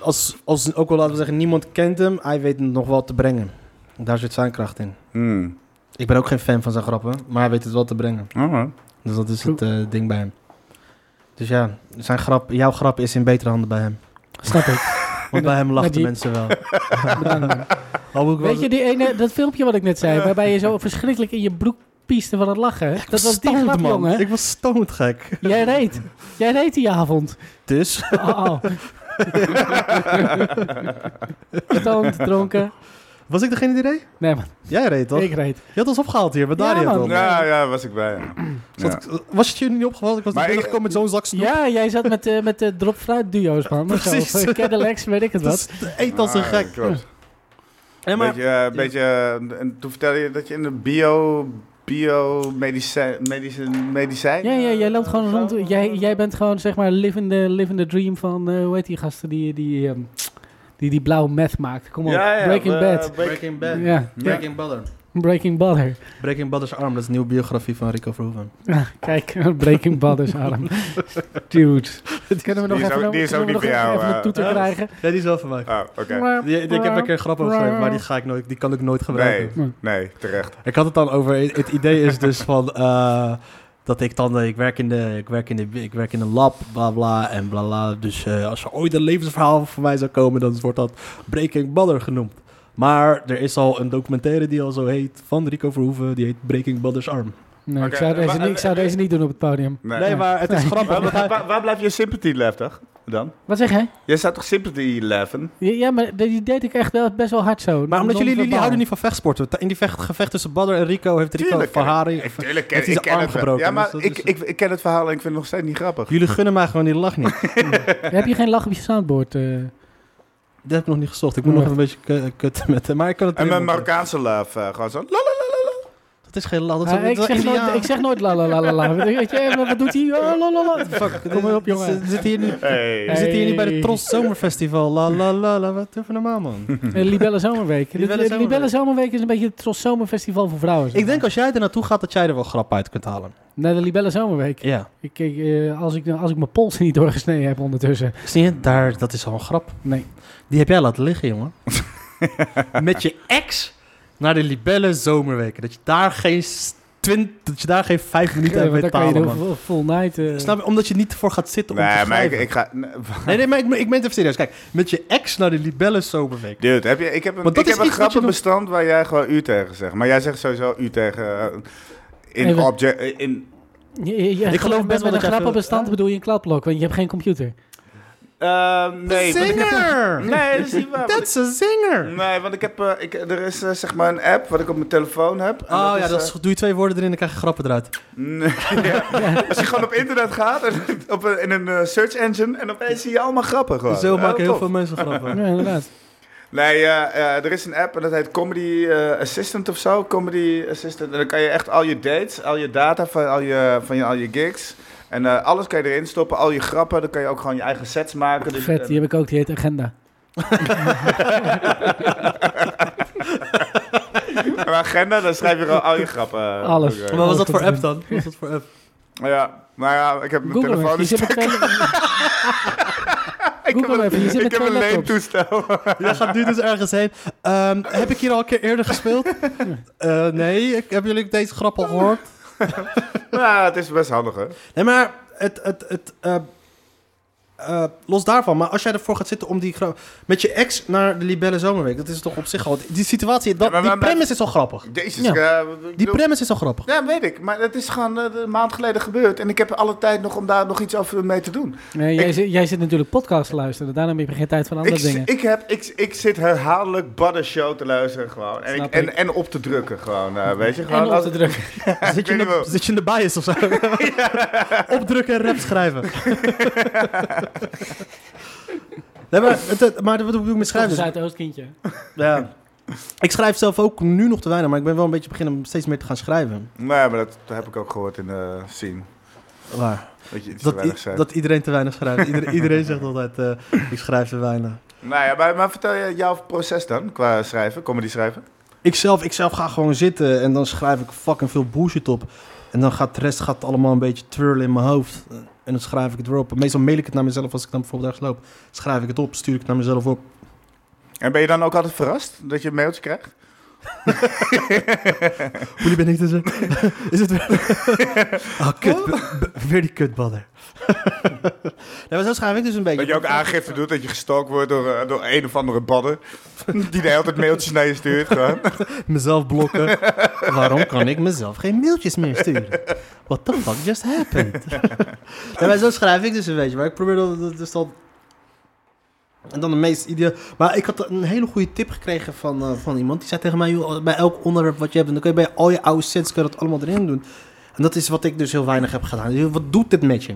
als, als ook wel laten we zeggen, niemand kent hem, hij weet het nog wel te brengen. Daar zit zijn kracht in.
Hmm.
Ik ben ook geen fan van zijn grappen, maar hij weet het wel te brengen.
Oh.
Dus dat is het eh, ding bij hem. Dus ja, zijn grap, jouw grap is in betere handen bij hem.
Snap ik.
Want bij hem lachen de
die-
mensen wel.
Bedankt.
Al moet ik wel-
Weet je, die ene, dat filmpje wat ik net zei, waarbij je zo verschrikkelijk in je broek pieste van het lachen. dat was die
Stoned,
grap,
man.
jongen.
Ik was stoned gek.
Jij reed. Jij reed die avond.
Dus?
Oh, oh. Stoned, dronken.
Was ik degene die reed?
Nee, man.
Jij reed toch?
Ik reed.
Je had ons opgehaald hier, maar
Ja,
Daria
man.
toch?
Ja, ja, was ik bij. ja.
Zat
Ja.
ik- Was het jullie niet opgevallen? Ik was
Maar
niet
ik-
binnengekomen met zo'n zak snoep.
Ja, jij zat met, eh met de dropfruit duo's, man.
Precies.
Zo, eh, Cadillacs, weet ik het
Dat
wat.
is- Eet als een
Ah,
gek.
klopt.
Ja, maar-
beetje, eh, beetje, eh, en toen vertelde je dat je in de bio, bio medicijn, medicijn, medicijn
Ja, ja, jij loopt gewoon
Zo.
rond. Jij, jij bent gewoon, zeg maar, living the, living the dream van, eh, hoe heet die gasten die die, ehm, die, die blauwe meth maakt. Kom op,
Ja, ja,
Breaking
eh,
Bad.
break-
Breaking
Bad.
Ja,
Ja.
Breaking Butter.
Breaking Butter.
Breaking Butter's Arm, dat is een nieuwe biografie van Rico Verhoeven.
Ah, Kijk, Breaking Bad is arm. Dude. Kunnen we nog
Die is
even,
ook- die is
kunnen
ook
we
niet
nog
voor
even,
jou,
een
eh.
toeter
Ja.
krijgen?
Nee, die is wel van mij.
Ah, oké.
Die, die- ik heb een keer grappig geschreven, maar die, ga ik nooit, die kan ik nooit gebruiken.
Nee, nee, terecht.
Ik had het dan over. Het idee is dus van. eh, dat ik dan. eh, Ik werk in de. Ik werk in de. Ik werk in een lab. Bla bla. En bla bla. Dus eh, als er ooit een levensverhaal voor mij zou komen. dan wordt dat Breaking Butter genoemd. Maar er is al een documentaire die al zo heet. van Rico Verhoeven. Die heet Breaking Butter's Arm.
Nee, ik
Oké, eh,
zou, deze,
maar-
niet, ik zou deze niet doen op het podium.
Nee.
Nee, maar het is grappig.
Waar,
want hij-
waar, waar- waar blijft je sympathy leftig dan?
Wat zeg jij?
Jij staat toch sympathy 11?
Ja, maar die deed ik echt wel best wel hard zo.
Maar omdat jullie, jullie
Non-verbaal.
houden niet van vechtsporten. In die vecht, gevecht tussen Badder en Rico heeft Rico
Tuurlijk,
van
ken ik.
haar.
Ik, tuurlijk ken,
heeft hij
ik
zijn
ken
arm
het wel.
gebroken,
Ja,
dus
maar
dat
ik,
is-
ik, ik ken het verhaal en ik vind het nog steeds niet grappig.
Jullie gunnen mij gewoon die lach niet.
Heb je geen lach op je soundboard? eh?
Dat heb ik nog niet gezocht. Ik moet nog
Nee.
een beetje ku- kutten met hem. Maar ik kan het
En mijn
erin monteren.
Marokkaanse love, eh, gewoon zo. la, la, la, la, la.
Dat is geen lach. Dat is
Ah,
dat
ik,
is
zeg nooit,
Indiaan.
ik zeg nooit la la la la la. Weet je, eh, wat doet hij? Oh, la la la.
Fuck,
Kom maar op, jongen.
We zitten hier nu,
Hey.
we zitten hier nu bij de
Hey.
Tros Zomerfestival. La la la la, wat even normaal, man.
Eh, Libelle Zomerweek.
Libelle
Libelle,
Zomerweek.
Libelle Zomerweek is een beetje het Tros Zomerfestival voor vrouwen. zeg
ik denk
maar.
als jij er naartoe gaat, dat jij er wel grap uit kunt halen.
Naar de Libelle Zomerweek.
Ja.
Ik, ik, eh, als, ik, als ik mijn pols niet doorgesneden heb ondertussen.
Zie je, daar, dat is al een grap.
Nee.
Die heb jij laten liggen, jongen. Met je ex naar de Libelle Zomerweken. Dat je daar geen s- twint, dat je daar geen vijf minuten aan
Eh, want
weet
dan
te
kan je
halen,
de
man.
full- full night... eh,
Snap je? Omdat je niet ervoor gaat zitten om
Nee,
te
maar ik,
schrijven.
ik ga... nee, w-
Nee, nee, maar ik, ik meen het even serieus. Kijk, met je ex naar de Libelle Zomerweek.
Dude, heb je, ik heb een,
Want dat
ik heb
is
een
iets wat je nog-
grappenbestand waar jij gewoon u tegen zegt. Maar jij zegt sowieso u tegen... eh, in
Even-
object... eh, In,
je- je- je-
Ik geloof best wel
met
dat jij
een
veel-
grappenbestand
Huh?
bedoel je een kladblok, want je hebt geen computer.
eh, nee. want ik heb-
Zinger!
Nee, dat is niet waar. want
That's a zinger!
ik- Nee, want ik heb, eh, ik, er is eh, zeg maar een app wat ik op mijn telefoon heb. en
Oh ja, dat
eh,
is, doe je twee woorden erin, dan krijg je grappen eruit.
Nee, ja. Als je gewoon op internet gaat, en op een, in een eh, search engine, en opeens zie je allemaal grappen gewoon.
Zo
Ja,
maken heel
tof.
veel mensen grappen.
Ja, inderdaad.
Nee, eh, eh, er is een app en dat heet Comedy eh, Assistant of zo. Comedy Assistant. En dan kan je echt al je dates, al je data van al je, van je, al je gigs... En eh, alles kan je erin stoppen, al je grappen. Dan kan je ook gewoon je eigen sets maken. Dus,
Vet, die heb ik ook, die heet Agenda.
eh, maar agenda, dan schrijf je gewoon al je grappen.
Alles.
Oké.
Maar wat was dat voor app dan? Wat was dat voor app?
Ja, nou ja, ik heb mijn
Google hem
telefoon... dus
even, je zit met twee...
ik heb
Google hem even, je
een,
zit met
ik heb
twee
een
laptops.
leentoestel.
Jij gaat nu dus ergens heen. Ehm, heb ik hier al een keer eerder gespeeld? Eh, nee, ik, hebben jullie deze grap al gehoord?
ja, het is best handig, hè?
Nee, maar het, het, het, eh, eh, los daarvan. Maar als jij ervoor gaat zitten om die... gra- Met je ex naar de Libelle Zomerweek. Dat is toch op zich al... Die situatie... Dat,
Ja, maar-
die
maar- maar-
premise is al grappig.
Jezus.
Ja.
eh,
Die premise is al grappig.
ja, weet ik. Maar het is gewoon eh, een maand geleden gebeurd. En ik heb alle tijd nog om daar nog iets over mee te doen.
Nee, jij, zit, jij zit natuurlijk podcasts te luisteren, dus daarom heb je geen tijd van andere
Ik,
dingen.
zi- ik, heb, ik, ik zit herhaaldelijk Butter Show te luisteren gewoon. En, ik,
Snap
en,
ik.
en op te drukken gewoon, eh, weet je. Gewoon
en op
als-
te drukken.
Zit je, in
weet
de,
niet wel.
zit je in de bias of zo? Opdrukken en rap schrijven. nee, maar, het, het- maar wat bedoel ik met schrijven?
Schrijf
is-
Zuidoostkindje.
Ja. Ik schrijf zelf ook nu nog te weinig, maar ik ben wel een beetje beginnen om steeds meer te gaan schrijven.
Nee, Nou maar dat, dat heb ik ook gehoord in de scene.
Waar?
Dat je iets te
Dat,
weinig
i-
zei.
dat iedereen te weinig schrijft. Ieder- iedereen zegt altijd, eh, ik schrijf te weinig.
Nou ja, maar, maar vertel je jouw proces dan qua schrijven, comedy schrijven?
Ik zelf, ik zelf ga gewoon zitten en dan schrijf ik fucking veel bullshit op. En dan gaat de rest gaat allemaal een beetje twirlen in mijn hoofd. En dan schrijf ik het weer op. Meestal mail ik het naar mezelf als ik dan bijvoorbeeld ergens loop. Schrijf ik het op, stuur ik het naar mezelf op.
En ben je dan ook altijd verrast dat je een mailtje krijgt?
Jullie ben ik dus. Is het weer. Ah, kut. b- b- Weer die kutballer. nee, maar zo schrijf ik dus een beetje.
Dat je ook aangifte doet dat je gestalkt wordt door, eh, door een of andere badder. Die de hele tijd mailtjes naar je stuurt. Gewoon.
Mezelf blokken. Waarom kan ik mezelf geen mailtjes meer sturen? What the fuck just happened? nee, maar zo schrijf ik dus een beetje. Maar ik probeer dat, dat dus dan... En dan de meest ideaal... Maar ik had een hele goede tip gekregen van, eh, van iemand. Die zei tegen mij, joh, bij elk onderwerp wat je hebt... dan kun je bij al je oude sets kun je dat allemaal erin doen. En dat is wat ik dus heel weinig heb gedaan. Dus wat doet dit met je?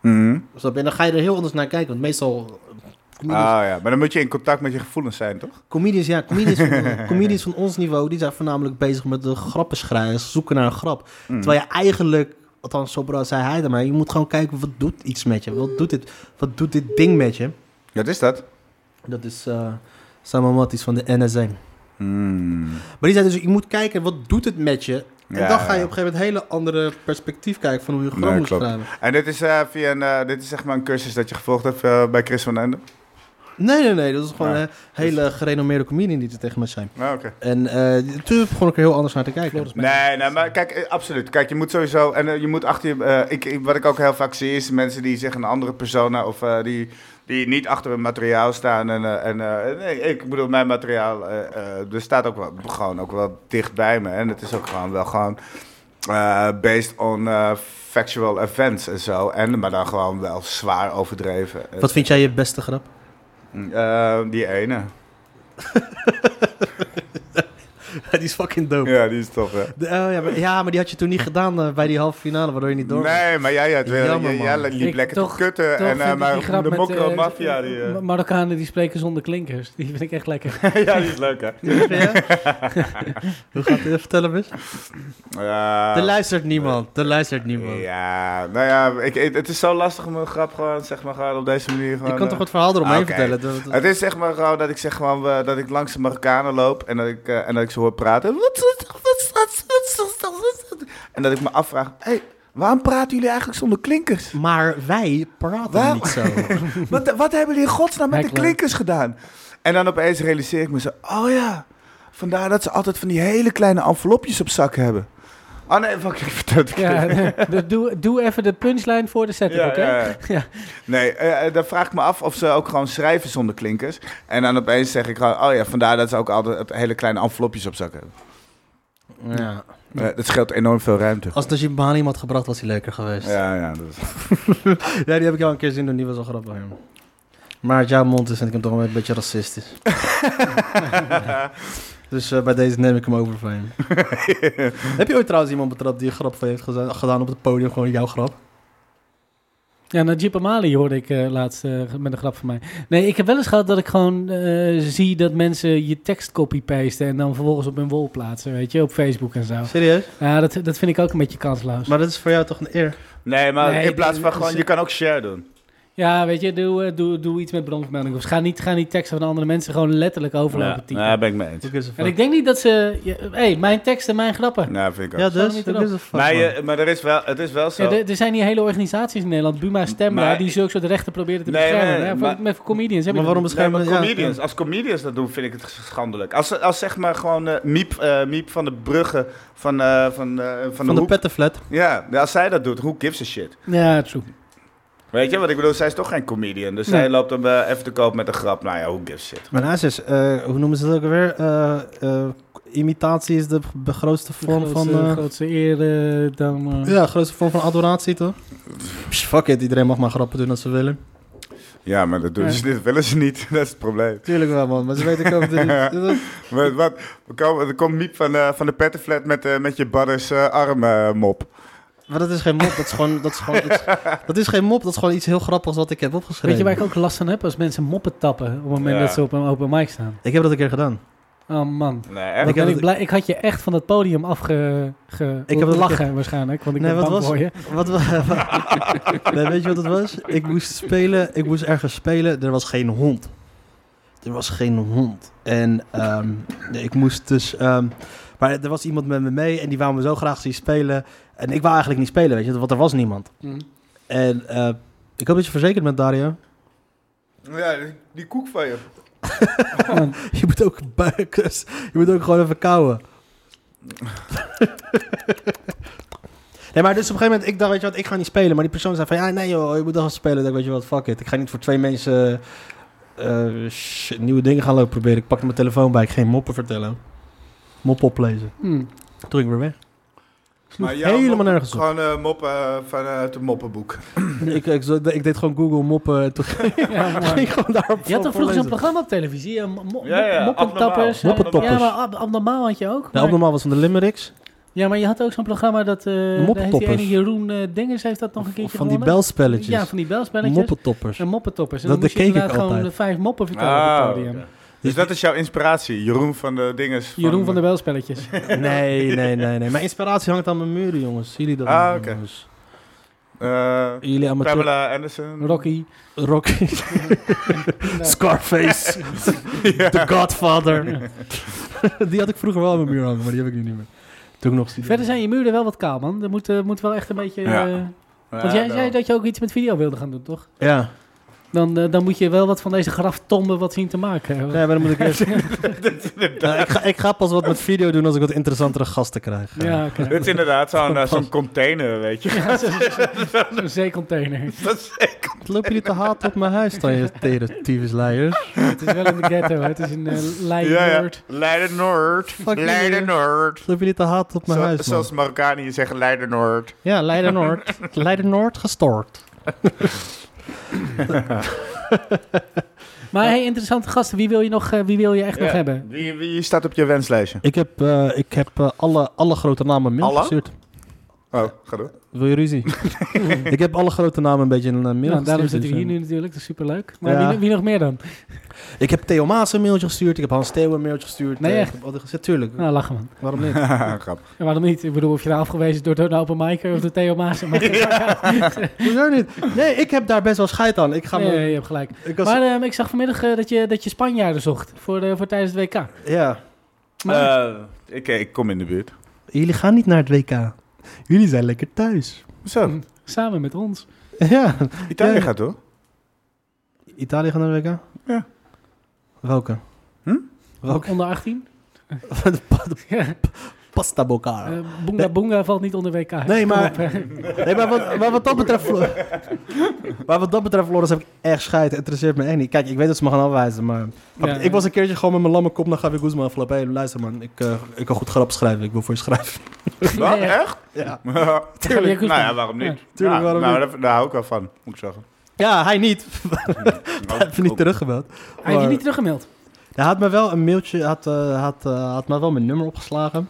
Mhm.
Snap je? En dan ga je er heel anders naar kijken. Want meestal... eh, comedians-
Ah ja, maar dan moet je in contact met je gevoelens zijn, toch?
Comedians, ja, comedians van, comedians van ons niveau, die zijn voornamelijk bezig met de grappen schrijven, zoeken naar een grap.
Mm.
Terwijl je eigenlijk, althans zo bra- zei hij dan maar, je moet gewoon kijken, wat doet iets met je? Wat doet dit, wat doet dit ding met je?
Dat is dat.
Dat is eh Samuel Matties van de NSM.
Hmm.
Maar die zei dus, je moet kijken, wat doet het met je? En
Ja,
dan ga je
ja.
op een gegeven moment hele andere perspectief kijken van hoe je een grap
Nee,
moet
klopt.
schrijven.
En dit is, eh, via een, eh, dit is zeg maar een cursus dat je gevolgd hebt eh, bij Chris van Ende?
Nee, nee, nee, dat is gewoon
Ja.
een hele gerenommeerde comedian die er tegen me zijn.
Ah, oké.
En eh toen begon ik er heel anders naar te kijken.
Nee, nee, maar kijk, eh, absoluut. Kijk, je moet sowieso. En eh, je moet achter je. eh, ik, ik- wat ik ook heel vaak zie is mensen die zeggen een andere persona. of eh, die, die niet achter hun materiaal staan. En, eh, en eh, nee, ik bedoel, mijn materiaal. eh eh, er staat ook wel, gewoon ook wel dicht bij me. En het is ook gewoon wel gewoon. eh, based on eh, factual events en zo. En, maar dan gewoon wel zwaar overdreven.
Wat vind jij je beste grap?
Eh, die ene.
die is fucking dope.
Ja, die is tof, hè?
De- oh, ja, maar, ja, maar die had je toen niet gedaan eh, bij die halve finale, waardoor je niet door.
Nee, maar jij, jij, jij,
Jammer,
jij, jij
man.
liep
Ik-
lekker
toch-
te kutten. en,
Toch
eh,
vind ik die
maar
grap
de
met,
mokro
eh,
maffia die... eh,
Ma- Marokkanen die spreken zonder klinkers. Die vind ik echt lekker.
ja, die is leuk, hè?
Hoe gaat het? eh, Vertel hem eens.
Ja.
er luistert niemand. Er luistert niemand.
Ah. Ja, nou ja, ik, ik- het is zo lastig om een grap gewoon, zeg maar, gewoon op deze manier gewoon...
ik kan
eh,
toch wat verhaal eromheen
ah, oké.
vertellen? Dat- dat-
Het is zeg maar gewoon dat ik zeg gewoon, eh, dat ik langs de Marokkanen loop en dat ik, eh, en dat ik ze hoor praten. Wat is dat? Wat is dat? Wat is dat? Wat is dat? En dat ik me afvraag, hé, hey, waarom praten jullie eigenlijk zonder klinkers?
Maar wij praten
Waarom?
niet zo.
Wat, wat hebben jullie in godsnaam met de
Heckler.
klinkers gedaan? En dan opeens realiseer ik me zo, oh ja, vandaar dat ze altijd van die hele kleine envelopjes op zak hebben. Oh nee, fuck, ik vertel het
Ja, dus doe, doe even de punchline voor de setup, oké?
ja, ja.
Ja.
Nee, eh, eh, dan vraag ik me af of ze ook gewoon schrijven zonder klinkers. En dan opeens zeg ik gewoon, oh ja, vandaar dat ze ook altijd het hele kleine envelopjes op zak hebben.
ja.
Eh, dat scheelt enorm veel ruimte.
Oh,
Als Najib Baan iemand gebracht was, hij leuker geweest. Ja.
Ja, ja, dat is...
die heb ik al een keer zien doen. Die was al grappig. ja. Maar uit jouw mond is vind ik hem toch wel een beetje racistisch. dus eh, bij deze neem ik hem over van je. heb je ooit trouwens iemand betrapt die een grap van je heeft geze- gedaan op het podium? Gewoon jouw grap?
Ja, Najib Amali hoorde ik eh, laatst eh, met een grap van mij. Nee, ik heb wel eens gehad dat ik gewoon eh, zie dat mensen je tekst copy-pasten... en dan vervolgens op hun wol plaatsen, weet je, op Facebook en zo.
Serieus?
Ja, dat, dat vind ik ook een beetje kansloos.
Maar dat is voor jou toch een eer?
Nee, maar
Nee,
in plaats
dat-
van
dat
gewoon,
is-
je kan ook share doen.
Ja, weet je, doe, eh, doe, doe iets met bronvermelding. Of ga niet, ga niet teksten van andere mensen gewoon letterlijk overlopen
Ja,
typen.
daar ben ik mee eens.
Who gives a fuck?
En ik denk niet dat ze... Hé, hey, mijn teksten, mijn grappen.
Nou, vind ik ook.
Ja,
Staan
dus.
niet
Who
erop.
gives a fuck,
maar
man?
je, maar er is wel, het is wel zo.
Ja, er, er zijn hier hele organisaties in Nederland, Buma Stemra,
Maar-
die zulke soort rechten proberen te
Nee,
beschermen.
nee, nee,
hè,
maar-
voor, met voor comedians. Heb
Maar
je
waarom
dat
Nee,
beschermen
maar
ja,
comedians, als comedians dat doen, vind ik het schandelijk. Als, als zeg maar gewoon eh, Miep, eh, Miep van de Brugge van, eh, van, eh, van,
Van
de,
de
Hoek.
pettenflat.
Ja, als zij dat doet, who gives a shit?
niet? Ja, true.
Weet je wat ik bedoel? Zij is toch geen comedian. Dus
Nee.
zij loopt hem eh, even te koop met een grap. Nou ja, who gives a shit?
Maar naast is, eh, hoe noemen ze dat ook alweer? Eh, eh, imitatie is de b- grootste vorm
Grootste-
van... eh,
grootste eer eh, dan... eh,
ja, grootste vorm van adoratie, toch? Psh, fuck it, iedereen mag maar grappen doen als ze willen.
Ja, maar dat, doen ze, dat willen ze niet. Dat is het probleem.
Tuurlijk wel, man. Maar ze weten ook dat...
Wat, wat, we komen- er komt Miep van, eh, van de pettenflat met, eh, met je badders eh, arm eh, mop.
Maar dat is geen mop, dat is gewoon, dat is gewoon iets... Dat is geen mop, dat is gewoon iets heel grappigs wat ik heb opgeschreven.
Weet je waar ik ook last van heb? Als mensen moppen tappen op het moment
Ja.
dat ze op een open mic staan.
Ik heb dat een keer gedaan.
Oh man.
Nee,
Wat
echt?
ben
heb
Ik,
het-
blij- ik had je echt van dat podium afge... Ge,
Ik heb het
lachen waarschijnlijk, want ik
Nee,
ben
wat
bang
was
voor je.
Wat, wa- nee, weet je wat het was? Ik moest spelen, ik moest ergens spelen. Er was geen hond. Er was geen hond. En ehm, ik moest dus. ehm, maar er was iemand met me mee en die wou me zo graag zien spelen. En ik wou eigenlijk niet spelen, weet je, want er was niemand.
Hmm.
En eh, ik hoop dat je verzekerd bent, Dario.
Ja, die, die koek van je.
Oh,
Je moet ook buikers. Je moet ook gewoon even kauwen. Nee, maar dus op een gegeven moment, ik dacht, weet je wat, ik ga niet spelen. Maar die persoon zei van, ja, nee joh, je moet wel spelen. Ik dacht, weet je wat, fuck it. Ik ga niet voor twee mensen eh, eh, shit, nieuwe dingen gaan lopen proberen. Ik pakte mijn telefoon bij, ik ging moppen vertellen. Mop oplezen.
Hmm.
Toen ging ik weer weg. Sloeg
Maar jouw
helemaal
mop-
nergens op.
Gewoon eh, moppen eh, vanuit het moppenboek.
ik, ik, zo- ik deed gewoon Google moppen en toen ging
Ja, man.
ik gewoon daarop
Je had toch vroeger zo'n
voorlezen.
programma op televisie? eh, mo- mo-
Ja, ja,
moppentappers. eh,
abnormaal.
Ja,
Moppentappers.
maar ab- abnormaal had je ook.
De
maar-
abnormaal Nou, was van de Limericks.
Ja, maar je had ook zo'n programma dat... eh daar heeft die
moppetoppers.
ene Jeroen eh Dengers heeft dat nog een keertje
Van die
gewonnen.
belspelletjes.
Ja, van die belspelletjes.
Moppetoppers.
en moppetoppers. En
Dat
dan moest je
keek ik
inderdaad gewoon
altijd.
de vijf moppen vertellen op
Ah,
het podium.
oké. Dus dat is jouw inspiratie, Jeroen van eh, de dinges.
Jeroen van de belspelletjes.
Nee, nee, nee, nee. Mijn inspiratie hangt aan mijn muren, jongens. Zien jullie dat?
Ah,
niet,
oké.
jongens?
eh,
Jullie amateur...
Pamela Anderson.
Rocky.
Rocky. Scarface. The Godfather. die had ik vroeger wel aan mijn muur hangen, maar die heb ik nu niet meer. Toen ik nog studeerde.
Verder zijn je muren wel wat kaal, man. Dat moet, eh, moet wel echt een beetje...
Ja.
eh,
Ja,
want jij
wel.
zei dat je ook iets met video wilde gaan doen, toch?
Ja.
Dan, eh, dan moet je wel wat van deze graftomben wat zien te maken.
Nee, maar dan moet ik eerst... Nou, ik, ga, ik ga pas wat met video doen als ik wat interessantere gasten krijg.
Ja, oké.
Dit is inderdaad zo'n eh, zo'n container, weet je.
Ja, zo- zo- Zo'n zeecontainer.
Dat is echt-
Wat lopen jullie te haat op mijn huis dan, je tere tyfusleiers?
Het is wel in de ghetto, hè. het is een eh
ja, ja.
Leijnerd.
Leiden Noord.
Fuck
Leiden
jullie.
Noord.
Wat lopen jullie te haat op mijn
Zo-
huis, man?
zoals Marokkanen zeggen, Leiden Noord.
Ja, Leiden Noord. Leiden Noord gestort.
Maar hey, interessante gasten, wie wil je, nog, eh, wie wil je echt nog hebben?
Wie, wie staat op je wenslijstje?
Ik heb, eh, ik heb eh, alle, alle grote namen een mail
Alle?
gestuurd.
Oh, ga door.
Wil je ruzie? ik heb alle grote namen een beetje een eh, mail
Nou,
gestuurd.
daarom zitten we
dus,
hier
eh,
nu natuurlijk, dat is superleuk. Maar
Ja.
wie, wie nog meer dan?
Ik heb Theo Maas een mailtje gestuurd. Ik heb Hans Theo een mailtje gestuurd.
Nee,
eh,
echt?
Ik heb altijd gezegd, tuurlijk.
Nou, lachen man.
Waarom niet?
Grappig.
En waarom niet? Ik bedoel, of je daar afgewezen wordt door de open micer of de Theo Maas. Maar
Hoezo niet? Nee, ik heb daar best wel scheid aan. Ik ga me...
nee, je hebt gelijk.
Ik was,
Maar ehm, ik zag vanmiddag eh, dat, je, dat je Spanjaarden zocht voor, eh, voor tijdens het WK.
ja.
Maar,
Eh, ik, ik kom in de buurt.
Jullie gaan niet naar het WK. Jullie zijn lekker thuis.
Zo,
Samen met ons.
ja.
Italië
Ja.
gaat hoor.
Italië gaat naar het WK?
Ja.
Welke?
Hm?
Welke?
Onder 18.
de pa- de
Ja.
pasta bocara.
Eh, Boonga Boonga valt niet onder WK.
Nee, maar-
Kom op, hè.
Nee, maar wat, maar wat dat betreft... Flo- maar wat dat betreft, Floris, heb ik echt scheid. Het interesseert me echt niet. Kijk, ik weet dat ze me gaan afwijzen, maar...
Ja,
ik was een keertje gewoon met mijn lamme kop naar Gavi Guzman afgelopen. Hé, luister man, ik, eh, ik kan goed grap schrijven. Ik wil voor je schrijven.
Wat?
Nee, ja.
Echt?
Ja.
Tuurlijk.
goed
Nou
van.
ja, waarom niet?
tuurlijk,
Ja,
waarom
nou,
niet?
daar- Daar hou ik wel van, moet ik zeggen.
Ja, hij niet. Even niet
Cool.
teruggebeld.
Hij heeft je niet teruggemaild.
Hij had me wel een mailtje, hij had, eh, hij had, eh, hij had me wel mijn nummer opgeslagen.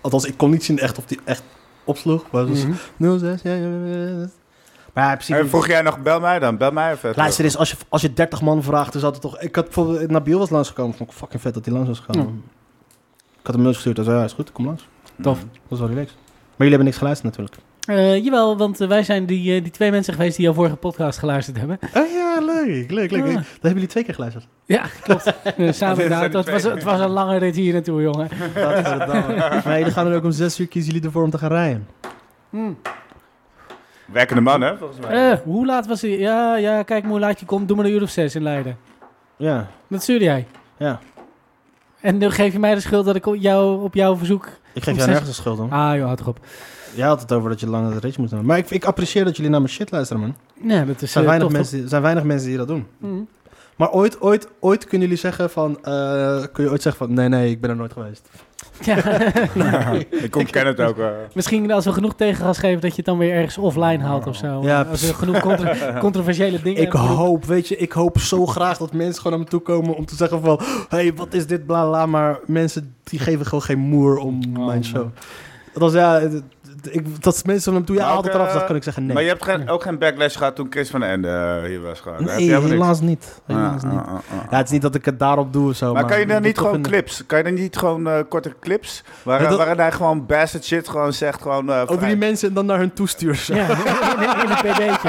Althans, ik kon niet zien echt of die echt opsloeg. Maar het
Mhm.
was 06, ja, ja, ja, ja. Maar ja, in principe...
En vroeg jij nog, bel mij dan, bel mij even.
Luister eens, als je, als je 30 man vraagt, is altijd toch... Ik had bijvoorbeeld... Nabil was langsgekomen. Vond ik fucking vet dat hij langs was gekomen. Ik had een mail gestuurd. Hij zei, ja, is goed, kom langs.
Tof.
Mhm.
Dat is wel relaxed. Maar jullie hebben niks geluisterd natuurlijk.
Eh, jawel, want eh, wij zijn die, eh, die twee mensen geweest die jouw vorige podcast geluisterd hebben. Eh,
Oh ja, leuk, leuk, leuk.
Ja.
Dat hebben jullie twee keer geluisterd.
Ja, klopt. Eh, Samen in de auto. Het was, het was een lange rit hier naartoe, jongen.
maar jullie gaan er ook om zes uur kiezen jullie ervoor om te gaan rijden. Hmm.
Werkende man, hè, volgens mij.
Eh, hoe laat was hij? Ja, ja, kijk maar hoe laat je komt. Doe maar een uur of zes in Leiden.
Ja,
Dat stuurde jij.
ja.
En nu geef je mij de schuld dat ik op jou, op jouw verzoek...
Ik
Om
geef
zes-
jou nergens de schuld om.
Ah, joh, houd toch op.
Jij had het over dat je lang naar de race moet doen. Maar ik, ik apprecieer dat jullie naar mijn shit luisteren, man.
Nee, dat is
Er zijn,
eh,
weinig
tof,
mensen, die- er zijn weinig mensen die dat doen.
toch? Mm.
Maar ooit, ooit, ooit kunnen jullie zeggen van... eh, kun je ooit zeggen van... Nee, nee, ik ben er nooit geweest.
Ja.
Ik ontken het ook. eh.
Misschien als we genoeg tegengas geven dat je het dan weer ergens offline haalt of zo.
Ja,
als we genoeg contra- controversiële dingen
Ik
hebben.
hoop, weet je, ik hoop zo graag dat mensen gewoon naar me toe komen om te zeggen van... hey, wat is dit, bla, bla, bla. Maar mensen, die geven gewoon geen moer om
Oh, man.
mijn show. Dat was, ja... het- het- Ik, dat mensen van hem toe, ja,
Maar ook,
haalt het eraf,
eh,
dan kan ik zeggen nee.
Maar je hebt geen, ook geen backlash gehad toen Chris van den Ende eh, hier was gegaan. Heb je
nee,
helemaal niks?
helaas niet. Helaas
Ah,
niet.
ah, ah, ah.
Ja, het is niet dat ik het daarop doe of zo.
Maar kan je dan
dat
niet
toch
gewoon
een-
clips? Kan je dan niet gewoon eh, korte clips? Waar,
Ja, dat-
Waarin hij gewoon bastard shit gewoon zegt. Gewoon, eh,
Over
vrij-
die mensen en dan naar hun toesturen.
Ja, in, in- in een pd'tje.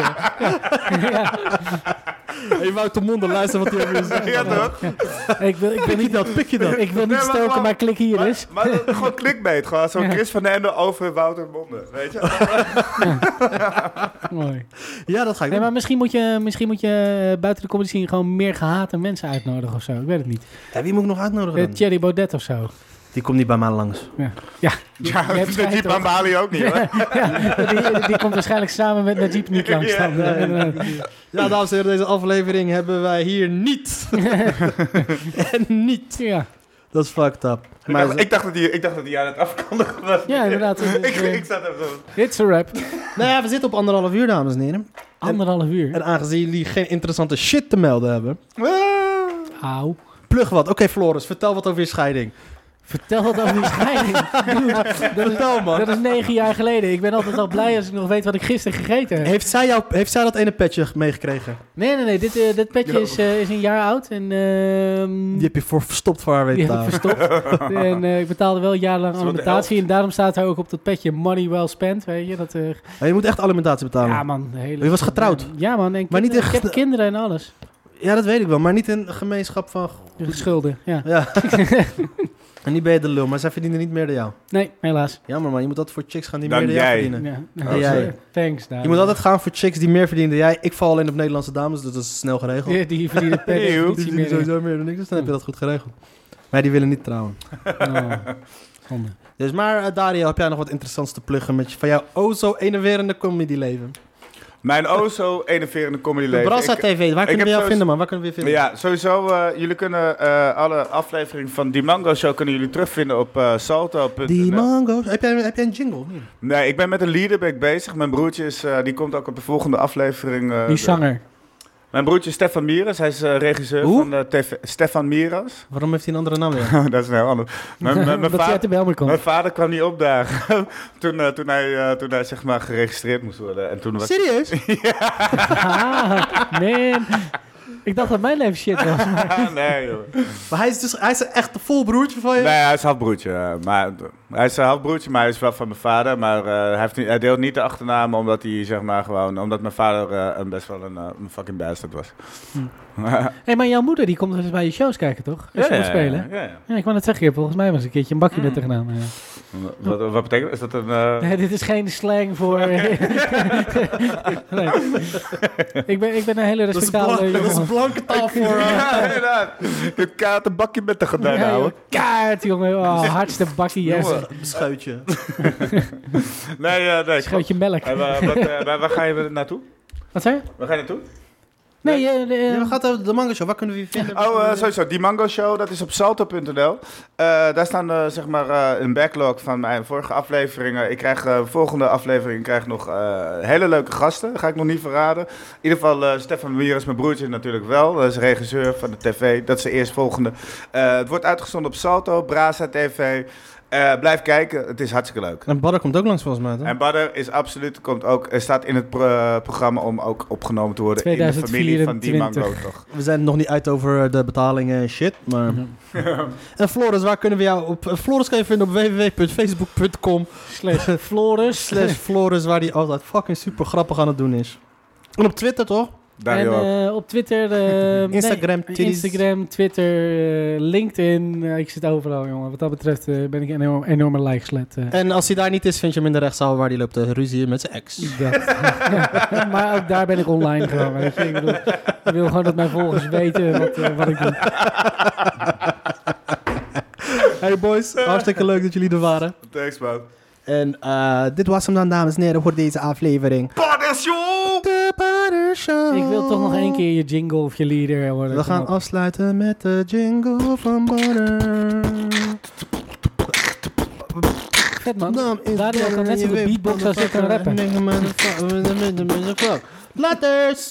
Ja.
Hey, Wouter Monden, luister wat hij over je zegt.
Ja, toch?
Ik, wil, ik, wil
Pik je
niet,
dat, pik je dat.
ik
Nee,
wil niet
maar
stoken,
gewoon-
maar klik hier
Maar,
eens.
maar dat- gewoon clickbait. Gewoon zo'n
Ja.
Chris van den Ende over Wouter Monde. Weet je?
Mooi.
Ja, dat ga ik
Nee,
doen.
maar misschien moet je, misschien moet je eh, buiten de comedy scene gewoon meer gehate mensen uitnodigen of zo. Ik weet het niet.
Ja, wie moet ik nog uitnodigen
Eh,
dan?
Thierry Baudet of zo.
Die komt niet bij mij langs.
Ja,
Je hebt schijt,
dat diep
hoor.
aan Bali ook niet. hoor.
Ja, die, die komt waarschijnlijk samen met Najib niet langs. dan. Eh,
Ja, dames en heren, deze aflevering hebben wij hier niet. en niet.
Ja,
Dat is fucked up.
Ik
Maar
dacht- Ik dacht dat hij- ik dacht dat hij aan het afkondigen was.
ja inderdaad.
Ik, ik
Dit
zat even zo.
is een rap.
nou ja, we zitten op anderhalf uur, dames en heren.
Anderhalf uur.
En aangezien jullie geen interessante shit te melden hebben,
Auw.
plug wat. Oké, Floris, vertel wat over je scheiding.
Vertel wat over die scheiding. Dude, dat, is,
Vertel, man.
dat is negen jaar geleden. Ik ben altijd al blij als ik nog weet wat ik gisteren gegeten heb.
Heeft zij, jou, heeft zij dat ene petje meegekregen?
Nee, nee, nee. Dit, eh, dit petje
Yo.
is, eh, is een jaar oud. En, ehm,
Die heb je voor verstopt voor haar
die heb ik
weten.
verstopt. en eh, ik betaalde wel jarenlang
Is dat de
alimentatie. En daarom staat hij ook op dat petje money well spent. Weet je, dat, eh,
Je moet echt alimentatie betalen.
ja, man. de Hele,
Je was getrouwd?
Ja, man. En
Maar
maar
niet
niet
echt-
Ik heb kinderen en alles.
Ja, dat weet ik wel, maar niet in een gemeenschap van.
Schulden, ja.
Ja. en niet ben je de lul, maar zij verdienen niet meer dan jou.
Nee, helaas.
Jammer man, je moet altijd voor chicks gaan die
Dan
meer dan jou
jij.
verdienen.
Ja. eh,
sorry. jij.
Thanks, daar.
Je moet altijd gaan voor chicks die meer verdienen dan jij. Ik val alleen op Nederlandse dames, dus dat is snel geregeld.
Die, die verdienen per
Eeuw.
definitie
Die verdienen
meer. eh.
sowieso meer dan ik, dus dan heb je dat goed geregeld. Maar die willen niet trouwen.
Oh, zonde.
Dus maar eh, Dario, heb jij nog wat interessants te pluggen met je, van jouw o zo enerverende comedy leven?
Mijn o zo enerverende comedy
De Brassa TV, waar
heb
kunnen we jou
sowieso-
vinden man? Waar kunnen we je vinden?
Ja, sowieso. eh, jullie kunnen eh, alle afleveringen van Die Mango Show kunnen jullie terugvinden op eh salto.nl.
Die mango's. Heb jij, heb jij een jingle? Hm.
Nee, ik ben met een leaderback bezig. Mijn broertje is, eh, die komt ook op de volgende aflevering. eh,
Die
de-
zanger.
Mijn broertje is Stefan Miras. Hij is eh, regisseur
Hoe?
van de TV. Stefan Miras.
Waarom heeft hij een andere naam? Ja?
dat is een heel ander. Mijn, mijn, mijn
dat hij
vader...
uit de Belmer komt.
Mijn vader kwam niet opdagen toen, eh, toen hij, eh, toen hij zeg maar, geregistreerd moest worden. En toen was
Serieus?
Ah, man. Ik dacht dat mijn leven shit was.
nee, joh.
Maar hij is dus hij is echt de vol broertje van je.
Nee, hij is halfbroertje. eh, Maar, hij is een halfbroertje, maar hij is wel van mijn vader. Maar eh, hij, heeft niet, hij deelt niet de achternaam omdat hij, zeg maar, gewoon... Omdat mijn vader eh, een best wel een, eh, een fucking bastard was.
Hé, maar jouw moeder die komt wel eens bij je shows kijken, toch? Als je moet spelen.
Ja, ja.
Ja, ik wou net zeggen, je hebt volgens mij was een keertje een bakje met haar gedaan. eh. maar ja.
Wat, wat betekent dat? Is dat een... eh,
Nee, dit is geen slang voor... nee. ik, ben, ik ben een hele
Dat is,
respectabele
blank- dat is
jongen.
blanke taal voor... eh,
ja, inderdaad. Je kaart een bakje met de gedaan
Ja,
houden.
joh. Kaart, jongen. Oh, hardste bakje, yes.
nou, jongen, Scheutje.
Nee, ja, nee.
Schootje melk.
Eh, waar- wat, eh, waar, waar ga je naartoe?
Wat zei je?
Waar ga je naartoe?
Nee, eh, de- eh,
Ja, we gaan het over de manga show. Waar kunnen we je vinden?
Oh, eh, sowieso. Die Mango Show, dat is op salto.nl. Eh, daar staan eh, zeg maar eh, een backlog van mijn vorige afleveringen. Ik krijg eh, volgende aflevering krijg ik nog eh, hele leuke gasten. Ga ik nog niet verraden. In ieder geval eh, Stefan Wieres, mijn broertje natuurlijk wel. Dat is regisseur van de tv. Dat is de eerstvolgende. Eh het wordt uitgezonden op Salto, Brasa TV. Eh, blijf kijken, het is hartstikke leuk.
En Badder komt ook langs volgens mij, toch?
En Badder is absoluut, komt ook, eh, staat in het pro- programma om ook opgenomen te worden in de familie van die
2024.
mango, toch?
We zijn er nog niet uit over eh, de betalingen en shit, maar...
Ja.
en Floris, waar kunnen we jou op... eh, Floris kan je vinden op www.facebook.com
Slash Floris.
slash Floris, waar die altijd fucking super grappig aan het doen is. En op Twitter, toch?
Daar
En
joh.
eh, op Twitter... eh,
Instagram,
nee,
titties.
Instagram, Twitter, eh, LinkedIn. Eh, ik zit overal, jongen. Wat dat betreft eh, ben ik een enorm, enorme lijkslet. eh.
En als hij daar niet is, vind je hem in de rechtszaal waar hij loopt te ruzie met zijn ex.
Dat. Ja, maar ook daar ben ik online gewoon. Weet je? Ik, bedoel, ik wil gewoon dat mijn volgers weten wat, eh, wat ik doe.
Hey boys, hartstikke leuk dat jullie er waren.
Thanks man.
En eh, dit was hem dan, dames en heren, voor deze aflevering.
Badder, joh!
De Badder Show.
Ik wil toch nog één keer je jingle of je leader worden.
We gaan
Kom op.
afsluiten met de jingle van Badder.
Vet man.
Naam is
Daardoor kan
Badder,
net zo
je
goed
weet,
beatboxen als ik kan rappen.
motherfucker. Laters!